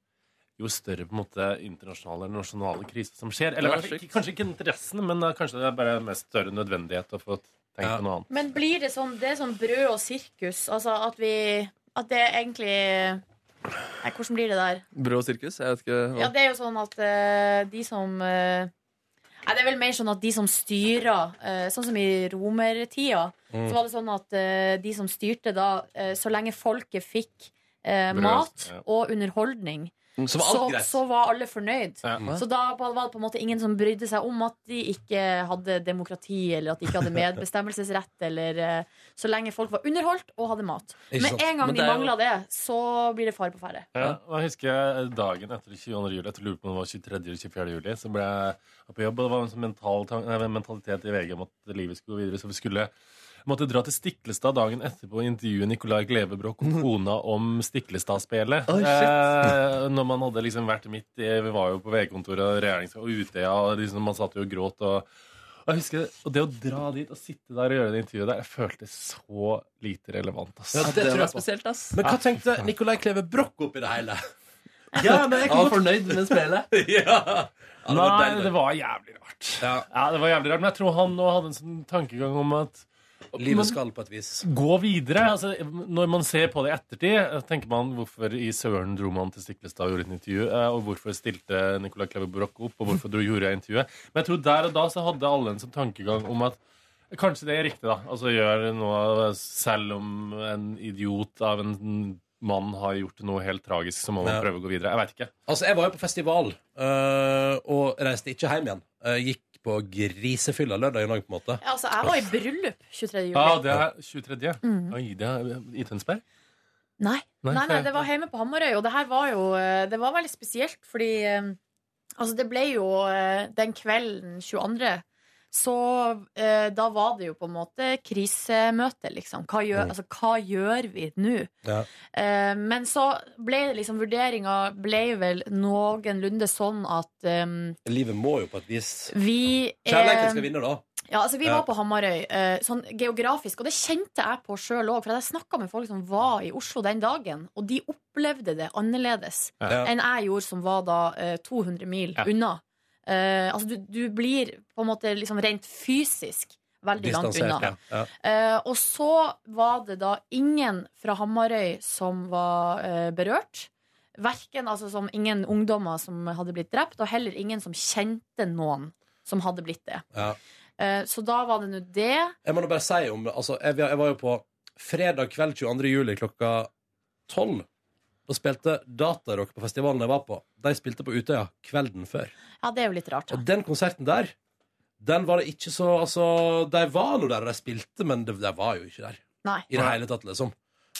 [SPEAKER 8] jo større på en måte internasjonale eller nasjonale kriser som skjer. Eller i hvert fall ikke, kanskje ikke interessen, men eh, kanskje det er bare mest større nødvendighet å få tenkt
[SPEAKER 2] Ja.
[SPEAKER 8] på noe annet.
[SPEAKER 5] Men blir det sånn Det er sånn brød og sirkus? Altså at vi At det er egentlig Nei, hvordan blir det der?
[SPEAKER 3] Brød og sirkus. Jeg vet ikke hva.
[SPEAKER 5] Ja, det er jo sånn at eh, de som eh, Nei, det er vel mer sånn at de som styrer eh, Sånn som i romertida,
[SPEAKER 8] Mm.
[SPEAKER 5] så var det sånn at eh, de som styrte da, eh, så lenge folket fikk eh,
[SPEAKER 8] Brød,
[SPEAKER 5] mat
[SPEAKER 8] ja.
[SPEAKER 5] og underholdning,
[SPEAKER 2] Så var alt
[SPEAKER 5] så,
[SPEAKER 2] greit.
[SPEAKER 5] så var alle fornøyd.
[SPEAKER 2] Ja.
[SPEAKER 5] Så da var det på en måte ingen som brydde seg om at de ikke hadde demokrati, eller at de
[SPEAKER 8] <laughs>
[SPEAKER 5] ikke hadde medbestemmelsesrett, eller eh, Så lenge folk var underholdt og hadde mat.
[SPEAKER 8] Ikke
[SPEAKER 5] Med
[SPEAKER 8] sant.
[SPEAKER 5] en gang
[SPEAKER 8] Men
[SPEAKER 5] de
[SPEAKER 8] det er jo-
[SPEAKER 5] mangla det, så blir det fare på ferde.
[SPEAKER 8] Ja, og jeg husker dagen etter 22. juli, jeg lurer på om det var 23. eller 24. juli, så ble jeg på jobb, og det var en sånn mental, tan- nei, en mentalitet i VG om at livet skulle gå videre, så vi skulle måtte dra til Stiklestad dagen etterpå og intervjue Nicolai Glevebrokk og kona om Stiklestad-spelet.
[SPEAKER 11] Oi, shit.
[SPEAKER 8] eh, når man hadde liksom vært midt i Vi var jo på VG-kontoret og regjerings- og Utøya, og liksom, man satt jo og gråt. og og jeg husker, og Det å dra dit og sitte der og gjøre det intervjuet der, jeg følte så lite relevant. ass.
[SPEAKER 2] Ja, det tror jeg på. Men hva tenkte Nicolai Kleve Broch oppi det hele? Ja, men jeg kan
[SPEAKER 8] Han var
[SPEAKER 2] godt-
[SPEAKER 8] fornøyd med spillet.
[SPEAKER 2] ja. det var
[SPEAKER 8] Nei,
[SPEAKER 2] deilig.
[SPEAKER 8] det var jævlig rart.
[SPEAKER 2] <laughs>
[SPEAKER 8] Ja. det var jævlig rart, Men jeg tror han nå hadde en sånn tankegang om at
[SPEAKER 2] Livet
[SPEAKER 8] men
[SPEAKER 2] skal på et vis.
[SPEAKER 8] Gå videre. Altså, når man ser på det i ettertid, tenker man hvorfor i søren dro man til Stiklestad og gjorde et intervju, eh, og hvorfor stilte Nicolai Kleve Broch opp, og hvorfor dro, gjorde jeg intervjuet. Men jeg tror der og da så hadde alle en sånn tankegang om at kanskje det er riktig, da. Altså gjør noe selv om en idiot av en mann har gjort noe helt tragisk, så må man
[SPEAKER 2] Ja.
[SPEAKER 8] prøve å gå videre. Jeg veit ikke.
[SPEAKER 2] Altså, jeg var jo på festival øh, og reiste ikke hjem igjen. Jeg gikk på grisefylla lørdag i dag, på en måte.
[SPEAKER 5] Ja, altså, jeg var i bryllup 23. juli.
[SPEAKER 8] Ja, det er 23.
[SPEAKER 5] Mm.
[SPEAKER 8] Oi, det er i Tønsberg?
[SPEAKER 5] Nei.
[SPEAKER 8] Nei,
[SPEAKER 5] Nei, nei, det var hjemme på Hamarøy, og det her var jo eh, Det var veldig spesielt, fordi eh, Altså, det ble jo eh, den kvelden 22. Så eh, da var det jo på en måte krisemøte, liksom. Hva gjør,
[SPEAKER 12] Mm.
[SPEAKER 5] altså, hva gjør vi nå?
[SPEAKER 2] Ja.
[SPEAKER 5] Eh, men så ble det liksom vurderinga ble vel noenlunde sånn at eh,
[SPEAKER 2] Livet må jo på et vis
[SPEAKER 5] vi eh, er-
[SPEAKER 2] Kjærligheten skal vinne, da.
[SPEAKER 5] ja, altså Vi
[SPEAKER 2] Ja.
[SPEAKER 5] var på Hamarøy, eh, sånn geografisk, og det kjente jeg på sjøl òg. For jeg snakka med folk som var i Oslo den dagen, og de opplevde det annerledes
[SPEAKER 12] Ja.
[SPEAKER 5] enn jeg gjorde, som var da eh, 200 mil
[SPEAKER 12] Ja.
[SPEAKER 5] unna. Eh, altså du, du blir på en måte liksom rent fysisk veldig langt unna.
[SPEAKER 2] Distansert. Ja. Ja.
[SPEAKER 5] Eh, og så var det da ingen fra Hamarøy som var eh, berørt. Verken, altså som Ingen ungdommer som hadde blitt drept, og heller ingen som kjente noen som hadde blitt det.
[SPEAKER 2] Ja.
[SPEAKER 5] Eh, så da var det nå det.
[SPEAKER 2] Jeg må nå bare si om altså, jeg, jeg var jo på fredag kveld 22. juli klokka 12. Da spilte Datarock på festivalen jeg var på. De spilte på Utøya kvelden før.
[SPEAKER 5] Ja, det er jo litt rart.
[SPEAKER 2] Og den konserten der, den var det ikke så Altså, de var nå der, og de spilte, men de, de var jo ikke der.
[SPEAKER 5] Nei.
[SPEAKER 2] I det hele tatt, liksom.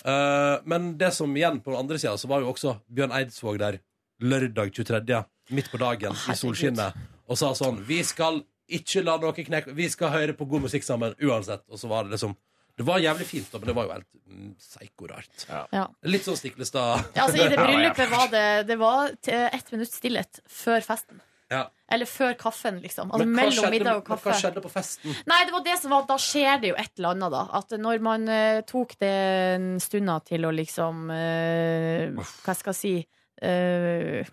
[SPEAKER 2] Eh, men det som igjen, på den andre sida, så var jo også Bjørn Eidsvåg der lørdag 23., midt på dagen, i solskinnet, og sa sånn Vi skal ikke la noe knekke Vi skal høre på god musikk sammen uansett. Og så var det liksom Det var jævlig fint, da, men det var jo helt mm, psyko-rart.
[SPEAKER 5] Ja.
[SPEAKER 2] Litt sånn Stiklestad.
[SPEAKER 5] Ja, altså, I
[SPEAKER 2] <laughs>
[SPEAKER 5] det bryllupet var det, det var t- ett minutts stillhet før festen.
[SPEAKER 2] Ja.
[SPEAKER 5] Eller før kaffen, liksom. Altså
[SPEAKER 2] Men hva
[SPEAKER 5] mellom
[SPEAKER 2] skjedde-
[SPEAKER 5] middag og
[SPEAKER 2] men
[SPEAKER 5] kaffe.
[SPEAKER 2] hva skjedde på festen?
[SPEAKER 5] Nei, det var det som var at Da skjer det jo et eller annet, da. At når man eh, tok den stunda til å liksom eh, Hva skal jeg si eh,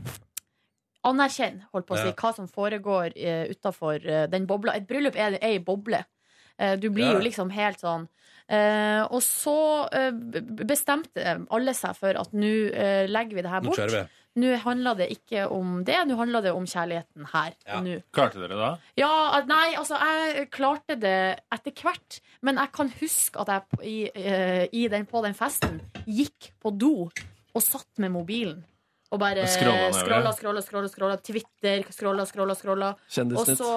[SPEAKER 5] Anerkjenne, holdt på å si,
[SPEAKER 12] Ja.
[SPEAKER 5] hva som foregår uh, utafor den bobla. Et bryllup er ei boble. Eh, du blir
[SPEAKER 12] Ja.
[SPEAKER 5] jo liksom helt sånn eh, Og så eh, b- bestemte alle seg for at nå eh, legger vi det her
[SPEAKER 8] Nå
[SPEAKER 5] bort.
[SPEAKER 8] kjører vi.
[SPEAKER 5] Nå handler det ikke om det, nå handler det om kjærligheten her og nå.
[SPEAKER 8] Klarte dere det da?
[SPEAKER 5] Ja, nei, altså jeg klarte det etter hvert Men jeg kan huske at jeg i, eh, i den, på den festen Gikk på do og satt med mobilen Og bare
[SPEAKER 12] Og scrollet nedover.
[SPEAKER 5] scrolla, scrolla, scrolla, scrolla Twitter, scrolla, scrolla, scrolla Og
[SPEAKER 3] <laughs>
[SPEAKER 5] <laughs>
[SPEAKER 3] Kjendisnytt.
[SPEAKER 5] så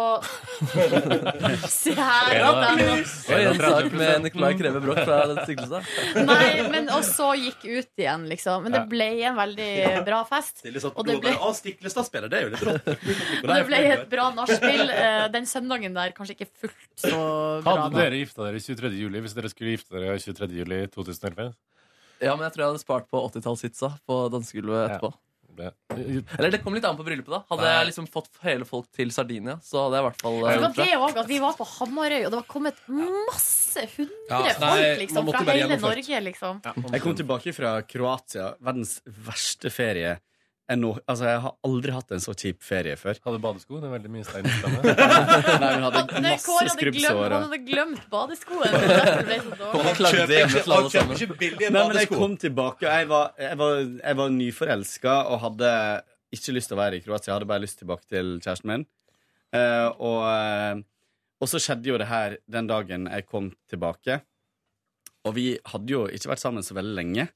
[SPEAKER 5] Se her
[SPEAKER 3] Ja,
[SPEAKER 5] at jeg-
[SPEAKER 3] Det var en sak med Nicolai Kleve Broch fra Stiklestad.
[SPEAKER 5] Nei, men og så gikk ut igjen liksom Men det
[SPEAKER 2] Ja.
[SPEAKER 5] ble en veldig bra fest
[SPEAKER 2] Stille satt på
[SPEAKER 5] Og det
[SPEAKER 2] do og liksom bare
[SPEAKER 5] ble-
[SPEAKER 2] Å, Stiklestad spiller, det er jo litt
[SPEAKER 5] <laughs>
[SPEAKER 2] rått.
[SPEAKER 5] Og det ble et bra nachspiel eh, Den søndagen der kanskje ikke fullt så bra
[SPEAKER 8] Hadde
[SPEAKER 5] da.
[SPEAKER 8] dere gifta dere 23. juli hvis dere skulle gifte dere 23. juli 2011?
[SPEAKER 3] Ja, men jeg tror jeg hadde spart på 80-tallshitsa på dansegulvet etterpå. Eller det kom litt an på bryllupet, da. Hadde jeg liksom fått hele folk til Sardinia, så hadde jeg i hvert fall eh,
[SPEAKER 5] Altså, Det var
[SPEAKER 3] gjort
[SPEAKER 5] det også, at vi var på Hamarøy, og det var kommet masse hundre
[SPEAKER 3] Ja, nei,
[SPEAKER 5] folk liksom,
[SPEAKER 3] man måtte
[SPEAKER 5] fra
[SPEAKER 3] bare
[SPEAKER 5] hele
[SPEAKER 3] gjennomført.
[SPEAKER 5] Norge. liksom.
[SPEAKER 11] Jeg kom tilbake fra Kroatia, verdens verste ferie. Jeg, nå, altså, jeg har aldri hatt en så kjip ferie før.
[SPEAKER 8] <laughs> Hadde badesko? Det er veldig mye stein i
[SPEAKER 11] <laughs> Nei, hun hadde
[SPEAKER 5] Nei, Kåre
[SPEAKER 11] masse
[SPEAKER 5] hadde glemt,
[SPEAKER 11] skrubbsår.
[SPEAKER 5] han hadde glemt badeskoene. Det var derfor det ble så dårlig.
[SPEAKER 11] Nei, men jeg kom tilbake, og jeg var, jeg var, jeg var nyforelska og hadde ikke lyst til å være i Kroatia. Jeg hadde bare lyst tilbake til kjæresten min. Eh, og, eh, og så skjedde jo det her den dagen jeg kom tilbake. Og vi hadde jo ikke vært sammen så veldig lenge.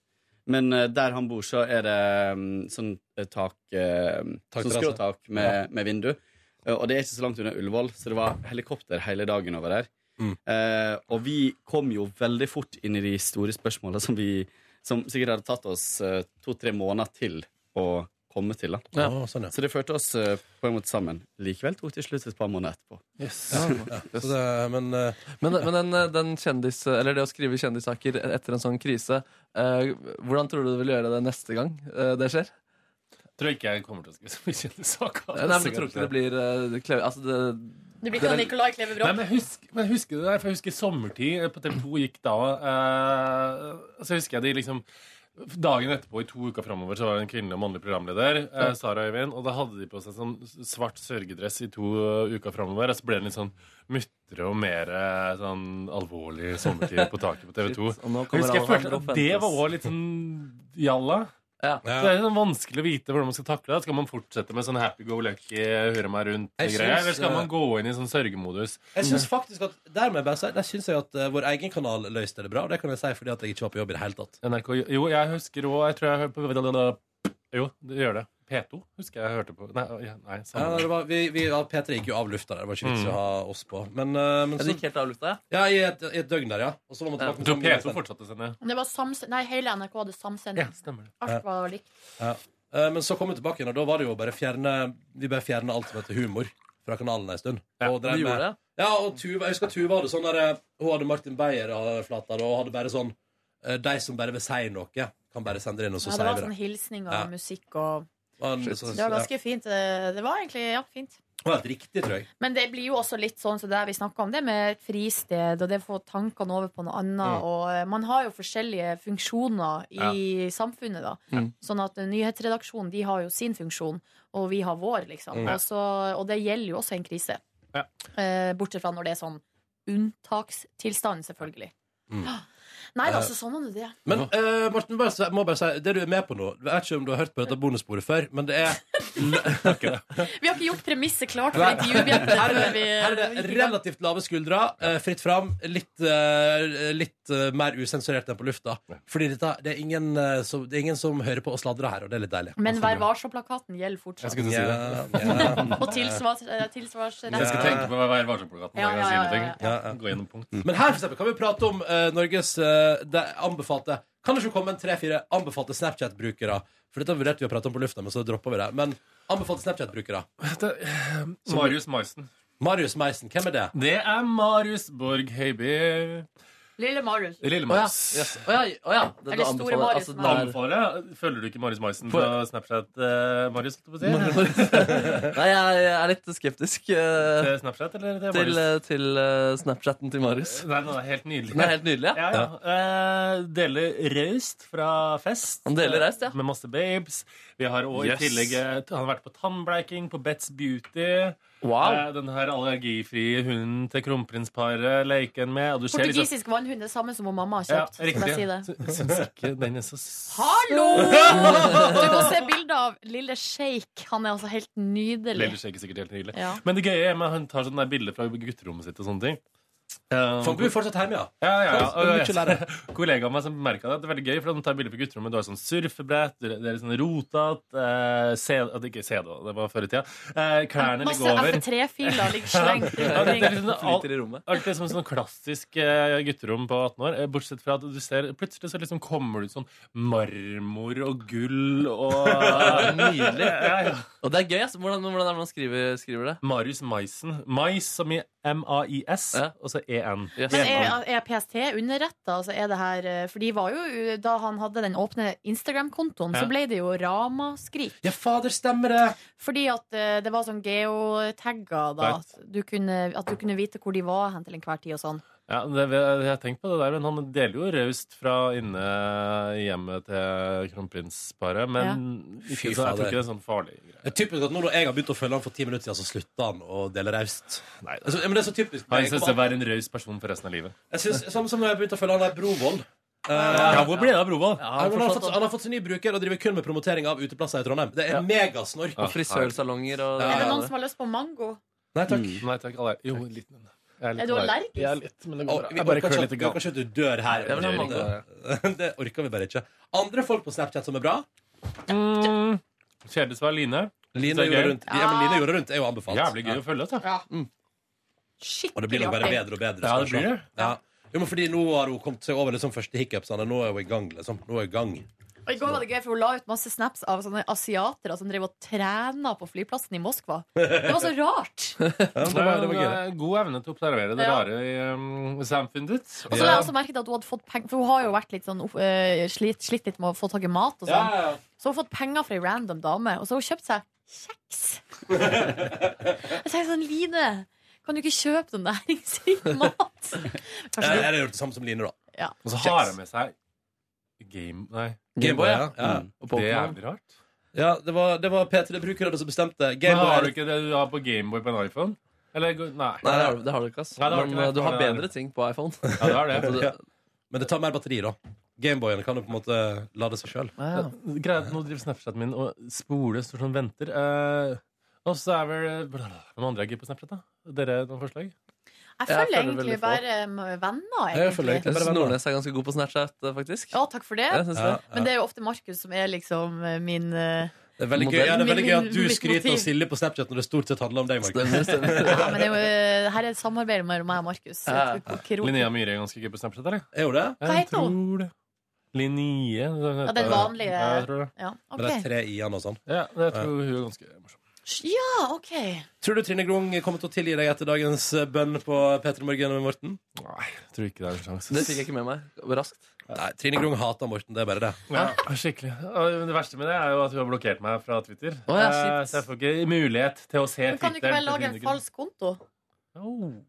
[SPEAKER 11] Men eh, der han bor, så er det mm, sånn eh, tak, eh, sånn
[SPEAKER 2] Takterrasse.
[SPEAKER 11] skråtak med,
[SPEAKER 2] Ja.
[SPEAKER 11] med vindu. Eh, Og det er ikke så langt unna Ullevål, så det var helikopter hele dagen over der.
[SPEAKER 2] Mm.
[SPEAKER 11] Eh, og vi kom jo veldig fort inn i de store spørsmåla som, vi- som sikkert hadde tatt oss eh, to-tre måneder til å komme til. Da.
[SPEAKER 2] Å, sånn, ja.
[SPEAKER 11] Så det førte oss eh, på en måte sammen. Likevel tok det slutt et par måneder etterpå.
[SPEAKER 2] Ja. Ja. Så det- men, eh,
[SPEAKER 3] Men, men den, eh, den kjendis, eller det å skrive kjendissaker etter en sånn krise, eh, hvordan tror du du vil gjøre det neste gang eh, det skjer?
[SPEAKER 8] Tror jeg ikke jeg kommer til å skrive så mye kjendissaker.
[SPEAKER 3] Nei, men jeg tror ikke det blir eh, kleve, altså det,
[SPEAKER 5] Det blir sånn ikke noe Nicolai Kleve Broch.
[SPEAKER 8] Nei, men, husk, men husker du det der? For jeg husker sommertid eh, på TV 2 gikk da eh, Så husker jeg de liksom Dagen etterpå i to uker framover så var det en kvinnelig og mannlig programleder. Eh,
[SPEAKER 3] Ja.
[SPEAKER 8] Sara og Øyvind. Og da hadde de på seg sånn svart sørgedress i to eh, uker framover. Og så ble det litt sånn muttere og mer eh, sånn alvorlig sommertid på taket på TV 2.
[SPEAKER 3] Shit, og nå kommer
[SPEAKER 8] husker
[SPEAKER 3] Alejandro
[SPEAKER 8] jeg følte at det
[SPEAKER 3] Fuentes.
[SPEAKER 8] var også litt sånn jalla. Så det er sånn vanskelig å vite hvordan man skal takle det. Skal man fortsette med sånn happy go lucky, høre meg rundt
[SPEAKER 2] Jeg
[SPEAKER 8] og greier?
[SPEAKER 2] synes,
[SPEAKER 8] Eller skal
[SPEAKER 2] eh,
[SPEAKER 8] man gå inn i sånn sørgemodus?
[SPEAKER 2] Jeg synes faktisk at Der må jeg bare si Der synes jeg at eh, vår egen kanal løste det bra. Og det kan jeg si fordi at jeg ikke var på jobb i det hele tatt.
[SPEAKER 8] NRK, jo, jeg husker òg Jeg tror jeg hørte på Jo, det gjør det. P2 husker jeg jeg hørte på. Nei, ja, nei
[SPEAKER 2] Ja,
[SPEAKER 8] samme.
[SPEAKER 2] det var, vi, vi, ja, P3 gikk jo av lufta der. Det var ikke vits i å ha oss på. Men, eh, men
[SPEAKER 3] Ja, det gikk helt av lufta,
[SPEAKER 2] ja? I et, i et døgn der, ja. Og så var man tilbake på
[SPEAKER 8] Du,
[SPEAKER 2] samme
[SPEAKER 8] P2
[SPEAKER 2] gang.
[SPEAKER 8] fortsatte å sende.
[SPEAKER 5] Det var samsen, nei, hele NRK hadde samsendt.
[SPEAKER 8] Ja, stemmer det.
[SPEAKER 2] Ja.
[SPEAKER 5] Alt var likt.
[SPEAKER 2] Ja. Eh, Men så kom vi tilbake igjen, og da var det jo bare fjerne Vi bare fjerne alt som heter humor fra kanalen en stund. og drev
[SPEAKER 3] vi gjorde
[SPEAKER 2] med-
[SPEAKER 3] det.
[SPEAKER 2] Ja, og Tuva, jeg husker Tuva hadde sånn der eh, Hun hadde Martin Beyer-flata, og hadde bare sånn eh, De som bare vil si noe, kan bare sende det inn, og så
[SPEAKER 5] Ja, det
[SPEAKER 2] sier
[SPEAKER 5] var
[SPEAKER 2] vi
[SPEAKER 5] sånn
[SPEAKER 2] det.
[SPEAKER 5] hilsning og
[SPEAKER 2] Ja.
[SPEAKER 5] musikk og
[SPEAKER 2] Man,
[SPEAKER 5] Det var ganske fint. eh, Det var egentlig ja, fint.
[SPEAKER 2] Det var helt riktig, tror jeg.
[SPEAKER 5] Men det blir jo også litt sånn som det vi snakka om, det med et fristed og det å få tankene over på noe
[SPEAKER 2] Mm.
[SPEAKER 5] annet. Og eh, man har jo forskjellige funksjoner i samfunnet, da.
[SPEAKER 2] Mm.
[SPEAKER 5] Sånn at eh, nyhetsredaksjonen de har jo sin funksjon, og vi har vår, liksom.
[SPEAKER 12] Mm.
[SPEAKER 5] Og, så, og det gjelder jo også en krise. Eh, bortsett fra når det er sånn unntakstilstand, selvfølgelig.
[SPEAKER 2] Mm.
[SPEAKER 5] <gasps> Nei da,
[SPEAKER 2] Eh,
[SPEAKER 5] så sånn er det det.
[SPEAKER 2] Men eh, Morten, bare, si- må bare si det du er med på nå Jeg vet ikke om du har hørt på dette bonussporet før, men det er
[SPEAKER 5] Vi har ikke gjort premisset klart for
[SPEAKER 2] Nei.
[SPEAKER 5] intervjuobjektet
[SPEAKER 2] <laughs> Her er
[SPEAKER 5] før
[SPEAKER 2] det-
[SPEAKER 5] vi
[SPEAKER 2] her er det
[SPEAKER 5] gikk i gang.
[SPEAKER 2] relativt lave skuldre, eh, fritt fram, litt, eh, litt eh, mer usensurert enn på lufta. Fordi dette, det, er ingen, eh, som, det er ingen som hører på og sladrer her, og det er litt deilig.
[SPEAKER 5] Men Vær varsom-plakaten gjelder fortsatt.
[SPEAKER 2] Ja, ja.
[SPEAKER 5] Og tilsvars- eh, tilsvarsretten.
[SPEAKER 8] Jeg skal tenke på Vær varsom-plakaten.
[SPEAKER 5] Ja, ja,
[SPEAKER 8] når jeg sier
[SPEAKER 5] ja,
[SPEAKER 8] noe.
[SPEAKER 5] ja,
[SPEAKER 8] <laughs> Gå gjennom punkt.
[SPEAKER 2] Men her for eksempel, kan vi prate om eh, Norges eh, det anbefalte Kan det ikke komme en tre-fire anbefalte Snapchat-brukere? For dette vurderte vi å prate om på lufta, men så droppa vi det. Men anbefalte Snapchat-brukere. Som-
[SPEAKER 8] ehm, Marius Maisen.
[SPEAKER 2] Marius Meisen, hvem er det?
[SPEAKER 8] Det er Marius Borg Høiby.
[SPEAKER 5] Lille Marius.
[SPEAKER 8] Lille
[SPEAKER 3] Å ja,
[SPEAKER 8] Marius.
[SPEAKER 3] yes. Å ja, å ja. Det- du
[SPEAKER 5] Eller Store
[SPEAKER 3] anbefaler-
[SPEAKER 5] Marius,
[SPEAKER 3] altså,
[SPEAKER 5] som er-
[SPEAKER 3] den er-
[SPEAKER 8] Anbefaler jeg. Følger du ikke Marius Maisen på Snapchat, eh, Marius? holdt jeg på å si?
[SPEAKER 3] Nei, jeg, jeg er litt skeptisk eh,
[SPEAKER 8] Til Snapchat, eller til
[SPEAKER 3] til,
[SPEAKER 8] Marius?
[SPEAKER 3] eh, til eh, Snapchatten til Marius.
[SPEAKER 8] Nei, den er helt nydelig.
[SPEAKER 3] Den er helt nydelig,
[SPEAKER 8] ja.
[SPEAKER 3] ja.
[SPEAKER 8] ja. Eh, deler raust fra fest. eh,
[SPEAKER 3] Han deler raust, ja.
[SPEAKER 8] Med masse babes. Vi har også
[SPEAKER 3] Yes.
[SPEAKER 8] i tillegg eh, Han har vært på tannbleiking, på Bet's Beauty.
[SPEAKER 3] Wow.
[SPEAKER 8] Eh, den her allergifrie hunden til kronprinsparet leker han med. Og du ser liksom-
[SPEAKER 5] Portugisisk vannhund er samme som hun mamma har kjøpt.
[SPEAKER 8] Ja,
[SPEAKER 5] skal
[SPEAKER 8] riktig.
[SPEAKER 5] jeg si det.
[SPEAKER 8] Jeg syns ikke den er så
[SPEAKER 5] <laughs> Hallo! Du må se bilde av lille Shake. Han er altså helt nydelig.
[SPEAKER 8] Ellers er det ikke sikkert helt nydelig.
[SPEAKER 5] Ja.
[SPEAKER 8] Men det gøye er at han tar sånn der bilder fra gutterommet sitt og sånne ting. Um,
[SPEAKER 2] For han bor fortsatt hjemme, ja.
[SPEAKER 8] Ja, ja, ja.
[SPEAKER 2] Fortsatt, det er mye å lære.
[SPEAKER 8] <laughs> Kollegaen min som bemerket det. Det er veldig gøy, for de tar bilder på gutterommet. Du har sånn surfebrett, det er litt sånn rotat eh, CD, det er Ikke CD, det var før i tida. Eh, klærne
[SPEAKER 5] Masse
[SPEAKER 8] ligger over.
[SPEAKER 5] F3-filer ligger slengt rundt
[SPEAKER 8] Ja, det- det er
[SPEAKER 5] omkring.
[SPEAKER 8] liksom alt- Alt er som sånn klassisk eh, gutterom på 18 år. eh, Bortsett fra at du ser Plutselig så liksom kommer det ut sånn marmor og gull og
[SPEAKER 3] Ja,
[SPEAKER 5] <laughs>
[SPEAKER 3] Nydelig.
[SPEAKER 8] Ja, ja.
[SPEAKER 3] Og det er gøy. ass. Hvordan, hvordan er det man skriver, skriver det?
[SPEAKER 8] Marius Maisen. Mais som i M-A-I-S, og så E E-N.
[SPEAKER 5] Men E er, er PST underretta? Altså er det her, eh, for de var jo, eh, da han hadde den åpne Instagram-kontoen,
[SPEAKER 2] Ja.
[SPEAKER 5] så ble det jo ramaskrik.
[SPEAKER 2] Ja, fader, stemmer det!
[SPEAKER 5] Fordi at eh, det var sånn geotagger, da.
[SPEAKER 8] Right.
[SPEAKER 5] At du, kunne, at du kunne vite hvor de var hen til enhver tid og sånn.
[SPEAKER 8] Ja, det, jeg har tenkt på det der, men han deler jo raust fra inne i hjemmet til kronprinsparet. Men
[SPEAKER 2] Fy
[SPEAKER 8] ikke, så, jeg
[SPEAKER 2] fader.
[SPEAKER 8] tror ikke det er sånn farlig.
[SPEAKER 2] Det er typisk at nå når jeg har begynt å følge han for ti minutter siden, så slutter han å dele raust.
[SPEAKER 8] Nei,
[SPEAKER 2] Altså, men det er så typisk.
[SPEAKER 8] Han syns det
[SPEAKER 2] Jeg
[SPEAKER 8] er en raus person for resten av livet.
[SPEAKER 2] synes, Samme som når jeg begynte å følge han der Brovold. Eh,
[SPEAKER 8] Ja, hvor ble det av Brovold?
[SPEAKER 2] han, har fått, han har fått sin nye bruker og driver kun med promotering av uteplasser i Trondheim. Det er megasnork.
[SPEAKER 8] Ah,
[SPEAKER 3] Og frisørsalonger og
[SPEAKER 5] Er det noen som har lyst på mango?
[SPEAKER 8] Mm.
[SPEAKER 2] Nei takk.
[SPEAKER 8] Nei, takk alle. Jo, en liten en. Jeg
[SPEAKER 5] Er du
[SPEAKER 8] allergisk?
[SPEAKER 5] allergisk?
[SPEAKER 8] Jeg er litt, men det går
[SPEAKER 2] Å,
[SPEAKER 8] bra.
[SPEAKER 2] vi
[SPEAKER 8] Jeg bare
[SPEAKER 2] orker
[SPEAKER 8] klør
[SPEAKER 2] ikke-
[SPEAKER 8] litt. i
[SPEAKER 2] Vi orker ikke at du dør her.
[SPEAKER 8] Jeg vil ha
[SPEAKER 2] Ronny. det, <laughs> det orker vi bare ikke. Andre folk på Snapchat som er bra?
[SPEAKER 8] Mm. Kjedes var Line.
[SPEAKER 2] Line
[SPEAKER 8] Så gøy.
[SPEAKER 2] jorda rundt. Ja, men Line jorda rundt er jo anbefalt.
[SPEAKER 8] Jævlig gøy å følge, altså.
[SPEAKER 2] Mm. Og det blir nok bare
[SPEAKER 8] artig.
[SPEAKER 2] bedre og bedre.
[SPEAKER 8] Ja,
[SPEAKER 2] skal
[SPEAKER 8] det
[SPEAKER 2] vi se.
[SPEAKER 8] blir det.
[SPEAKER 2] Ja. Jo, men fordi Nå har hun kommet seg over liksom, første hiccupsene. Nå er hun i gang. liksom. Nå er hun i gang.
[SPEAKER 5] Og I går var det gøy, for hun la ut masse snaps av sånne asiatere som drev og trena på flyplassen i Moskva. Det var så rart!
[SPEAKER 2] Ja, det var- det var gøy, det.
[SPEAKER 8] eh, God evne til å observere det
[SPEAKER 5] Ja.
[SPEAKER 8] rare i um, samfunnet.
[SPEAKER 5] Og så la jeg også merke til at hun hadde fått penger For hun har jo vært litt sånn eh, slitt, slitt litt med å få tak i mat og sånn.
[SPEAKER 8] Ja, ja, ja.
[SPEAKER 5] Så hun har fått penger fra ei random dame, og så har hun kjøpt seg kjeks. jeg tenkte sånn, Line, kan du ikke kjøpe noe næringsrik mat?
[SPEAKER 2] Jeg,
[SPEAKER 5] Kanskje
[SPEAKER 2] jeg
[SPEAKER 5] du
[SPEAKER 2] har gjort det samme som Line, da.
[SPEAKER 5] Ja.
[SPEAKER 8] Og så har jeg med seg Game... Nei.
[SPEAKER 2] Gameboy, ja. ja.
[SPEAKER 8] Mm. Det er jævlig rart.
[SPEAKER 2] Ja, det var, det var P3-brukere som bestemte.
[SPEAKER 8] Men
[SPEAKER 2] Gameboy
[SPEAKER 8] har
[SPEAKER 2] er
[SPEAKER 8] du ikke det du har på Gameboy på en iPhone? Eller go-
[SPEAKER 3] Nei,
[SPEAKER 8] Nei.
[SPEAKER 3] det har du, det har du ikke, ass.
[SPEAKER 8] Nei, det har
[SPEAKER 3] Men
[SPEAKER 8] ikke det.
[SPEAKER 3] eh, du har
[SPEAKER 8] Ja, det er-
[SPEAKER 3] bedre ting på iPhone.
[SPEAKER 8] <laughs> Ja, det har det.
[SPEAKER 3] Så <laughs>
[SPEAKER 2] Ja. Men det tar mer batteri, da. Gameboyen kan jo på en måte lade seg sjøl.
[SPEAKER 8] Ja. Greit, nå driver Snapchat min og spoler står sånn venter. Eh, og så er vel Hvem andre er gøy på Snapchat, da? Dere noen forslag?
[SPEAKER 5] Jeg følger egentlig bare um, venner. Egentlig.
[SPEAKER 3] Jeg synes Nordnes er ganske god på Snapchat, eh, faktisk.
[SPEAKER 5] Ja, takk for det.
[SPEAKER 3] Ja, jeg synes Altså, det. Ja, ja.
[SPEAKER 5] Men det er jo ofte Markus som er liksom eh, min eh,
[SPEAKER 2] Det er veldig gøy, ja, det er veldig gøy at du
[SPEAKER 5] Mitt motiv.
[SPEAKER 2] skryter av Silje på Snapchat når det stort sett handler om deg. Markus.
[SPEAKER 5] Ja, men det er jo, eh, her er et samarbeid mellom meg og Markus. Jeg tror ikke ro-
[SPEAKER 8] Linnea Myhre er ganske gøy på Snapchat, eller?
[SPEAKER 2] Er hun det?
[SPEAKER 5] Hva heter hun?
[SPEAKER 8] Linnea
[SPEAKER 5] Ja, den vanlige.
[SPEAKER 8] Ja, jeg tror det.
[SPEAKER 5] Ja, ok.
[SPEAKER 2] Med de tre i-ene og sånn.
[SPEAKER 8] Ja, det tror hun er ganske
[SPEAKER 5] ja, ok.
[SPEAKER 2] Tror du Trine Grung kommer til å tilgi deg etter dagens eh, bønn på P3 Morgen med Morten?
[SPEAKER 8] Nei, jeg tror ikke det er en
[SPEAKER 3] <laughs>
[SPEAKER 8] sjanse.
[SPEAKER 3] Det fikk jeg ikke med meg. Raskt.
[SPEAKER 2] Nei, Trine Grung hater Morten, det er bare det.
[SPEAKER 8] Ja, skikkelig. Og Det verste med det er jo at hun har blokkert meg fra Twitter.
[SPEAKER 2] Å, ja,
[SPEAKER 8] Eh,
[SPEAKER 2] shit.
[SPEAKER 8] så jeg får ikke mulighet til å se
[SPEAKER 5] Men kan du ikke
[SPEAKER 8] Twitteren.
[SPEAKER 5] bare lage en falsk konto?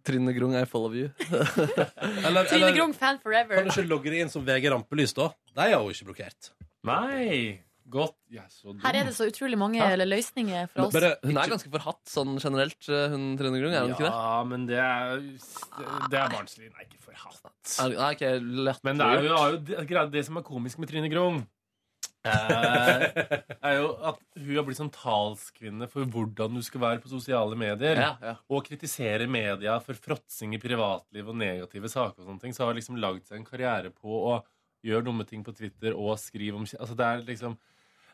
[SPEAKER 3] Trine Grung, I follow you.
[SPEAKER 2] Eller,
[SPEAKER 5] Trine
[SPEAKER 2] eller
[SPEAKER 5] Grung, fan
[SPEAKER 2] kan
[SPEAKER 5] forever.
[SPEAKER 2] du ikke logge deg inn som VG Rampelys, da? De har hun ikke blokkert.
[SPEAKER 8] Nei! Godt. Jeg er så dum.
[SPEAKER 5] Her er det så utrolig mange
[SPEAKER 3] Ja.
[SPEAKER 5] eller, løsninger fra oss.
[SPEAKER 2] Bare-
[SPEAKER 3] Hun er ganske forhatt sånn generelt, eh, hun Trine Grung. Er hun ikke det?
[SPEAKER 8] Ja, men det er, det er barnslig. Nei, ikke for hatt.
[SPEAKER 3] Er, nei, okay, lett
[SPEAKER 8] Men det, er jo, har jo det, greia- det som er komisk med Trine Grung, eh,
[SPEAKER 3] <laughs>
[SPEAKER 8] er jo at hun har blitt sånn talskvinne for hvordan du skal være på sosiale medier.
[SPEAKER 3] Ja, ja. <laughs>
[SPEAKER 8] Og kritisere media for fråtsing i privatliv og negative saker. og sånne ting, Så har hun liksom lagd seg en karriere på å gjøre dumme ting på Twitter og skrive om altså det er liksom,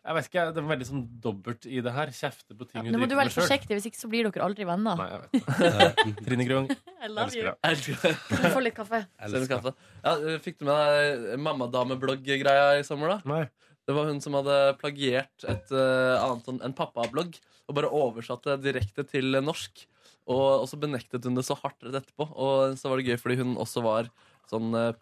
[SPEAKER 8] jeg vet ikke, Det er veldig sånn dobbelt i det her. Kjefte på ting hun
[SPEAKER 5] Nå må du
[SPEAKER 8] driver
[SPEAKER 5] være
[SPEAKER 8] med
[SPEAKER 5] litt
[SPEAKER 8] sjøl.
[SPEAKER 5] forsiktig, hvis ikke så blir dere aldri venner.
[SPEAKER 8] Nei,
[SPEAKER 5] <laughs>
[SPEAKER 8] jeg vet det. Eh, Trine Grung,
[SPEAKER 5] I Ah. love you.
[SPEAKER 8] elsker deg.
[SPEAKER 5] Du får litt kaffe.
[SPEAKER 3] Selv kaffe. Ja, eh, fikk du med deg mammadame-blogg-greia i sommer, da?
[SPEAKER 8] Nei.
[SPEAKER 3] Det var hun som hadde plagiert et, eh, annet, sånn- en pappa-blogg og bare oversatt det direkte til eh, norsk. Og, og så benektet hun det så hardt rett etterpå. Og så var det gøy fordi hun også var sånn eh,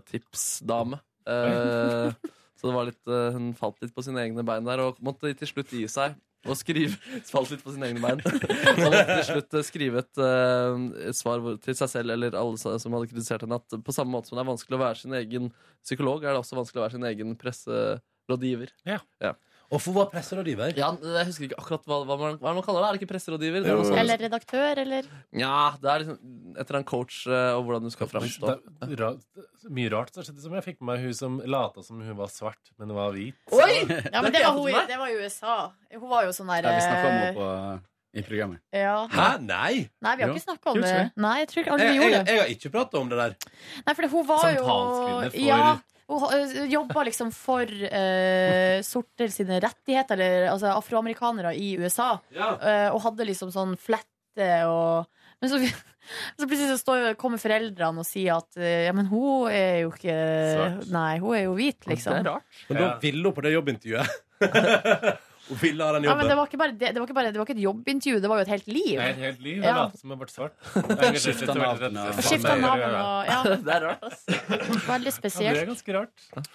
[SPEAKER 3] pressetipsdame. Eh, så det var litt, eh, hun falt litt på sine egne bein der og måtte til slutt gi seg. Og skrive, <laughs> falt litt på sine egne bein. Og måtte til slutt eh, skrive et, eh, et svar hvor- til seg selv eller alle sa- som hadde kritisert henne, at på samme måte som det er vanskelig å være sin egen psykolog, er det også vanskelig å være sin egen presserådgiver.
[SPEAKER 8] Ja.
[SPEAKER 2] Hvorfor var presserådgiver?
[SPEAKER 3] Ja, jeg husker ikke akkurat hva, hva, man, hva er det man kaller det. Er det ikke presserådgiver? Det er noe sånt.
[SPEAKER 5] Eller redaktør, eller
[SPEAKER 3] Ja, det er liksom etter en coach eh, og hvordan du skal framstå.
[SPEAKER 8] Det er ra- mye rart som skjedde. Som jeg fikk med meg hun som lata som hun var svart, men hun var hvit.
[SPEAKER 5] Oi! Ja, men det var, hun, i- det var i USA. Hun var jo sånn der
[SPEAKER 11] Ja, vi snakket om
[SPEAKER 5] eh,
[SPEAKER 11] henne på- i programmet.
[SPEAKER 5] ja.
[SPEAKER 2] Hæ? Nei!
[SPEAKER 5] Nei, vi har ikke snakka om
[SPEAKER 2] Gjorde
[SPEAKER 5] det.
[SPEAKER 2] ikke
[SPEAKER 5] Nei, jeg tror ikke aldri
[SPEAKER 2] Jeg,
[SPEAKER 5] vi
[SPEAKER 2] jeg,
[SPEAKER 5] gjorde det.
[SPEAKER 2] jeg har ikke prata om det der.
[SPEAKER 5] Nei, for det- hun var
[SPEAKER 2] Som
[SPEAKER 5] jo
[SPEAKER 2] talskvinne for-
[SPEAKER 5] Ja, hun ø, jobba liksom for eh, sorter sine rettigheter, eller altså afroamerikanere i USA,
[SPEAKER 2] Ja.
[SPEAKER 5] Eh, og hadde liksom sånn flette og men så, <laughs> så plutselig så står, kommer foreldrene og sier at eh, ja, men hun er jo ikke
[SPEAKER 2] Svart.
[SPEAKER 5] Nei, hun er jo hvit, liksom.
[SPEAKER 2] Men da ville hun på det <laughs> jobbintervjuet. hun ville ha den
[SPEAKER 5] Ja, men
[SPEAKER 2] jobben.
[SPEAKER 5] det var, ikke bare det, det, var ikke bare, det var ikke et jobbintervju, det var jo et helt liv.
[SPEAKER 8] Jeg er et helt liv. Jeg
[SPEAKER 5] Ja.
[SPEAKER 8] later som jeg ble <laughs> svart. Jeg engasjerte
[SPEAKER 11] Skiftet
[SPEAKER 8] meg
[SPEAKER 11] navn
[SPEAKER 8] rett-
[SPEAKER 11] og-
[SPEAKER 8] rett-
[SPEAKER 5] Skiftet navn og-
[SPEAKER 3] <laughs>
[SPEAKER 5] ja.
[SPEAKER 3] <laughs> Det er rart, ass.
[SPEAKER 5] Veldig
[SPEAKER 8] Ja, det er
[SPEAKER 5] spesielt.
[SPEAKER 8] ganske rart.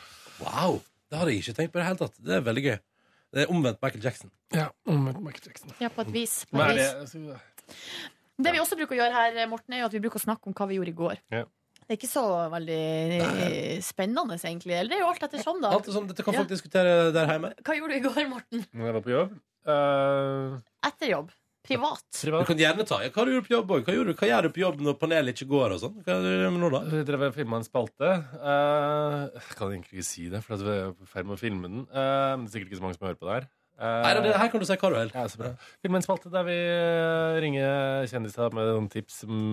[SPEAKER 2] Wow! Det hadde jeg ikke tenkt på i det hele tatt. Det er veldig gøy. Det er omvendt Michael Jackson.
[SPEAKER 8] Ja, omvendt Michael Jackson.
[SPEAKER 5] Ja, på et vis. På
[SPEAKER 8] Hva
[SPEAKER 5] et
[SPEAKER 8] er
[SPEAKER 5] vis.
[SPEAKER 8] det? Altså, Så-
[SPEAKER 5] Det vi også bruker å gjøre her, Morten, er jo at vi bruker å snakke om hva vi gjorde i går.
[SPEAKER 8] Ja.
[SPEAKER 5] Det er ikke så veldig eh, spennende, egentlig. Eller det er jo alt etter sånn, da.
[SPEAKER 2] Alt er sånn, dette kan folk
[SPEAKER 5] Ja.
[SPEAKER 2] diskutere der hjemme.
[SPEAKER 5] Hva gjorde du i går, Morten?
[SPEAKER 8] Når jeg var på jobb eh,
[SPEAKER 5] Etter jobb? Privat?
[SPEAKER 2] Du kan gjerne ta ja, Hva har du gjort på jobb? også? Hva, gjorde du? hva gjør du på jobb når panelet ikke går? og sånn? Hva gjør du nå da?
[SPEAKER 8] Jeg drev og filma en spalte. Eh, jeg kan egentlig ikke si det, for at vi er i ferd med å filme den. Eh, men det er sikkert ikke så mange som hører på det her. Eh,
[SPEAKER 2] Nei, da, det, her kan du si hva du vil.
[SPEAKER 8] eh, Ja, så bra. Filme en spalte der vi eh, ringer kjendiser med noen tips om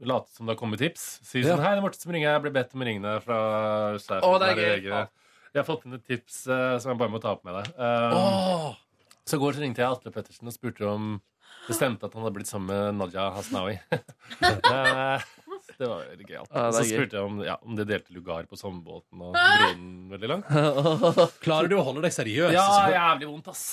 [SPEAKER 8] late som det har kommet tips. Si
[SPEAKER 3] Ja.
[SPEAKER 8] sånn Hei, det er Morten som ringer. Jeg ble bedt om å ringe deg fra sjefen.
[SPEAKER 3] Å, det er
[SPEAKER 8] der i
[SPEAKER 3] gøy.
[SPEAKER 8] VG. Jeg har fått inn et tips eh, som jeg bare må ta opp med deg. Um,
[SPEAKER 3] <laughs>
[SPEAKER 8] Så i går så ringte jeg Atle Pettersen og spurte om det stemte at han hadde blitt sammen med Nadia Hasnawi. <laughs> Eh, det var veldig gøyalt.
[SPEAKER 3] Ja, det er
[SPEAKER 8] så
[SPEAKER 3] gøy.
[SPEAKER 8] spurte jeg om, ja, om de delte lugar på sommerbåten og dro den veldig langt.
[SPEAKER 2] Klarer du å holde deg seriøs?
[SPEAKER 8] Ja, jævlig vondt, ass.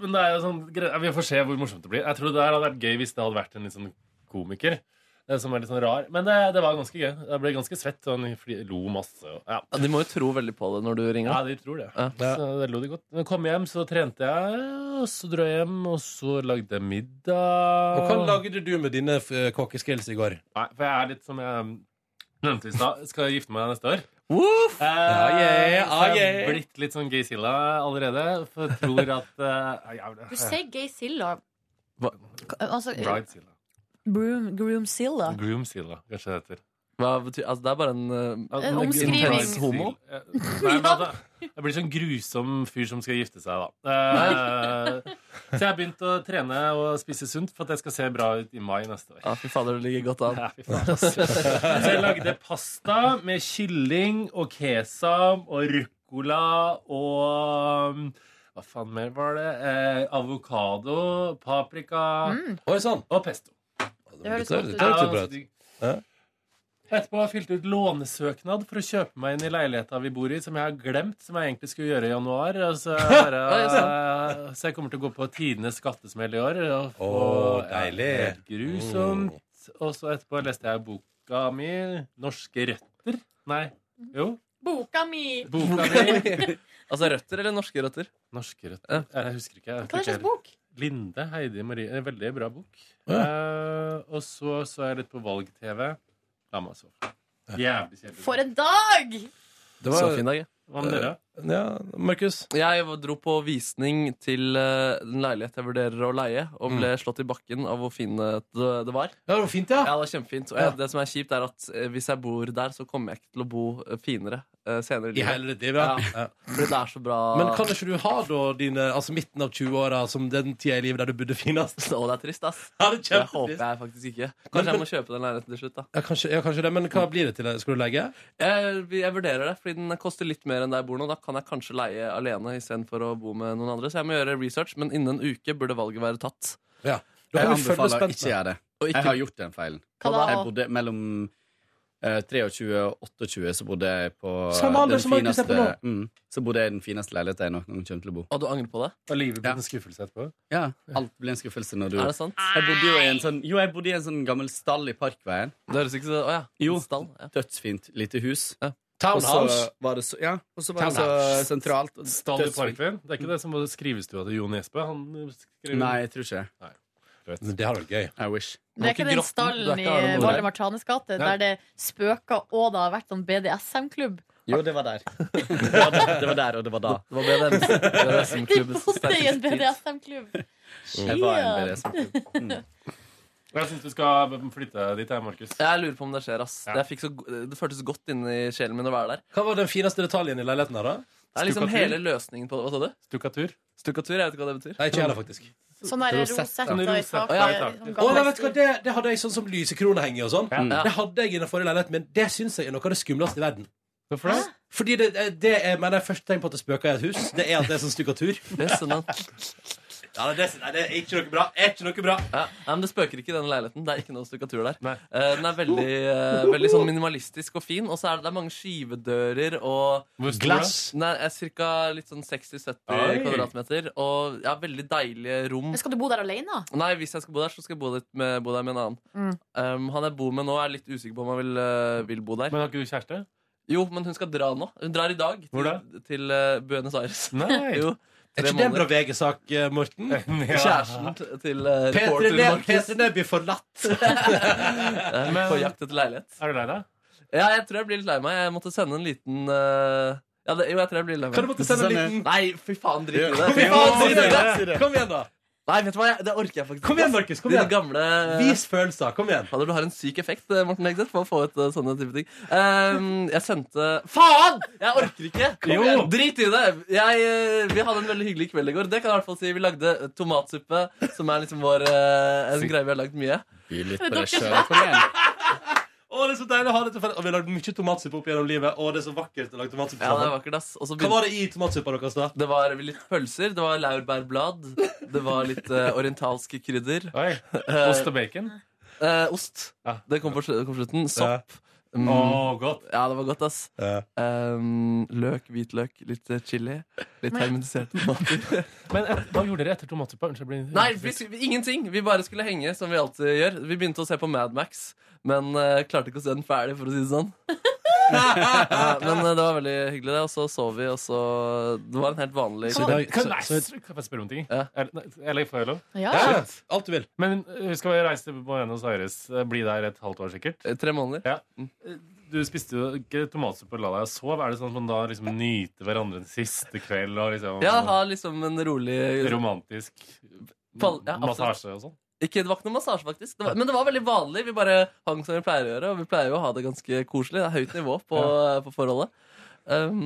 [SPEAKER 8] Men det er jo sånn, gre- vi får se hvor morsomt det blir. Jeg tror det der hadde vært gøy hvis det hadde vært en litt sånn komiker. eh, Som er litt sånn rar. Men det, det var ganske gøy. Jeg ble ganske svett. Og han fli- lo masse. Og, ja.
[SPEAKER 3] Ja, de må jo tro veldig på det når du ringer.
[SPEAKER 8] ja, de tror det.
[SPEAKER 3] Ja.
[SPEAKER 8] Så det lo de godt. Men kom hjem, så trente jeg, og så dro jeg hjem, og så lagde jeg middag.
[SPEAKER 2] Og hva lagde du med dine eh, kokkeskills i går?
[SPEAKER 8] Nei, for jeg er litt som jeg nevnte i stad. Skal jeg gifte meg neste år.
[SPEAKER 2] Woof!
[SPEAKER 8] Eh,
[SPEAKER 2] Ah, yeah, ah,
[SPEAKER 8] så jeg
[SPEAKER 2] yeah.
[SPEAKER 8] er blitt litt sånn gayzilla allerede. For jeg tror at eh, jævlig.
[SPEAKER 5] Du sier gayzilla.
[SPEAKER 8] Hva-
[SPEAKER 5] Altså,
[SPEAKER 8] Bridezilla.
[SPEAKER 5] broom, groomzilla.
[SPEAKER 8] Groomzilla, kanskje det heter.
[SPEAKER 3] Hva betyr, altså, det er bare en, eh,
[SPEAKER 5] En omskriving.
[SPEAKER 3] intens homo.
[SPEAKER 8] Eh, Nei, men altså, jeg blir sånn grusom fyr som skal gifte seg, da. Eh, så jeg har begynt å trene og spise sunt for at jeg skal se bra ut i mai neste år.
[SPEAKER 3] Ja, fy fader, du ligger godt an.
[SPEAKER 8] Ja, fy faen, ass. Så jeg lagde pasta med kylling og kesam og ruccola og um, Hva faen mer var det? Eh, Avokado, paprika
[SPEAKER 2] Oi sann!
[SPEAKER 8] Og pesto.
[SPEAKER 5] Det høres
[SPEAKER 2] Det høres
[SPEAKER 5] godt ut.
[SPEAKER 8] Ja,
[SPEAKER 2] jo bra
[SPEAKER 8] altså,
[SPEAKER 2] ut.
[SPEAKER 8] de-
[SPEAKER 2] Hæ?
[SPEAKER 8] Etterpå har jeg fylt ut lånesøknad for å kjøpe meg inn i leiligheta vi bor i, som jeg har glemt, som jeg egentlig skulle gjøre i januar. Og så,
[SPEAKER 2] <laughs>
[SPEAKER 8] bare, <laughs> så jeg kommer til å gå på tidenes skattesmell i år. Og få,
[SPEAKER 2] Å,
[SPEAKER 8] ja,
[SPEAKER 2] deilig. Mm.
[SPEAKER 8] helt grusomt. Og så etterpå leste jeg boka mi, 'Norske røtter'. Nei, jo.
[SPEAKER 5] Boka mi!
[SPEAKER 8] Boka
[SPEAKER 2] <laughs>
[SPEAKER 8] mi.
[SPEAKER 3] <laughs> Altså røtter eller norske røtter?
[SPEAKER 8] Norske røtter. Jeg husker ikke. Jeg
[SPEAKER 5] Hva
[SPEAKER 8] tror
[SPEAKER 5] slags
[SPEAKER 8] ikke jeg-
[SPEAKER 5] bok?
[SPEAKER 8] Linde Heidi Marie. En veldig bra bok.
[SPEAKER 2] Ja.
[SPEAKER 8] Eh, og så så jeg litt på valg-TV. La meg sove. Jævlig kjedelig.
[SPEAKER 5] For en dag!
[SPEAKER 2] Det var-
[SPEAKER 3] Så fin dag, ja.
[SPEAKER 8] Hva med dere?
[SPEAKER 2] Mm. Ja, Markus?
[SPEAKER 3] Jeg dro på visning til eh, en leilighet jeg vurderer å leie, og ble slått i bakken av hvor fin eh, det, det var.
[SPEAKER 2] Ja, det var fint, ja.
[SPEAKER 3] Ja, det var kjempefint. Og jeg, det som er kjipt, er at eh, hvis jeg bor der, så kommer jeg ikke til å bo eh, finere eh, senere i
[SPEAKER 2] I
[SPEAKER 3] livet.
[SPEAKER 2] hele ditt liv, ja. ja.
[SPEAKER 3] Fordi det er så bra
[SPEAKER 2] Men kan ikke du ha da dine, altså midten av 20-åra som den tida i livet der du bodde finest?
[SPEAKER 3] <laughs>
[SPEAKER 2] <laughs>
[SPEAKER 3] Å, det er trist, ass.
[SPEAKER 2] Ja, det er
[SPEAKER 3] Det håper
[SPEAKER 2] kjempetrist.
[SPEAKER 3] jeg faktisk ikke.
[SPEAKER 2] Men-
[SPEAKER 3] Kanskje jeg må kjøpe den leiligheten til slutt, da.
[SPEAKER 2] Ja, kanskje, ja, kanskje det, men hva blir det til? Skal du legge?
[SPEAKER 3] Jeg, jeg vurderer det, fordi den koster litt mer enn der jeg bor nå. Da kan jeg kanskje leie alene istedenfor å bo med noen andre. Så jeg må gjøre research, men innen en uke burde valget være tatt.
[SPEAKER 2] Ja. Da kan vi
[SPEAKER 11] Jeg
[SPEAKER 2] følge
[SPEAKER 11] anbefaler å
[SPEAKER 2] spent
[SPEAKER 11] ikke gjøre det.
[SPEAKER 3] Og ikke-
[SPEAKER 11] Jeg har gjort den feilen.
[SPEAKER 5] Hva da?
[SPEAKER 11] Jeg bodde mellom eh, 23 og 28, så bodde jeg på
[SPEAKER 2] Samme alder som Markus er på nå.
[SPEAKER 11] mm, Så bodde jeg i den fineste leiligheten jeg noen gang kommer til å bo.
[SPEAKER 3] Og du angrer på det?
[SPEAKER 8] Og livet ble en skuffelse etterpå?
[SPEAKER 11] Ja, Alt blir en skuffelse når du
[SPEAKER 3] Er det sant?
[SPEAKER 11] Jeg bodde jo i en sånn Jo, jeg bodde i en sånn gammel stall i Parkveien.
[SPEAKER 3] Det høres ikke så Å ja.
[SPEAKER 11] Jo.
[SPEAKER 3] Stall. Ja.
[SPEAKER 11] Dødsfint lite hus.
[SPEAKER 3] Ja.
[SPEAKER 11] Og så
[SPEAKER 2] Townhouse.
[SPEAKER 11] var det så, ja, og så var det så
[SPEAKER 2] Townhouse.
[SPEAKER 11] sentralt. og
[SPEAKER 8] Stall i
[SPEAKER 11] dødsfint.
[SPEAKER 8] Parkveien? Det er ikke det som var skrivestua til Jon Jespe? Han skrev
[SPEAKER 11] Nei, jeg tror ikke det.
[SPEAKER 2] Det hadde vært gøy.
[SPEAKER 11] I wish.
[SPEAKER 3] Du har
[SPEAKER 5] Det er ikke
[SPEAKER 3] ikke
[SPEAKER 5] den
[SPEAKER 3] grotten, du er
[SPEAKER 5] stallen i
[SPEAKER 3] ikke Arne Nordheim.
[SPEAKER 5] Valdemar Tranes gate
[SPEAKER 2] Nei.
[SPEAKER 5] der det spøker og det har vært sånn BDSM-klubb.
[SPEAKER 11] Jo, det var der. Det var der, det var der og det var da.
[SPEAKER 3] Det var BDSM-klubbens
[SPEAKER 5] <laughs> De bodde i en
[SPEAKER 3] tid.
[SPEAKER 5] BDSM-klubb.
[SPEAKER 11] Jeg var en
[SPEAKER 5] Ja.
[SPEAKER 11] BDSM.
[SPEAKER 8] Jeg syns du skal flytte dit, jeg, Markus.
[SPEAKER 3] Jeg lurer på om det skjer, ass.
[SPEAKER 8] Ja.
[SPEAKER 3] Jeg fikk så, go- det føltes godt inni sjelen min å være der.
[SPEAKER 2] Hva var den fineste detaljen i leiligheten her, da?
[SPEAKER 3] Det er liksom
[SPEAKER 8] Stukkatur.
[SPEAKER 3] hele løsningen på det. Hva sa du?
[SPEAKER 8] Stukkatur.
[SPEAKER 3] Stukkatur? Jeg vet ikke hva det
[SPEAKER 8] <laughs>
[SPEAKER 3] betyr.
[SPEAKER 2] Nei, ikke heller, faktisk.
[SPEAKER 5] Sånn der
[SPEAKER 11] Rosetta.
[SPEAKER 5] rosetter i
[SPEAKER 8] Rosetta
[SPEAKER 5] taket.
[SPEAKER 3] i
[SPEAKER 8] taket.
[SPEAKER 2] Å,
[SPEAKER 5] sånn gammel
[SPEAKER 2] nei, vet du hva, det, det hadde jeg sånn som lysekrone henger og sånn.
[SPEAKER 3] Ja.
[SPEAKER 2] Det hadde jeg i den forrige leiligheten min. Det syns jeg er noe av det skumleste i verden.
[SPEAKER 8] Hvorfor det?
[SPEAKER 2] Fordi det, eh, det er, mener jeg første tegn på at det spøker i et hus, det er at det er sånn stukkatur.
[SPEAKER 3] Det er sånn at-
[SPEAKER 2] Ja, det, er- nei, det er ikke noe bra. Er ikke noe bra.
[SPEAKER 3] Ja. Nei, men det spøker ikke i denne leiligheten. Det er ikke noe stukkatur der.
[SPEAKER 8] Nei.
[SPEAKER 3] Eh, Den er veldig, eh, veldig sånn minimalistisk og fin, og så er det, det er mange skyvedører og
[SPEAKER 8] Hvor stor
[SPEAKER 2] Glass.
[SPEAKER 3] Nei, Ca. litt sånn 60-70
[SPEAKER 8] Oi.
[SPEAKER 3] kvadratmeter. Og ja, veldig deilige rom.
[SPEAKER 5] Men Skal du bo der alene?
[SPEAKER 3] Nei, hvis jeg skal bo der, så skal jeg bo, litt med, bo der med en annen.
[SPEAKER 5] Mm.
[SPEAKER 3] Um, han jeg bor med nå, er litt usikker på om han vil, eh, vil bo der.
[SPEAKER 8] Men har ikke du kjæreste?
[SPEAKER 3] Jo, men hun skal dra nå. Hun drar i dag til,
[SPEAKER 8] Hvor da?
[SPEAKER 3] til eh, Buenos Aires.
[SPEAKER 8] Nei.
[SPEAKER 3] <laughs> jo,
[SPEAKER 2] Er
[SPEAKER 3] tre
[SPEAKER 2] ikke det en bra
[SPEAKER 3] måneder.
[SPEAKER 2] VG-sak, eh, <laughs> Morten?
[SPEAKER 3] Kjæresten t- til eh,
[SPEAKER 2] Petre
[SPEAKER 3] reporter
[SPEAKER 2] Neb-
[SPEAKER 3] Markus
[SPEAKER 2] Petre Neby <laughs> forlatt.
[SPEAKER 3] eh,
[SPEAKER 8] Men-
[SPEAKER 3] på jakt etter leilighet.
[SPEAKER 8] Er du lei deg?
[SPEAKER 3] Ja, jeg tror jeg blir litt lei meg. Jeg måtte sende en liten eh, ja, det, Jo, jeg tror jeg blir litt lei
[SPEAKER 2] Kan du
[SPEAKER 3] meg.
[SPEAKER 2] måtte sende en liten
[SPEAKER 3] Nei, fy faen, drit i det.
[SPEAKER 2] Fy faen, si det! Kom igjen, da.
[SPEAKER 3] Nei, vet du hva, jeg, det orker jeg faktisk
[SPEAKER 2] Kom igjen, Markus, kom
[SPEAKER 3] Dine
[SPEAKER 2] igjen.
[SPEAKER 3] gamle...
[SPEAKER 2] Vis følelser, kom igjen
[SPEAKER 3] Fader, du har en syk effekt, eh, Morten Hegseth For å få ut eh, sånne type ting Ehm, Jeg sendte... Faen! Jeg orker ikke Kom
[SPEAKER 2] Jo.
[SPEAKER 3] igjen, drit i det jeg, eh, Vi hadde en veldig hyggelig kveld i går Det kan jeg i hvert fall si Vi lagde eh, tomatsuppe Som er liksom vår... eh, En greie vi har lagd mye
[SPEAKER 11] By
[SPEAKER 2] på det selv, kom Å, det er så deilig å ha det til felles. Og vi har lagd mye tomatsuppe opp gjennom livet. Å, det er så vakkert å lage tomatsuppe
[SPEAKER 3] Ja, det er
[SPEAKER 2] sammen.
[SPEAKER 3] vakkert, ass. Og så
[SPEAKER 2] Hva
[SPEAKER 3] begynte-
[SPEAKER 2] var det i tomatsuppa deres, da?
[SPEAKER 3] Det var litt pølser, det var laurbærblad, det var litt eh, orientalske krydder. Eh,
[SPEAKER 8] Ost og bacon?
[SPEAKER 3] eh, ost. Det kom på slu- kom på slutten. Sopp.
[SPEAKER 8] Ja.
[SPEAKER 3] Mm.
[SPEAKER 8] Å, godt.
[SPEAKER 3] Ja, det var godt, ass. Um, løk, hvitløk, lilitt eh, chili. Litt
[SPEAKER 8] Men-
[SPEAKER 3] hermetiserte tomater.
[SPEAKER 8] Men et, hva gjorde dere etter tomatsuppa? Unnskyld, jeg ble-
[SPEAKER 3] Nei, vi, sk- vi- ingenting. Vi bare skulle henge, som vi alltid gjør. Vi begynte å se på Mad Max, men eh, klarte ikke å se den ferdig, for å si det sånn. Eh, men eh, det var veldig hyggelig, det. Og så sov vi, og så Det var en helt vanlig
[SPEAKER 8] Kan, kan, nei, kan jeg spørre om en ting? Er, nei, eller får jeg lov?
[SPEAKER 5] Ja.
[SPEAKER 2] Ja,
[SPEAKER 8] Alt du vil. Men uh, skal vi reise til Buenos Aires? uh, Bli der et halvt år, sikkert?
[SPEAKER 3] Tre måneder.
[SPEAKER 8] Ja. Du spiste jo ikke tomatsuppe og la deg sove. Er det sånn at man da liksom nyter hverandre en siste kveld? Og liksom,
[SPEAKER 3] Ja, ha liksom en rolig
[SPEAKER 8] Romantisk
[SPEAKER 3] Pal- ja, absolutt.
[SPEAKER 8] massasje og sånn?
[SPEAKER 3] Ikke, det var ikke noe massasje, faktisk. Det var, men det var veldig vanlig. Vi bare hang som vi pleier å gjøre, og vi pleier jo å ha det ganske koselig. Det er høyt nivå på, eh, på forholdet. Um,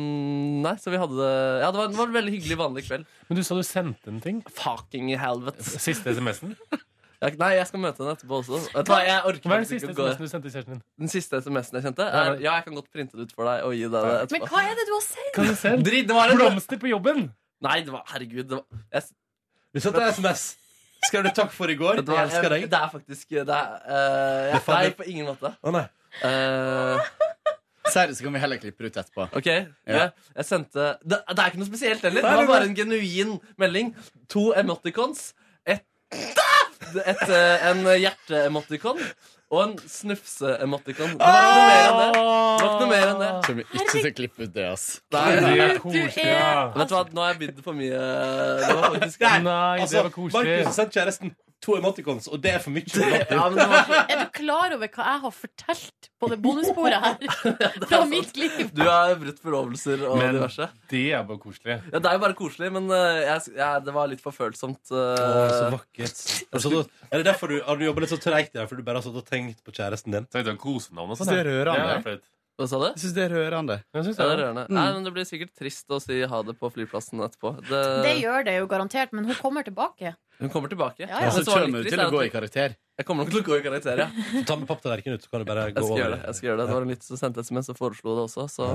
[SPEAKER 3] nei, så vi hadde det Ja, det var, det var en veldig hyggelig, vanlig kveld.
[SPEAKER 8] Men du sa du sendte en ting?
[SPEAKER 3] Fucking helvete.
[SPEAKER 8] Siste SMS-en?
[SPEAKER 3] Nei, jeg skal møte henne etterpå også. Vet du hva, jeg orker
[SPEAKER 8] Hva er den
[SPEAKER 3] faktisk ikke
[SPEAKER 8] siste
[SPEAKER 3] å gå-
[SPEAKER 8] SMS-en du sendte til kjæresten din?
[SPEAKER 3] Den siste SMS-en jeg kjente,
[SPEAKER 8] Ja,
[SPEAKER 3] er Ja, jeg kan godt printe det ut for deg og gi deg det
[SPEAKER 5] Men
[SPEAKER 3] etterpå.
[SPEAKER 5] hva er det du har sendt?
[SPEAKER 8] Kan du se?
[SPEAKER 3] Drit, det var en
[SPEAKER 8] <laughs> Blomster på jobben!
[SPEAKER 3] Nei, det var Herregud, det var jeg,
[SPEAKER 2] Du sendte SMS. Skrev du 'takk for i går'?
[SPEAKER 3] Vet du hva,
[SPEAKER 2] Jeg elsker deg.
[SPEAKER 3] Det er faktisk det er, eh,
[SPEAKER 2] Det er
[SPEAKER 3] Nei,
[SPEAKER 2] fader-
[SPEAKER 3] på ingen måte. Eh,
[SPEAKER 2] Å, nei.
[SPEAKER 11] Seriøst, så kan vi heller klippe det ut etterpå.
[SPEAKER 3] Ok, jeg, jeg sendte det, det er ikke noe spesielt heller. Det
[SPEAKER 11] Nei,
[SPEAKER 3] var
[SPEAKER 11] nei, nei.
[SPEAKER 3] bare en genuin melding. To emoticons. Et, et, eh, en hjerte-emoticon og en snufse-emoticon. Det var ikke noe mer enn det. Det var ikke noe mer enn det.
[SPEAKER 11] Så vi ikke skal klippe ut det, ass.
[SPEAKER 3] Nei,
[SPEAKER 11] Det
[SPEAKER 3] nei.
[SPEAKER 11] er koselig, Du er- ja.
[SPEAKER 3] Vet du
[SPEAKER 5] altså,
[SPEAKER 3] hva, nå har jeg bydd for mye. Det var faktisk
[SPEAKER 8] Nei,
[SPEAKER 2] Altså, Markus sendte kjæresten to emoticons, og det er for mye.
[SPEAKER 3] ja, men det var
[SPEAKER 5] Er du klar over hva jeg har fortalt på det bonussporet <laughs> her? Fra mitt liv?
[SPEAKER 3] Du har brutt forlovelser og
[SPEAKER 8] Men
[SPEAKER 3] diverse.
[SPEAKER 8] det er bare koselig.
[SPEAKER 3] Ja, det er jo bare koselig, men eh, jeg, jeg, det var litt for følsomt.
[SPEAKER 2] Å, så
[SPEAKER 3] eh.
[SPEAKER 2] vakkert. Har du satt og- Er det derfor du, har du jobbet litt så treigt i dag, fordi du bare har satt og tenkt på kjæresten din?
[SPEAKER 8] Tenkte han kosenavn og
[SPEAKER 11] sånn, ja. Det er rørende. Det er
[SPEAKER 3] Hva sa du?
[SPEAKER 11] Jeg syns det er rørende.
[SPEAKER 3] Ja,
[SPEAKER 11] Altså,
[SPEAKER 3] det er rørende.
[SPEAKER 5] Mm.
[SPEAKER 3] Nei, men det blir sikkert trist å si ha det på flyplassen etterpå. Det,
[SPEAKER 5] Det gjør det jo garantert, men hun kommer tilbake.
[SPEAKER 3] Hun kommer tilbake.
[SPEAKER 5] eh, Ja, ja.
[SPEAKER 11] Så
[SPEAKER 3] Det som var
[SPEAKER 11] kommer
[SPEAKER 3] litt
[SPEAKER 11] du
[SPEAKER 3] trist
[SPEAKER 11] til å
[SPEAKER 3] er
[SPEAKER 11] gå
[SPEAKER 3] at-
[SPEAKER 11] i karakter.
[SPEAKER 3] Jeg kommer nok til å gå i karakter, ja.
[SPEAKER 2] Ta med papptallerkenen ut, så kan du bare gå
[SPEAKER 3] Jeg skal
[SPEAKER 2] over.
[SPEAKER 3] gjøre det. jeg skal gjøre Det Det var en lytter som sendte SMS og foreslo det også. Så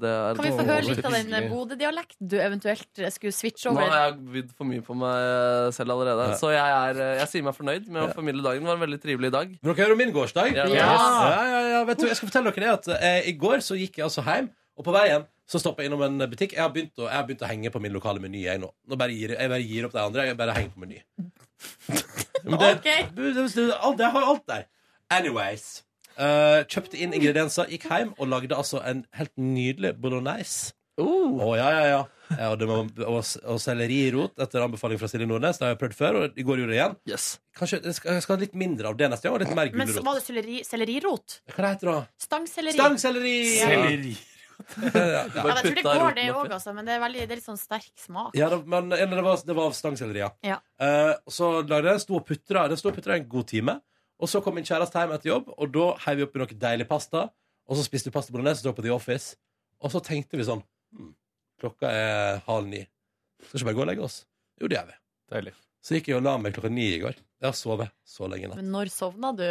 [SPEAKER 3] det er
[SPEAKER 5] Kan vi få høre litt av den eh, Bodø-dialekten du eventuelt eh, skulle switche
[SPEAKER 3] Nå
[SPEAKER 5] over?
[SPEAKER 3] har jeg bydd for mye på meg eh, selv allerede.
[SPEAKER 2] Ja.
[SPEAKER 3] Så jeg, er, eh, jeg sier meg fornøyd med å formidle dagen. Det var en veldig trivelig dag.
[SPEAKER 2] Vil dere høre om min gårsdag?
[SPEAKER 3] Ja.
[SPEAKER 2] Ja, ja, ja, vet du, jeg skal fortelle dere det at eh, I går så gikk jeg altså hjem, og på veien så stoppa jeg innom en butikk. Jeg har begynt å, jeg har begynt å henge på min lokale meny. Jeg nå, nå bare gir, jeg bare gir opp de andre. Jeg bare henger på meny. Men det, det, det, det, alt, jeg har alt der. Anyways. eh, kjøpte inn ingredienser, gikk hjem og lagde altså en helt nydelig bolognese.
[SPEAKER 3] Å,
[SPEAKER 2] ja, ja, ja. Ja, og, det var, og, og sellerirot etter anbefaling fra Silje Nordnes. Det har jeg prøvd før, og i går gjorde jeg det igjen.
[SPEAKER 3] <laughs>
[SPEAKER 5] <laughs>
[SPEAKER 2] Kanskje jeg skal, jeg skal ha litt mindre av det neste gang, og litt mer
[SPEAKER 5] Men så
[SPEAKER 2] gulrot.
[SPEAKER 5] var det selleri, sellerirot?
[SPEAKER 2] Hva heter det da?
[SPEAKER 5] Stangselleri.
[SPEAKER 2] Stangselleri!
[SPEAKER 5] Ja, men jeg tror det går, det òg, altså. Men det er, veldig, det er litt sånn sterk smak.
[SPEAKER 2] Ja, det, men eller det var, det var stangselleri, ja.
[SPEAKER 5] Ja.
[SPEAKER 2] Eh, og så lagde jeg den, sto og putra Den sto og putra en god time. Og så kom min kjæreste hjem etter jobb, og da heiv vi oppi noe deilig pasta. Og så spiste vi pasta bolognese og dro på The Office. Og så tenkte vi sånn hmm, Klokka er halv ni. Skal ikke bare gå og legge oss? Jo, det gjør vi. Så gikk jeg og la meg klokka ni i går. Jeg har sovet så lenge i natt.
[SPEAKER 5] Men når sovna <laughs> du?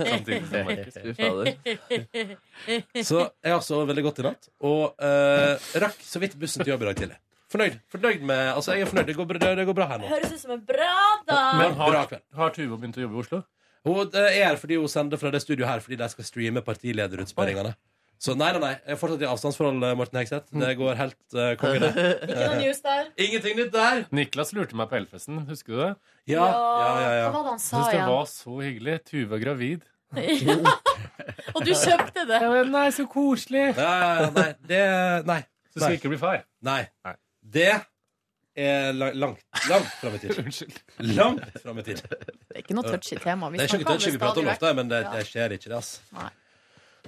[SPEAKER 2] Samtidig som Markus, fy fader. Så jeg har sovet veldig godt i natt, og eh, rakk så vidt bussen til jobb i dag tidlig. Fornøyd. Fornøyd med Altså, jeg er fornøyd. Det går bra, det går bra her nå.
[SPEAKER 5] Høres ut som en bra
[SPEAKER 8] Men
[SPEAKER 5] dag!
[SPEAKER 8] har,
[SPEAKER 2] Bra kveld.
[SPEAKER 8] har Tuva begynt å jobbe i Oslo?
[SPEAKER 2] Hun eh, er her fordi hun sender fra det studioet her fordi de skal streame partilederutspørringene. Så nei, nei, nei. Jeg er fortsatt i avstandsforhold, eh, Morten Hegseth. Det går helt uh, konge, det.
[SPEAKER 5] Ikke noe news der.
[SPEAKER 2] <laughs> Ingenting nytt der!
[SPEAKER 8] Niklas lurte meg på Elfesten, husker du det?
[SPEAKER 2] Ja, ja, ja, ja.
[SPEAKER 5] Hva var det han sa
[SPEAKER 8] Jeg synes det
[SPEAKER 5] igjen?
[SPEAKER 8] var så hyggelig. Tuva er gravid.
[SPEAKER 5] <laughs> Og du kjøpte det.
[SPEAKER 8] Nei, så koselig.
[SPEAKER 2] Nei, nei, det Nei.
[SPEAKER 8] Du skal
[SPEAKER 2] Nei.
[SPEAKER 8] ikke bli far.
[SPEAKER 2] nei. Det er la- langt, langt fram i <laughs> tid.
[SPEAKER 8] Unnskyld.
[SPEAKER 2] Langt fram i tid.
[SPEAKER 5] Det er ikke noe touchy tema. Vi
[SPEAKER 2] det er ikke
[SPEAKER 5] snakker om
[SPEAKER 2] touchy vi
[SPEAKER 5] det
[SPEAKER 2] prater om
[SPEAKER 5] stadig
[SPEAKER 2] ofte, men det,
[SPEAKER 5] Ja.
[SPEAKER 2] det skjer ikke, det, ass.
[SPEAKER 5] Nei.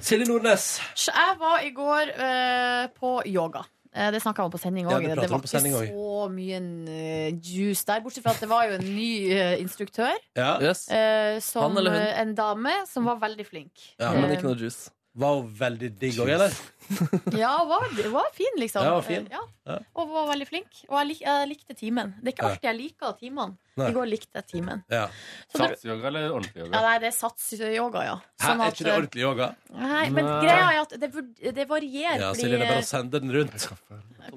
[SPEAKER 2] Silje Nordnes.
[SPEAKER 5] Så jeg var i går eh, på yoga. Eh, Det snakka man på sending
[SPEAKER 2] Ja,
[SPEAKER 5] òg.
[SPEAKER 2] det
[SPEAKER 5] det,
[SPEAKER 2] prater man
[SPEAKER 5] var
[SPEAKER 2] på
[SPEAKER 5] ikke
[SPEAKER 2] sending også.
[SPEAKER 5] så mye eh, juice der. Bortsett fra at det var jo en ny eh, instruktør.
[SPEAKER 2] Ja.
[SPEAKER 5] eh, som,
[SPEAKER 2] Han eller hun?
[SPEAKER 5] eh, En dame som var veldig flink.
[SPEAKER 2] Ja.
[SPEAKER 5] Eh,
[SPEAKER 2] juice. Var hun veldig digg òg, eller?
[SPEAKER 5] Eh, ja, var, var fin, liksom.
[SPEAKER 2] Ja, var fin.
[SPEAKER 5] Eh, Ja.
[SPEAKER 2] Ja.
[SPEAKER 5] Og var veldig flink. Og jeg, lik, jeg likte timen. Det er ikke
[SPEAKER 2] Ja.
[SPEAKER 5] alltid jeg liker timene.
[SPEAKER 2] Nei.
[SPEAKER 5] I går likte jeg timen.
[SPEAKER 2] Ja.
[SPEAKER 8] Satsyoga eller ordentlig
[SPEAKER 5] Ja, nei, det er satsyoga, ja.
[SPEAKER 2] Hæ,
[SPEAKER 5] Sånn
[SPEAKER 2] er
[SPEAKER 5] at,
[SPEAKER 2] ikke det
[SPEAKER 5] eh,
[SPEAKER 2] ordentlig yoga?
[SPEAKER 5] Nei, men greia er at det, vur- det varierer.
[SPEAKER 2] Ja,
[SPEAKER 5] fordi
[SPEAKER 2] Silje, det er bare å sende den rundt.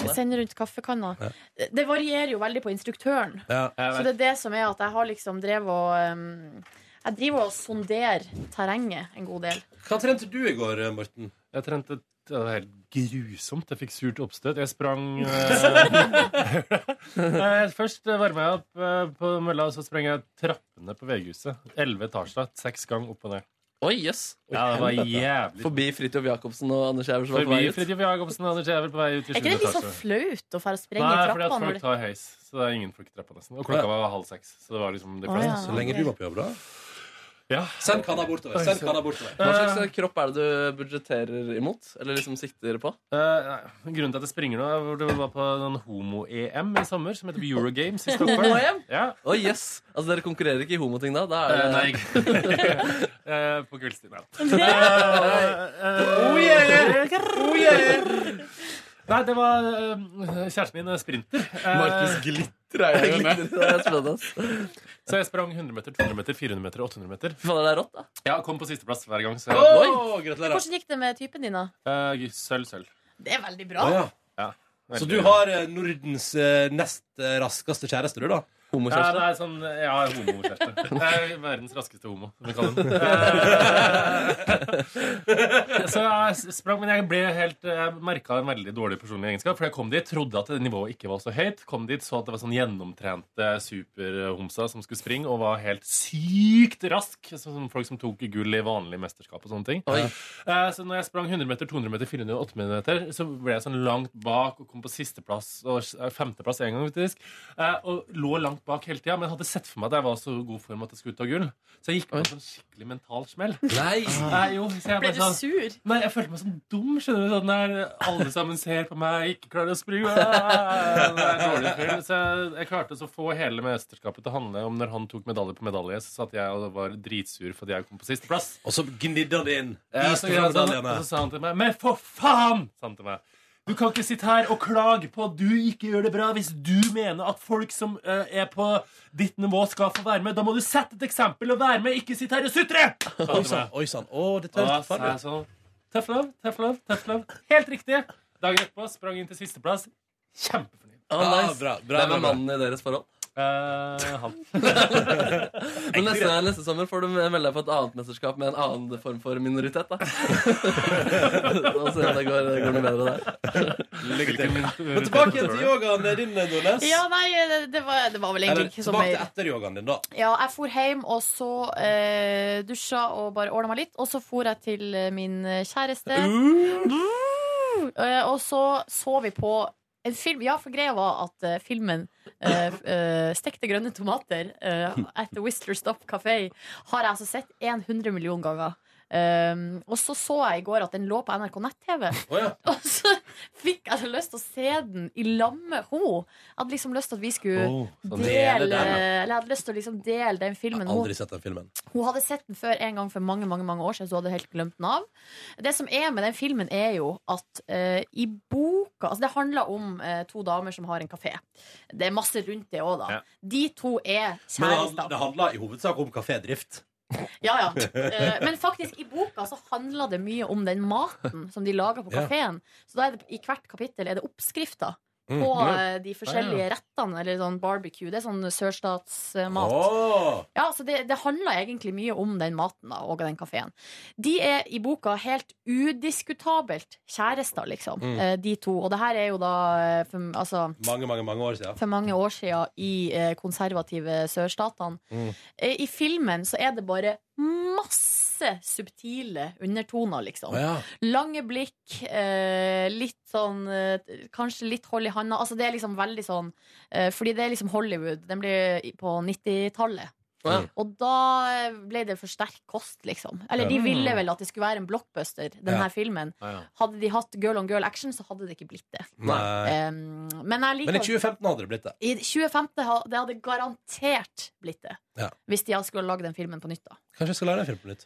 [SPEAKER 5] Jeg sender rundt kaffekanna.
[SPEAKER 2] Ja.
[SPEAKER 5] Det varierer jo veldig på instruktøren.
[SPEAKER 2] Ja.
[SPEAKER 5] Så det er det som er at jeg har liksom drevet og um, Jeg driver og sonderer terrenget en god del.
[SPEAKER 2] Hva trente du i går, eh, Morten?
[SPEAKER 8] Jeg trente det var helt grusomt. Jeg fikk surt oppstøt. Jeg sprang eh, <laughs> eh, Først varma jeg opp eh, på mølla, og så sprang jeg trappene på VG-huset. Elleve etasjer. Seks ganger opp og ned.
[SPEAKER 3] Oi, yes.
[SPEAKER 8] Ja, det var jævlig
[SPEAKER 3] Forbi Fridtjof Jacobsen og Anders Jæver som var på vei
[SPEAKER 8] Forbi
[SPEAKER 3] ut.
[SPEAKER 8] Fridtjof Jacobsen og Anders Jæver på vei ut i
[SPEAKER 5] Er ikke det
[SPEAKER 8] sjuende
[SPEAKER 5] litt sånn
[SPEAKER 8] etasje.
[SPEAKER 5] flaut å fære og sprenge
[SPEAKER 8] Nei,
[SPEAKER 5] i
[SPEAKER 8] fordi at
[SPEAKER 5] trappa?
[SPEAKER 8] folk
[SPEAKER 5] Når du...
[SPEAKER 8] tar heis. Så det er ingen folk i trappene. Og klokka var halv seks. Så det var liksom det
[SPEAKER 5] Å,
[SPEAKER 8] fleste.
[SPEAKER 5] ja, Så lenge ok. du var
[SPEAKER 2] på jobb, da?
[SPEAKER 8] Ja.
[SPEAKER 2] Send kanna bortover. Send kanna bortover.
[SPEAKER 3] Hva slags eh, kropp er det du budsjetterer imot? Eller liksom sikter på?
[SPEAKER 8] Eh, nei, grunnen til at jeg springer nå, er hvor det var på den homo-EM i sommer, som heter Eurogames i Stockholm.
[SPEAKER 3] Homo-EM?
[SPEAKER 8] Ja.
[SPEAKER 3] Å, yes! Altså, Dere konkurrerer ikke i homoting da? da
[SPEAKER 8] Eh, nei,
[SPEAKER 3] er det...
[SPEAKER 8] <laughs> Eh, på kveldstid, Eh, ja.
[SPEAKER 2] <laughs>
[SPEAKER 3] Oh, yeah!
[SPEAKER 2] Oh, yeah!
[SPEAKER 8] Nei, det var eh, kjæresten min, eh, sprinter. Eh,
[SPEAKER 3] Markus glitrer i <laughs> øynene. Jeg trodde det,
[SPEAKER 8] Så jeg sprang 100 meter, 200 meter, 400 meter, 800 meter.
[SPEAKER 3] det er rått, da.
[SPEAKER 8] Ja, kom på sisteplass hver gang. Så
[SPEAKER 2] Oi!
[SPEAKER 5] <laughs> Hvordan gikk det med typen din, da?
[SPEAKER 8] Eh, sølv, sølv.
[SPEAKER 5] Det er veldig bra.
[SPEAKER 2] Å, ja.
[SPEAKER 8] Ja,
[SPEAKER 2] Så
[SPEAKER 8] veldig
[SPEAKER 2] du
[SPEAKER 8] bra.
[SPEAKER 2] har eh, Nordens eh, nest eh, raskeste kjæreste, du, da?
[SPEAKER 8] Ja, det er sånn, ja, homokjæreste. Det er Verdens raskeste homo, som vi kaller den. Eh, <laughs> Så jeg sprang, men jeg ble helt Jeg merka en veldig dårlig personlig egenskap. For jeg kom dit, trodde at det nivået ikke var så høyt. Kom dit, så at det var sånn gjennomtrente superhomser som skulle springe, og var helt sykt rask. Sånn som folk som tok gull i vanlig mesterskap og sånne ting. Eh, Så når jeg sprang 100 meter, 200 meter, 400 og 800 meter, så ble jeg sånn langt bak og kom på sisteplass og s- eh, femteplass en gang, faktisk. Eh, Og lå langt bak hele tida, men hadde sett for meg at jeg var i så god form at jeg skulle ut av gull. Så jeg gikk på en sånn skikkelig mental smell.
[SPEAKER 2] Nei!
[SPEAKER 8] Nei, jo, så jeg
[SPEAKER 5] Ble
[SPEAKER 8] bare
[SPEAKER 5] du
[SPEAKER 8] sånn-
[SPEAKER 5] sur?
[SPEAKER 8] Nei, jeg følte meg som dum. skjønner du sånn der, Alle sammen ser på meg, ikke klarer å springe. Ah, Det er dårlig film. Så jeg, jeg klarte så å få hele mesterskapet til å handle om når han tok medalje på medalje, så satt jeg og var dritsur fordi jeg kom på sisteplass.
[SPEAKER 2] Og så gnidde han det inn.
[SPEAKER 8] Ja,
[SPEAKER 2] Viste
[SPEAKER 8] så,
[SPEAKER 2] fram
[SPEAKER 8] sa han-
[SPEAKER 2] medaljene.
[SPEAKER 8] og så sa han til meg Men for faen! sa han til meg. Du kan ikke sitte her og klage på at du ikke gjør det bra hvis du mener at folk som eh, er på ditt nivå, skal få være med. Da må du sette et eksempel og være med, ikke sitte her og sutre! sa han til
[SPEAKER 2] Oi
[SPEAKER 8] meg.
[SPEAKER 2] sann. Oi sann. Å, det
[SPEAKER 8] Og da
[SPEAKER 2] tør
[SPEAKER 8] sa jeg sånn Tøff love, tøff love, tøff love. Helt riktig. Dagen etterpå sprang inn til sisteplass. Kjempefornøyd.
[SPEAKER 3] Ah, nice.
[SPEAKER 2] bra,
[SPEAKER 3] Hvem
[SPEAKER 2] bra, bra,
[SPEAKER 3] er
[SPEAKER 2] bra.
[SPEAKER 3] mannen i deres forhold?
[SPEAKER 8] Eh, han.
[SPEAKER 3] Men neste, neste sommer får du melde deg på et annet mesterskap med en annen form for
[SPEAKER 2] <laughs>
[SPEAKER 3] minoritet. da <laughs> Og se om det går, går noe bedre der.
[SPEAKER 2] Lykke til. Men tilbake igjen til yogaen eh, din, Nordnes.
[SPEAKER 5] Ja, nei, det, det, var, det var vel
[SPEAKER 2] Eller
[SPEAKER 5] egentlig ikke så
[SPEAKER 2] tilbake til
[SPEAKER 5] mer.
[SPEAKER 2] etter yogaen din, da.
[SPEAKER 5] Ja, jeg for hjem, og så eh, dusja og bare ordna meg litt. Og så for jeg til eh, min eh, kjæreste.
[SPEAKER 2] Uh.
[SPEAKER 5] Eh, og så så vi på en film. Ja, for greia var at eh, filmen eh, f- eh, 'Stekte grønne tomater' eh, at The Whistler Stop Café har jeg altså sett 100 millioner ganger. Um, og så så jeg i går at den lå på NRK nett-TV. <laughs> Og så fikk jeg så lyst til å se den i lag med henne. Jeg hadde liksom lyst til at vi skulle
[SPEAKER 2] Oh, sånn.
[SPEAKER 5] dele
[SPEAKER 2] Dele den, ja.
[SPEAKER 5] Eller jeg hadde lyst til å liksom dele den filmen. Hun-
[SPEAKER 2] Aldri sett den filmen.
[SPEAKER 5] hun hadde sett den før en gang for mange mange, mange år siden, så hun hadde helt glemt den av. Det som er med den filmen, er jo at eh, i boka Altså, det handler om eh, to damer som har en kafé. Det er masse rundt det òg, da.
[SPEAKER 2] Ja.
[SPEAKER 5] De to er
[SPEAKER 2] Men det handla,
[SPEAKER 5] kjærester.
[SPEAKER 2] det handla i hovedsak om kafédrift.
[SPEAKER 5] Ja, ja. Eh, men faktisk, i boka så handler det mye om den maten som de lager på
[SPEAKER 2] Ja.
[SPEAKER 5] kafeen. Så da er det, i hvert kapittel er det oppskrifter.
[SPEAKER 2] Mm.
[SPEAKER 5] På
[SPEAKER 2] Ja.
[SPEAKER 5] eh, de forskjellige
[SPEAKER 2] Ja, ja.
[SPEAKER 5] rettene, eller sånn barbecue. Det er sånn sørstatsmat.
[SPEAKER 2] Åh.
[SPEAKER 5] Ja, så det, det handler egentlig mye om den maten da, og den kafeen. De er i boka helt udiskutabelt kjærester, liksom,
[SPEAKER 2] Mm.
[SPEAKER 5] eh, de to. Og det her er jo da eh, for, altså,
[SPEAKER 2] Mange, mange mange år siden.
[SPEAKER 5] for mange år siden i eh, konservative sørstatene.
[SPEAKER 2] Mm.
[SPEAKER 5] Eh, I filmen så er det bare masse subtile undertoner, liksom.
[SPEAKER 2] Å, ja.
[SPEAKER 5] Lange blikk, eh, litt sånn eh, Kanskje litt hold i handa. Altså, det er liksom veldig sånn eh, Fordi det er liksom Hollywood. Den blir på 90-tallet.
[SPEAKER 3] Ja.
[SPEAKER 5] Og da eh, ble det for sterk kost, liksom. Eller de
[SPEAKER 13] Ja.
[SPEAKER 5] ville vel at det skulle være en blockbuster, den
[SPEAKER 13] Ja.
[SPEAKER 5] her filmen.
[SPEAKER 13] Ja, ja.
[SPEAKER 5] Hadde de hatt girl on girl action, så hadde det ikke blitt det.
[SPEAKER 2] Nei.
[SPEAKER 5] Um, men jeg liker
[SPEAKER 2] Men i 2015 hadde det blitt det.
[SPEAKER 5] I 2015 ha- det hadde garantert blitt det.
[SPEAKER 2] Ja.
[SPEAKER 5] Hvis de skulle lagd den filmen på nytt, da.
[SPEAKER 2] Kanskje jeg skal lære deg film på nytt.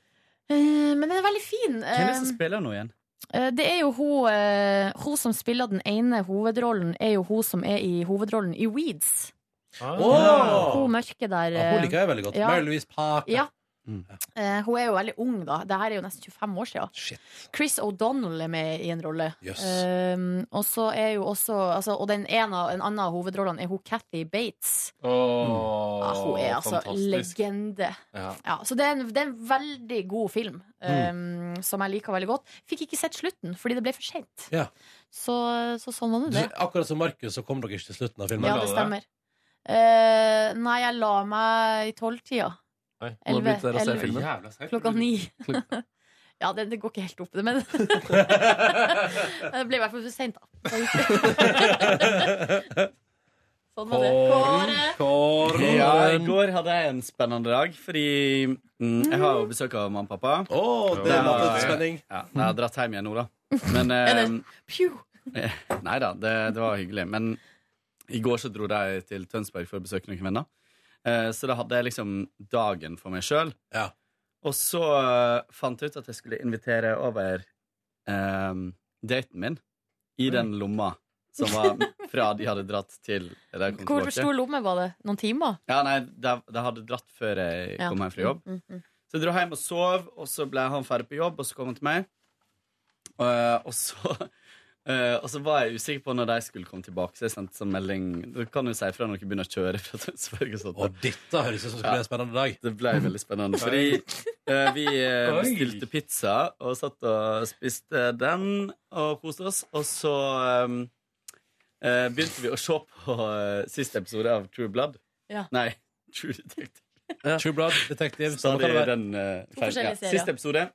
[SPEAKER 5] Eh, men den er veldig fin.
[SPEAKER 8] Hvem er
[SPEAKER 2] Ehm,
[SPEAKER 8] det som
[SPEAKER 5] Eh,
[SPEAKER 8] spiller nå igjen?
[SPEAKER 5] eh, det er jo hun eh, Hun som spiller den ene hovedrollen, er jo hun som er i hovedrollen i Weeds.
[SPEAKER 2] Ah.
[SPEAKER 5] Hun mørke der.
[SPEAKER 2] Ja, hun liker jeg veldig godt.
[SPEAKER 5] eh, ja.
[SPEAKER 2] Mary Louise Parker.
[SPEAKER 5] Ja.
[SPEAKER 2] Mm.
[SPEAKER 5] Eh, hun er jo veldig ung, da. Det her er jo nesten 25 år siden. Chris O'Donnell er med i en rolle.
[SPEAKER 2] Jøss.
[SPEAKER 5] Eh, og så er jo også altså, Og den ene, en annen av hovedrollene er hun Kathy Bates.
[SPEAKER 10] Åh,
[SPEAKER 5] Ja, hun er altså
[SPEAKER 10] fantastisk.
[SPEAKER 5] legende.
[SPEAKER 10] Ja.
[SPEAKER 5] Ja, så det er, en, det er en veldig god film,
[SPEAKER 2] Mm.
[SPEAKER 5] um, som jeg liker veldig godt. Fikk ikke sett slutten, fordi det ble for sent.
[SPEAKER 2] Ja.
[SPEAKER 5] Så, så sånn var nå
[SPEAKER 2] Du,
[SPEAKER 5] det.
[SPEAKER 2] akkurat som Markus, så kom dere ikke til slutten av filmen.
[SPEAKER 5] Ja, det stemmer. Eh, nei, jeg la meg i tolvtida.
[SPEAKER 2] Oi. Nå
[SPEAKER 5] Elleve-
[SPEAKER 2] begynte dere å se
[SPEAKER 5] elleve-
[SPEAKER 2] filmen. Jævla seint.
[SPEAKER 5] <laughs> Klokka ni. <laughs> ja, det, det går ikke helt opp, det,
[SPEAKER 8] <laughs>
[SPEAKER 5] men <laughs> Det ble i hvert fall for seint, da. sånn var det. Kåre!
[SPEAKER 2] Kåren.
[SPEAKER 8] Ja, I går hadde jeg en spennende dag, fordi mm, jeg har jo besøk av mamma og pappa.
[SPEAKER 2] Oh,
[SPEAKER 13] det matet spenning.
[SPEAKER 8] Ja, jeg har dratt hjem igjen nå, da. Men,
[SPEAKER 13] Er
[SPEAKER 8] eh, Eh, Nei da, det, det var hyggelig. Men i går så dro jeg til Tønsberg for å besøke noen venner. Eh, Så da hadde jeg liksom dagen for meg sjøl. Og så eh, fant jeg ut at jeg skulle invitere over eh, daten min i den lomma som var fra de hadde dratt til da jeg kom
[SPEAKER 5] Hvor
[SPEAKER 8] tilbake.
[SPEAKER 5] stor lomme var det? Noen timer?
[SPEAKER 8] Ja, nei, de, de hadde dratt før jeg
[SPEAKER 5] Ja.
[SPEAKER 8] kom hjem fra jobb.
[SPEAKER 5] Mm, mm, mm.
[SPEAKER 8] Så jeg dro hjem og sov, og så ble han ferdig på jobb, og så kom han til meg. Eh, og, så, <laughs> eh, og så var jeg usikker på når de skulle komme tilbake, så jeg sendte sånn melding. Du kan jo si ifra når dere begynner å kjøre <laughs> fra Tønsberg og sånt.
[SPEAKER 2] Og dette høres ut som det skulle bli en spennende dag.
[SPEAKER 8] sånn. Det ble veldig spennende, fordi eh, vi eh,
[SPEAKER 2] Oi.
[SPEAKER 8] bestilte pizza og satt og spiste den og koste oss, og så eh, eh, begynte vi å se på eh, siste episode av True Blood.
[SPEAKER 5] Ja.
[SPEAKER 8] Nei, <laughs> True Detective.
[SPEAKER 2] True Blood Detective. samme
[SPEAKER 8] Stadig
[SPEAKER 2] kan det være.
[SPEAKER 8] den eh,
[SPEAKER 2] To
[SPEAKER 8] feil-
[SPEAKER 2] forskjellige
[SPEAKER 8] ja.
[SPEAKER 2] serier.
[SPEAKER 8] Siste episode.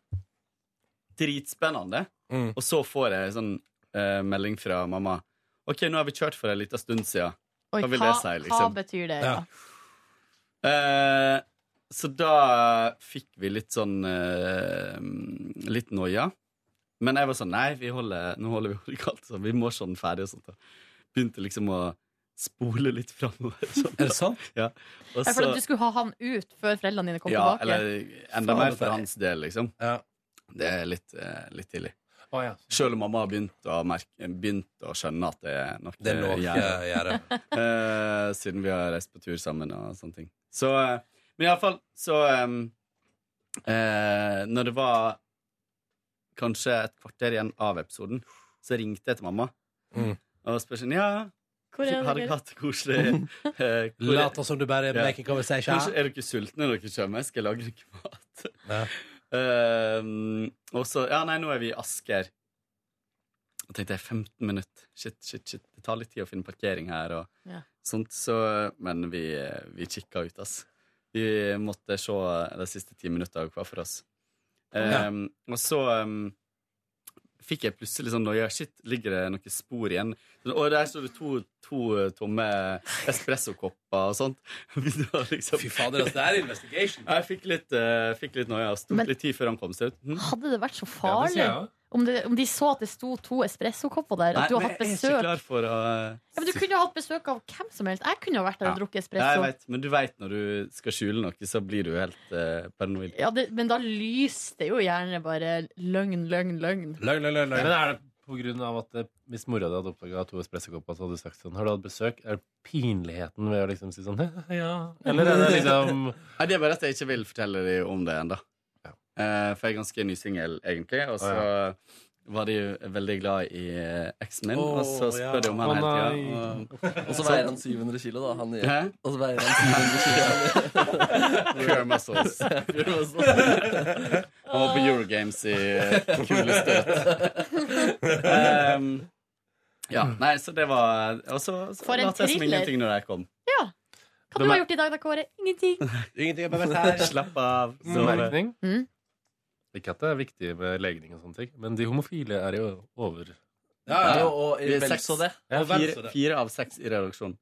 [SPEAKER 8] Dritspennende.
[SPEAKER 2] Mm.
[SPEAKER 8] Og så får jeg sånn eh, melding fra mamma. OK, nå har vi kjørt for en liten stund siden.
[SPEAKER 5] Oi,
[SPEAKER 8] Hva vil
[SPEAKER 5] hva,
[SPEAKER 8] det si,
[SPEAKER 5] hva
[SPEAKER 8] liksom?
[SPEAKER 5] betyr det?
[SPEAKER 8] Ja.
[SPEAKER 5] Ja.
[SPEAKER 8] Eh, så da fikk vi litt sånn eh, Litt noia. Men jeg var sånn Nei, vi holder, nå holder vi <laughs> hodet kaldt. Sånn. Vi må se den ferdig. Og sånt, da. Begynte liksom å spole litt framover. Sånn,
[SPEAKER 2] <laughs>
[SPEAKER 8] er det sant? Ja. Og
[SPEAKER 5] Ja, for
[SPEAKER 8] så-
[SPEAKER 5] at du skulle ha han ut før foreldrene dine kom
[SPEAKER 8] ja,
[SPEAKER 5] tilbake?
[SPEAKER 8] eller enda
[SPEAKER 5] Faen, altså.
[SPEAKER 8] mer
[SPEAKER 5] dette
[SPEAKER 8] for
[SPEAKER 5] er-
[SPEAKER 8] hans del, liksom. Det er litt, eh, litt tidlig. Selv om mamma har begynt å, merke, begynt å skjønne at det er noe
[SPEAKER 2] Det er noe
[SPEAKER 8] gjerde. Eh, siden vi har reist på tur sammen og sånne ting. Så, eh, men iallfall, så eh, eh, Når det var kanskje et kvarter igjen av episoden, så ringte jeg til mamma
[SPEAKER 2] Mm.
[SPEAKER 8] og spurte sånn, ja,
[SPEAKER 5] Hvor er
[SPEAKER 8] har dere
[SPEAKER 5] dere?
[SPEAKER 8] hatt det koselig?
[SPEAKER 2] <laughs>
[SPEAKER 8] Eh, hvor er-
[SPEAKER 2] Later som du bare er
[SPEAKER 8] Ja.
[SPEAKER 2] making conversation.
[SPEAKER 8] Kanskje Er dere sultne når dere kommer? Skal jeg lage dere mat? Ehm, og så Ja, nei, nå er vi i Asker. Og tenkte jeg 15 minutter. Shit, shit, shit. Det tar litt tid å finne parkering her og
[SPEAKER 5] Ja.
[SPEAKER 8] sånt, så Men vi, eh, vi kikka ut, ass. Vi måtte se de siste ti minuttene hver for oss. Ehm, Og så ehm, fikk jeg plutselig sånn noia. Shit, ligger det noen spor igjen? Sånn, Og der står det to, to eh, tomme espressokopper og sånt. <laughs> Det var liksom, Fy
[SPEAKER 2] fader, altså, det er investigation.
[SPEAKER 8] Jeg fikk litt, uh, fikk litt noia. Tok
[SPEAKER 5] Men-
[SPEAKER 8] litt tid før han kom seg ut. Mhm.
[SPEAKER 5] Hadde det vært så
[SPEAKER 8] Ja, det
[SPEAKER 5] farlig?
[SPEAKER 8] sier jeg også.
[SPEAKER 5] om, det, om de så at det sto to espressokopper der?
[SPEAKER 8] Nei,
[SPEAKER 5] At du har
[SPEAKER 8] men
[SPEAKER 5] hatt
[SPEAKER 8] jeg er ikke
[SPEAKER 5] besøk?
[SPEAKER 8] klar for å
[SPEAKER 5] Ja, men du kunne jo hatt besøk av hvem som helst. Jeg kunne jo vært der
[SPEAKER 8] Ja.
[SPEAKER 5] og drukket
[SPEAKER 8] Nei, jeg
[SPEAKER 5] espresso.
[SPEAKER 8] vet, Men du veit når du skal skjule noe, så blir du jo helt eh, paranoid.
[SPEAKER 5] Ja, det, men da lyste jo gjerne bare løgn, løgn,
[SPEAKER 2] Løgn,
[SPEAKER 5] løgn.
[SPEAKER 2] løgn, løgn.
[SPEAKER 10] Men er det på grunn av at det, hvis mora di hadde oppdaga to espressokopper, så hadde du sagt sånn Har du hatt besøk? Er det pinligheten ved å liksom si sånn <laughs> Ja. Eller er det liksom
[SPEAKER 8] <laughs> Nei, det er bare at jeg ikke vil fortelle dem om det ennå. for jeg er ganske ny singel, egentlig. Og så
[SPEAKER 10] Å,
[SPEAKER 8] var de jo veldig glad i eh, eksen min, og
[SPEAKER 3] Å,
[SPEAKER 8] så spør
[SPEAKER 3] ja.
[SPEAKER 8] de om han
[SPEAKER 3] Å,
[SPEAKER 8] hele tida.
[SPEAKER 3] nei. Og så veier han 700 kilo, da. Han,
[SPEAKER 8] Hæ?
[SPEAKER 3] og så veier han 700 kilo.
[SPEAKER 8] Pure muscles.
[SPEAKER 3] Pure muscles.
[SPEAKER 8] Og på Eurogames i eh, kule
[SPEAKER 10] <laughs>
[SPEAKER 8] støt. Ehm, ja,
[SPEAKER 10] Mm.
[SPEAKER 8] nei, så det var Og så
[SPEAKER 5] For en
[SPEAKER 8] lot jeg som
[SPEAKER 5] thriller.
[SPEAKER 8] ingenting når jeg kom.
[SPEAKER 5] Ja. Hva
[SPEAKER 8] De
[SPEAKER 5] du har
[SPEAKER 8] er-
[SPEAKER 5] gjort i dag da, Kåre? Ingenting.
[SPEAKER 2] Ingenting er
[SPEAKER 8] Slapp av. eh,
[SPEAKER 10] Bemerkning.
[SPEAKER 5] Mm.
[SPEAKER 10] Ikke at det er viktig med legning og sånne ting, men de homofile er jo over
[SPEAKER 2] Ja, ja.
[SPEAKER 10] Vi er seks. Ja,
[SPEAKER 8] Fire, fire av seks i redaksjonen.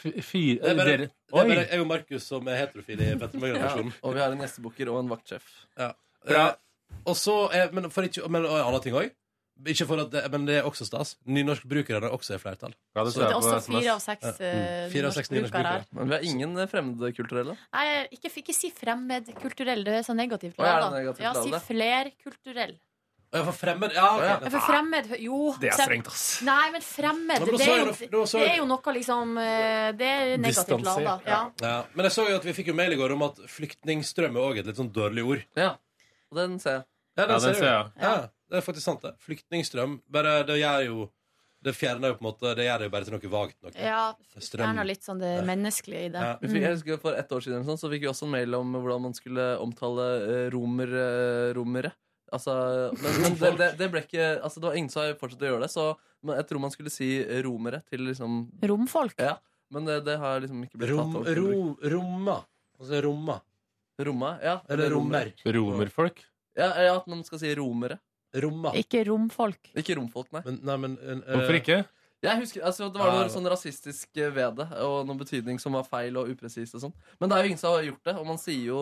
[SPEAKER 7] Fire
[SPEAKER 2] Det er bare,
[SPEAKER 7] dere-
[SPEAKER 2] det er bare
[SPEAKER 7] Oi.
[SPEAKER 2] jeg og Markus som er heterofil i Petter Møgren-versjonen.
[SPEAKER 3] Ja, og vi har en gjestebooker og en vaktsjef.
[SPEAKER 2] Ja. Eh, og så er, men for ikke, men, og andre ting òg. Ikke for at det, men det er også stas. Nynorskbrukere er også i flertall.
[SPEAKER 8] Ja,
[SPEAKER 5] det Så ser jeg det er på også SMS. fire av seks,
[SPEAKER 2] Ja.
[SPEAKER 8] mm.
[SPEAKER 5] eh,
[SPEAKER 2] Fire av seks
[SPEAKER 5] nynorskbrukere her.
[SPEAKER 2] nynorskbrukere.
[SPEAKER 3] Men vi har ingen eh, fremmedkulturelle.
[SPEAKER 5] Nei, ikke, ikke si fremmedkulturell, det er så negativt.
[SPEAKER 3] Å, ja,
[SPEAKER 5] ladet.
[SPEAKER 3] det er negativt
[SPEAKER 5] ja, si
[SPEAKER 3] ladet.
[SPEAKER 5] flerkulturell.
[SPEAKER 2] Ja, for fremmed Ja, ok.
[SPEAKER 5] Ja, for fremmed hø- Jo.
[SPEAKER 2] Det er
[SPEAKER 5] sem-
[SPEAKER 2] strengt, ass.
[SPEAKER 5] Nei, men fremmed
[SPEAKER 2] Nei, men da
[SPEAKER 5] det,
[SPEAKER 2] sa
[SPEAKER 5] er jo,
[SPEAKER 2] jeg det- da sa
[SPEAKER 5] det
[SPEAKER 2] jeg-
[SPEAKER 5] er jo noe liksom eh, Det er negativt lada. Ja.
[SPEAKER 2] Ja. Men jeg så jo at vi fikk jo mail i går om at flyktningstrøm er også et litt sånn dårlig ord.
[SPEAKER 3] Ja, og den ser jeg.
[SPEAKER 2] Ja, den
[SPEAKER 8] Ja, den
[SPEAKER 2] ser,
[SPEAKER 8] ser
[SPEAKER 2] jeg. Ja. det er faktisk sant, det. Flyktningstrøm. Bare det gjør jo Det fjerner jo på en måte Det gjør det jo bare til noe vagt. Noe.
[SPEAKER 5] ja
[SPEAKER 2] Strøm.
[SPEAKER 5] Fjerna litt sånn det menneskelige i det.
[SPEAKER 2] Ja.
[SPEAKER 3] Vi fikk, jeg
[SPEAKER 5] Mm.
[SPEAKER 3] husker For ett år siden eller sånn, så fikk vi også en mail om hvordan man skulle omtale eh, romer, eh, romere. Altså, men, men det, det, det ble ikke altså, Det var ingen som har fortsatt å gjøre det, så men jeg tror man skulle si romere til liksom
[SPEAKER 5] Romfolk?
[SPEAKER 3] Ja, men det, det har liksom ikke blitt
[SPEAKER 2] Rom,
[SPEAKER 3] tatt
[SPEAKER 2] ro, romma. Altså romma.
[SPEAKER 3] Romma, ja.
[SPEAKER 2] Eller romer.
[SPEAKER 8] Romerfolk?
[SPEAKER 3] Ja, ja, at man skal si romere.
[SPEAKER 2] Romma.
[SPEAKER 5] Ikke romfolk.
[SPEAKER 3] Ikke romfolk, nei.
[SPEAKER 2] Men, nei men, eh,
[SPEAKER 8] Hvorfor ikke?
[SPEAKER 3] Jeg husker, altså Det var noe
[SPEAKER 8] Ja.
[SPEAKER 3] sånn rasistisk eh, ved det, og noe betydning som var feil og upresist. og sånn Men det er jo ingen som har gjort det, og man sier jo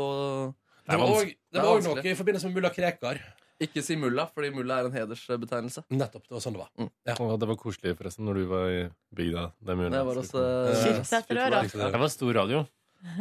[SPEAKER 2] Det var òg
[SPEAKER 3] Det er vanskelig.
[SPEAKER 2] noe i forbindelse med mulla Krekar.
[SPEAKER 3] Ikke si mulla, fordi mulla er en hedersbetegnelse.
[SPEAKER 2] Nettopp. Det var sånn det var.
[SPEAKER 8] Å, det var koselig, forresten, når du var i bygda. Det er mulig.
[SPEAKER 3] Det var også,
[SPEAKER 8] Eh,
[SPEAKER 5] Skipseterøra.
[SPEAKER 8] Det var stor radio.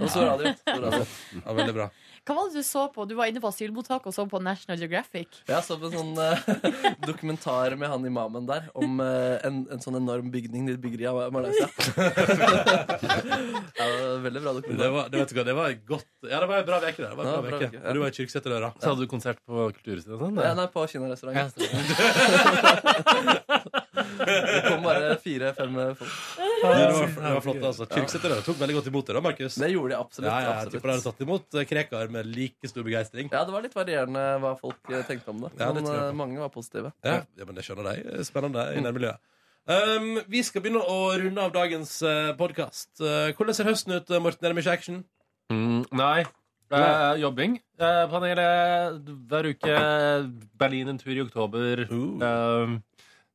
[SPEAKER 3] Og så radio. Så radio.
[SPEAKER 2] Ja, veldig bra.
[SPEAKER 5] Hva var det du så på? Du var inne på asylmottaket og så på National Geographic.
[SPEAKER 3] Jeg så på en sånn eh, <laughs> dokumentar med han imamen der om eh, en, en sånn enorm bygning de bygger i Malaysia. ja, det var veldig bra dokumentar.
[SPEAKER 2] Det var, det, vet du hva, det var godt Ja, det var en bra uke, det. det var
[SPEAKER 3] Ja,
[SPEAKER 2] en bra
[SPEAKER 3] bra
[SPEAKER 2] veke.
[SPEAKER 3] veke, ja.
[SPEAKER 2] Og Du var i Kyrksæterøra.
[SPEAKER 8] Så hadde du konsert på Kulturhuset og sånn?
[SPEAKER 3] Nei,
[SPEAKER 8] da?
[SPEAKER 3] nei, på kinarestaurant. <laughs> det kom bare fire-fem folk.
[SPEAKER 2] Det var, det var flott, altså. Kyrksæterøra tok veldig godt imot det, da, Markus.
[SPEAKER 3] Det gjorde de absolutt.
[SPEAKER 2] Ja, ja, jeg
[SPEAKER 3] absolutt.
[SPEAKER 2] tipper de hadde tatt imot eh, Krekar med like stor begeistring.
[SPEAKER 3] Ja, Det var litt varierende hva folk eh, tenkte om det.
[SPEAKER 2] Ja, det
[SPEAKER 3] men
[SPEAKER 2] tror jeg
[SPEAKER 3] eh,
[SPEAKER 2] på.
[SPEAKER 3] mange var positive.
[SPEAKER 2] Ja, Mm. ja, men det skjønner de. Det er Spennende i nærmiljøet. Um, vi skal begynne å runde av dagens uh, podkast. Uh, hvordan ser høsten ut, uh, Morten? Er det mye action?
[SPEAKER 8] Mm, nei. Eh, jobbing. Eh, panelet hver uke. Berlin en tur i oktober. Eh,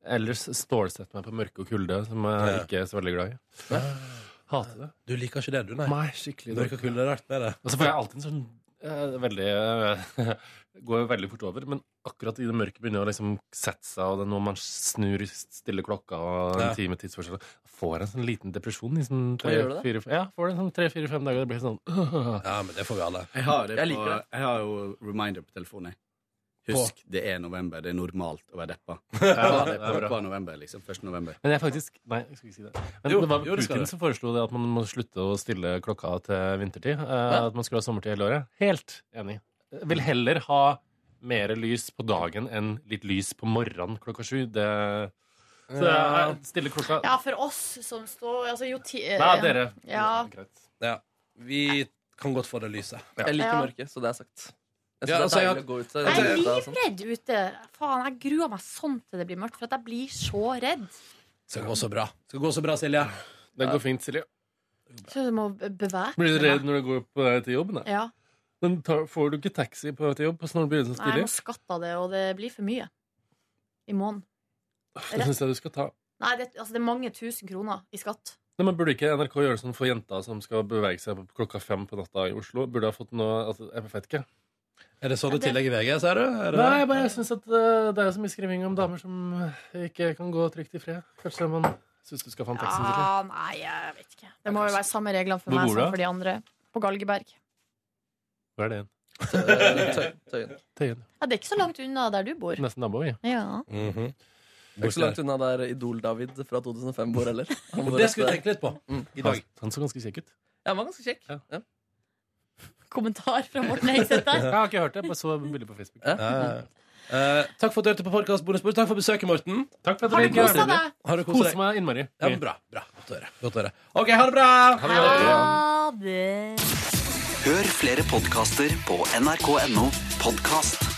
[SPEAKER 8] ellers stålsetter meg på mørke og kulde, som jeg
[SPEAKER 2] Ja.
[SPEAKER 8] ikke er så veldig glad i. Hater det.
[SPEAKER 2] Du liker ikke det, du, nei?
[SPEAKER 8] Nei, skikkelig
[SPEAKER 2] Mørk og kulde er rart med det.
[SPEAKER 8] Og så får jeg alltid en sånn eh, veldig eh, <laughs> Går jo veldig fort over, men akkurat i det mørke begynner å liksom sette seg, og det er noe man snur stille klokka og en
[SPEAKER 2] Ja.
[SPEAKER 8] time tidsforskjell Får en sånn liten depresjon i sånn
[SPEAKER 3] gjør det?
[SPEAKER 8] tre-fire ja, får det sånn tre, fire, fem dager. Det blir sånn <laughs> øh.
[SPEAKER 2] Ja, men det får vi alle.
[SPEAKER 11] Jeg har, det
[SPEAKER 3] Jeg
[SPEAKER 11] på,
[SPEAKER 3] liker det.
[SPEAKER 11] jeg har jo reminder på telefonen. jeg. Husk, det er november. Det er normalt å være deppa.
[SPEAKER 8] Ja,
[SPEAKER 11] Ja,
[SPEAKER 8] det
[SPEAKER 11] det
[SPEAKER 8] er bra.
[SPEAKER 11] var november, liksom. 1. november.
[SPEAKER 8] Men jeg faktisk Nei, jeg skal ikke si det. Men
[SPEAKER 2] Jo,
[SPEAKER 8] det var
[SPEAKER 2] jo, det skal
[SPEAKER 8] Putin
[SPEAKER 2] det.
[SPEAKER 8] som foreslo det at man må slutte å stille klokka til vintertid. eh, At man skulle ha sommertid hele året. Helt enig. Jeg Vil heller ha mer lys på dagen enn litt lys på morgenen klokka sju. Det Så jeg stiller klokka
[SPEAKER 5] Ja, for oss som står altså, jo ti, eh,
[SPEAKER 8] Nei, dere.
[SPEAKER 5] Ja.
[SPEAKER 8] Greit.
[SPEAKER 2] Ja, vi kan godt få det lyset.
[SPEAKER 3] Jeg liker
[SPEAKER 5] Ja.
[SPEAKER 3] mørket, så det er sagt. Jeg synes
[SPEAKER 2] Ja, altså,
[SPEAKER 3] det er
[SPEAKER 2] jeg-
[SPEAKER 3] deilig å gå ut. så-
[SPEAKER 5] Jeg er
[SPEAKER 3] det er sånn.
[SPEAKER 5] livredd ute. Faen, jeg gruer meg sånn til det blir mørkt, for at jeg blir så redd.
[SPEAKER 2] Skal gå så bra. Skal gå så bra, Silje.
[SPEAKER 8] Det går fint, Silje.
[SPEAKER 5] Så du må bevæpne
[SPEAKER 8] Blir du
[SPEAKER 5] meg.
[SPEAKER 8] redd når du går på vei til jobb? Nei.
[SPEAKER 5] Ja.
[SPEAKER 8] Men tar, får du ikke taxi på vei til jobb? Når du begynner så
[SPEAKER 5] Nei, jeg
[SPEAKER 8] tidlig?
[SPEAKER 5] må skatte av det, og det blir for mye. I måneden.
[SPEAKER 8] Det syns jeg du skal ta.
[SPEAKER 5] Nei, det, altså, det er mange tusen kroner i skatt.
[SPEAKER 8] Nei, men Burde ikke NRK gjøre sånn for jenter som skal bevege seg på klokka fem på natta i Oslo? Burde ha fått noe altså, Jeg vet ikke.
[SPEAKER 2] Er det sånn du tillegger VG, ser du? Er det det?
[SPEAKER 8] Nei, bare jeg syns at eh, det er så mye skriving om damer som eh, ikke kan gå trygt i fred. Kanskje man syns du skal få en taxi? Silje?
[SPEAKER 5] Ja, nei, jeg vet ikke. Det må jo være samme reglene for
[SPEAKER 8] Hvor
[SPEAKER 5] meg
[SPEAKER 8] bor du
[SPEAKER 5] som
[SPEAKER 8] da?
[SPEAKER 5] for de andre. På Galgeberg.
[SPEAKER 8] Hva er det igjen?
[SPEAKER 3] Eh, tøy- Tøyen.
[SPEAKER 8] Tøyen.
[SPEAKER 5] Ja, det er ikke så langt unna der du bor.
[SPEAKER 8] Nesten nabo, vi.
[SPEAKER 5] Ja.
[SPEAKER 2] Mhm.
[SPEAKER 3] Det er ikke så langt unna der Idol-David fra 2005 bor heller. Han
[SPEAKER 2] Og
[SPEAKER 3] bor
[SPEAKER 2] det
[SPEAKER 3] rett
[SPEAKER 2] skal vi
[SPEAKER 3] der. Mm.
[SPEAKER 2] tenke litt på i dag.
[SPEAKER 8] Han, han så ganske kjekk ut.
[SPEAKER 3] Ja, han var ganske kjekk.
[SPEAKER 8] Ja.
[SPEAKER 3] Ja.
[SPEAKER 5] Kommentar fra Morten Heiseth
[SPEAKER 8] <laughs>
[SPEAKER 5] der.
[SPEAKER 8] Jeg har ikke hørt det. Bare så bildet på Facebook.
[SPEAKER 3] Ja.
[SPEAKER 2] Eh, eh, takk for at du hørte på podkast Bonusbord. Takk for besøket, Morten.
[SPEAKER 8] Takk for
[SPEAKER 5] Har
[SPEAKER 8] at
[SPEAKER 5] du
[SPEAKER 8] dere
[SPEAKER 5] kosa deg?
[SPEAKER 2] Har du koset
[SPEAKER 8] Koser
[SPEAKER 2] deg?
[SPEAKER 8] meg innmari.
[SPEAKER 2] Ja, men bra. bra. Godt å høre. Godt å høre. OK, ha det bra!
[SPEAKER 5] Ha det.
[SPEAKER 6] Hør flere podkaster på nrk.no podkast.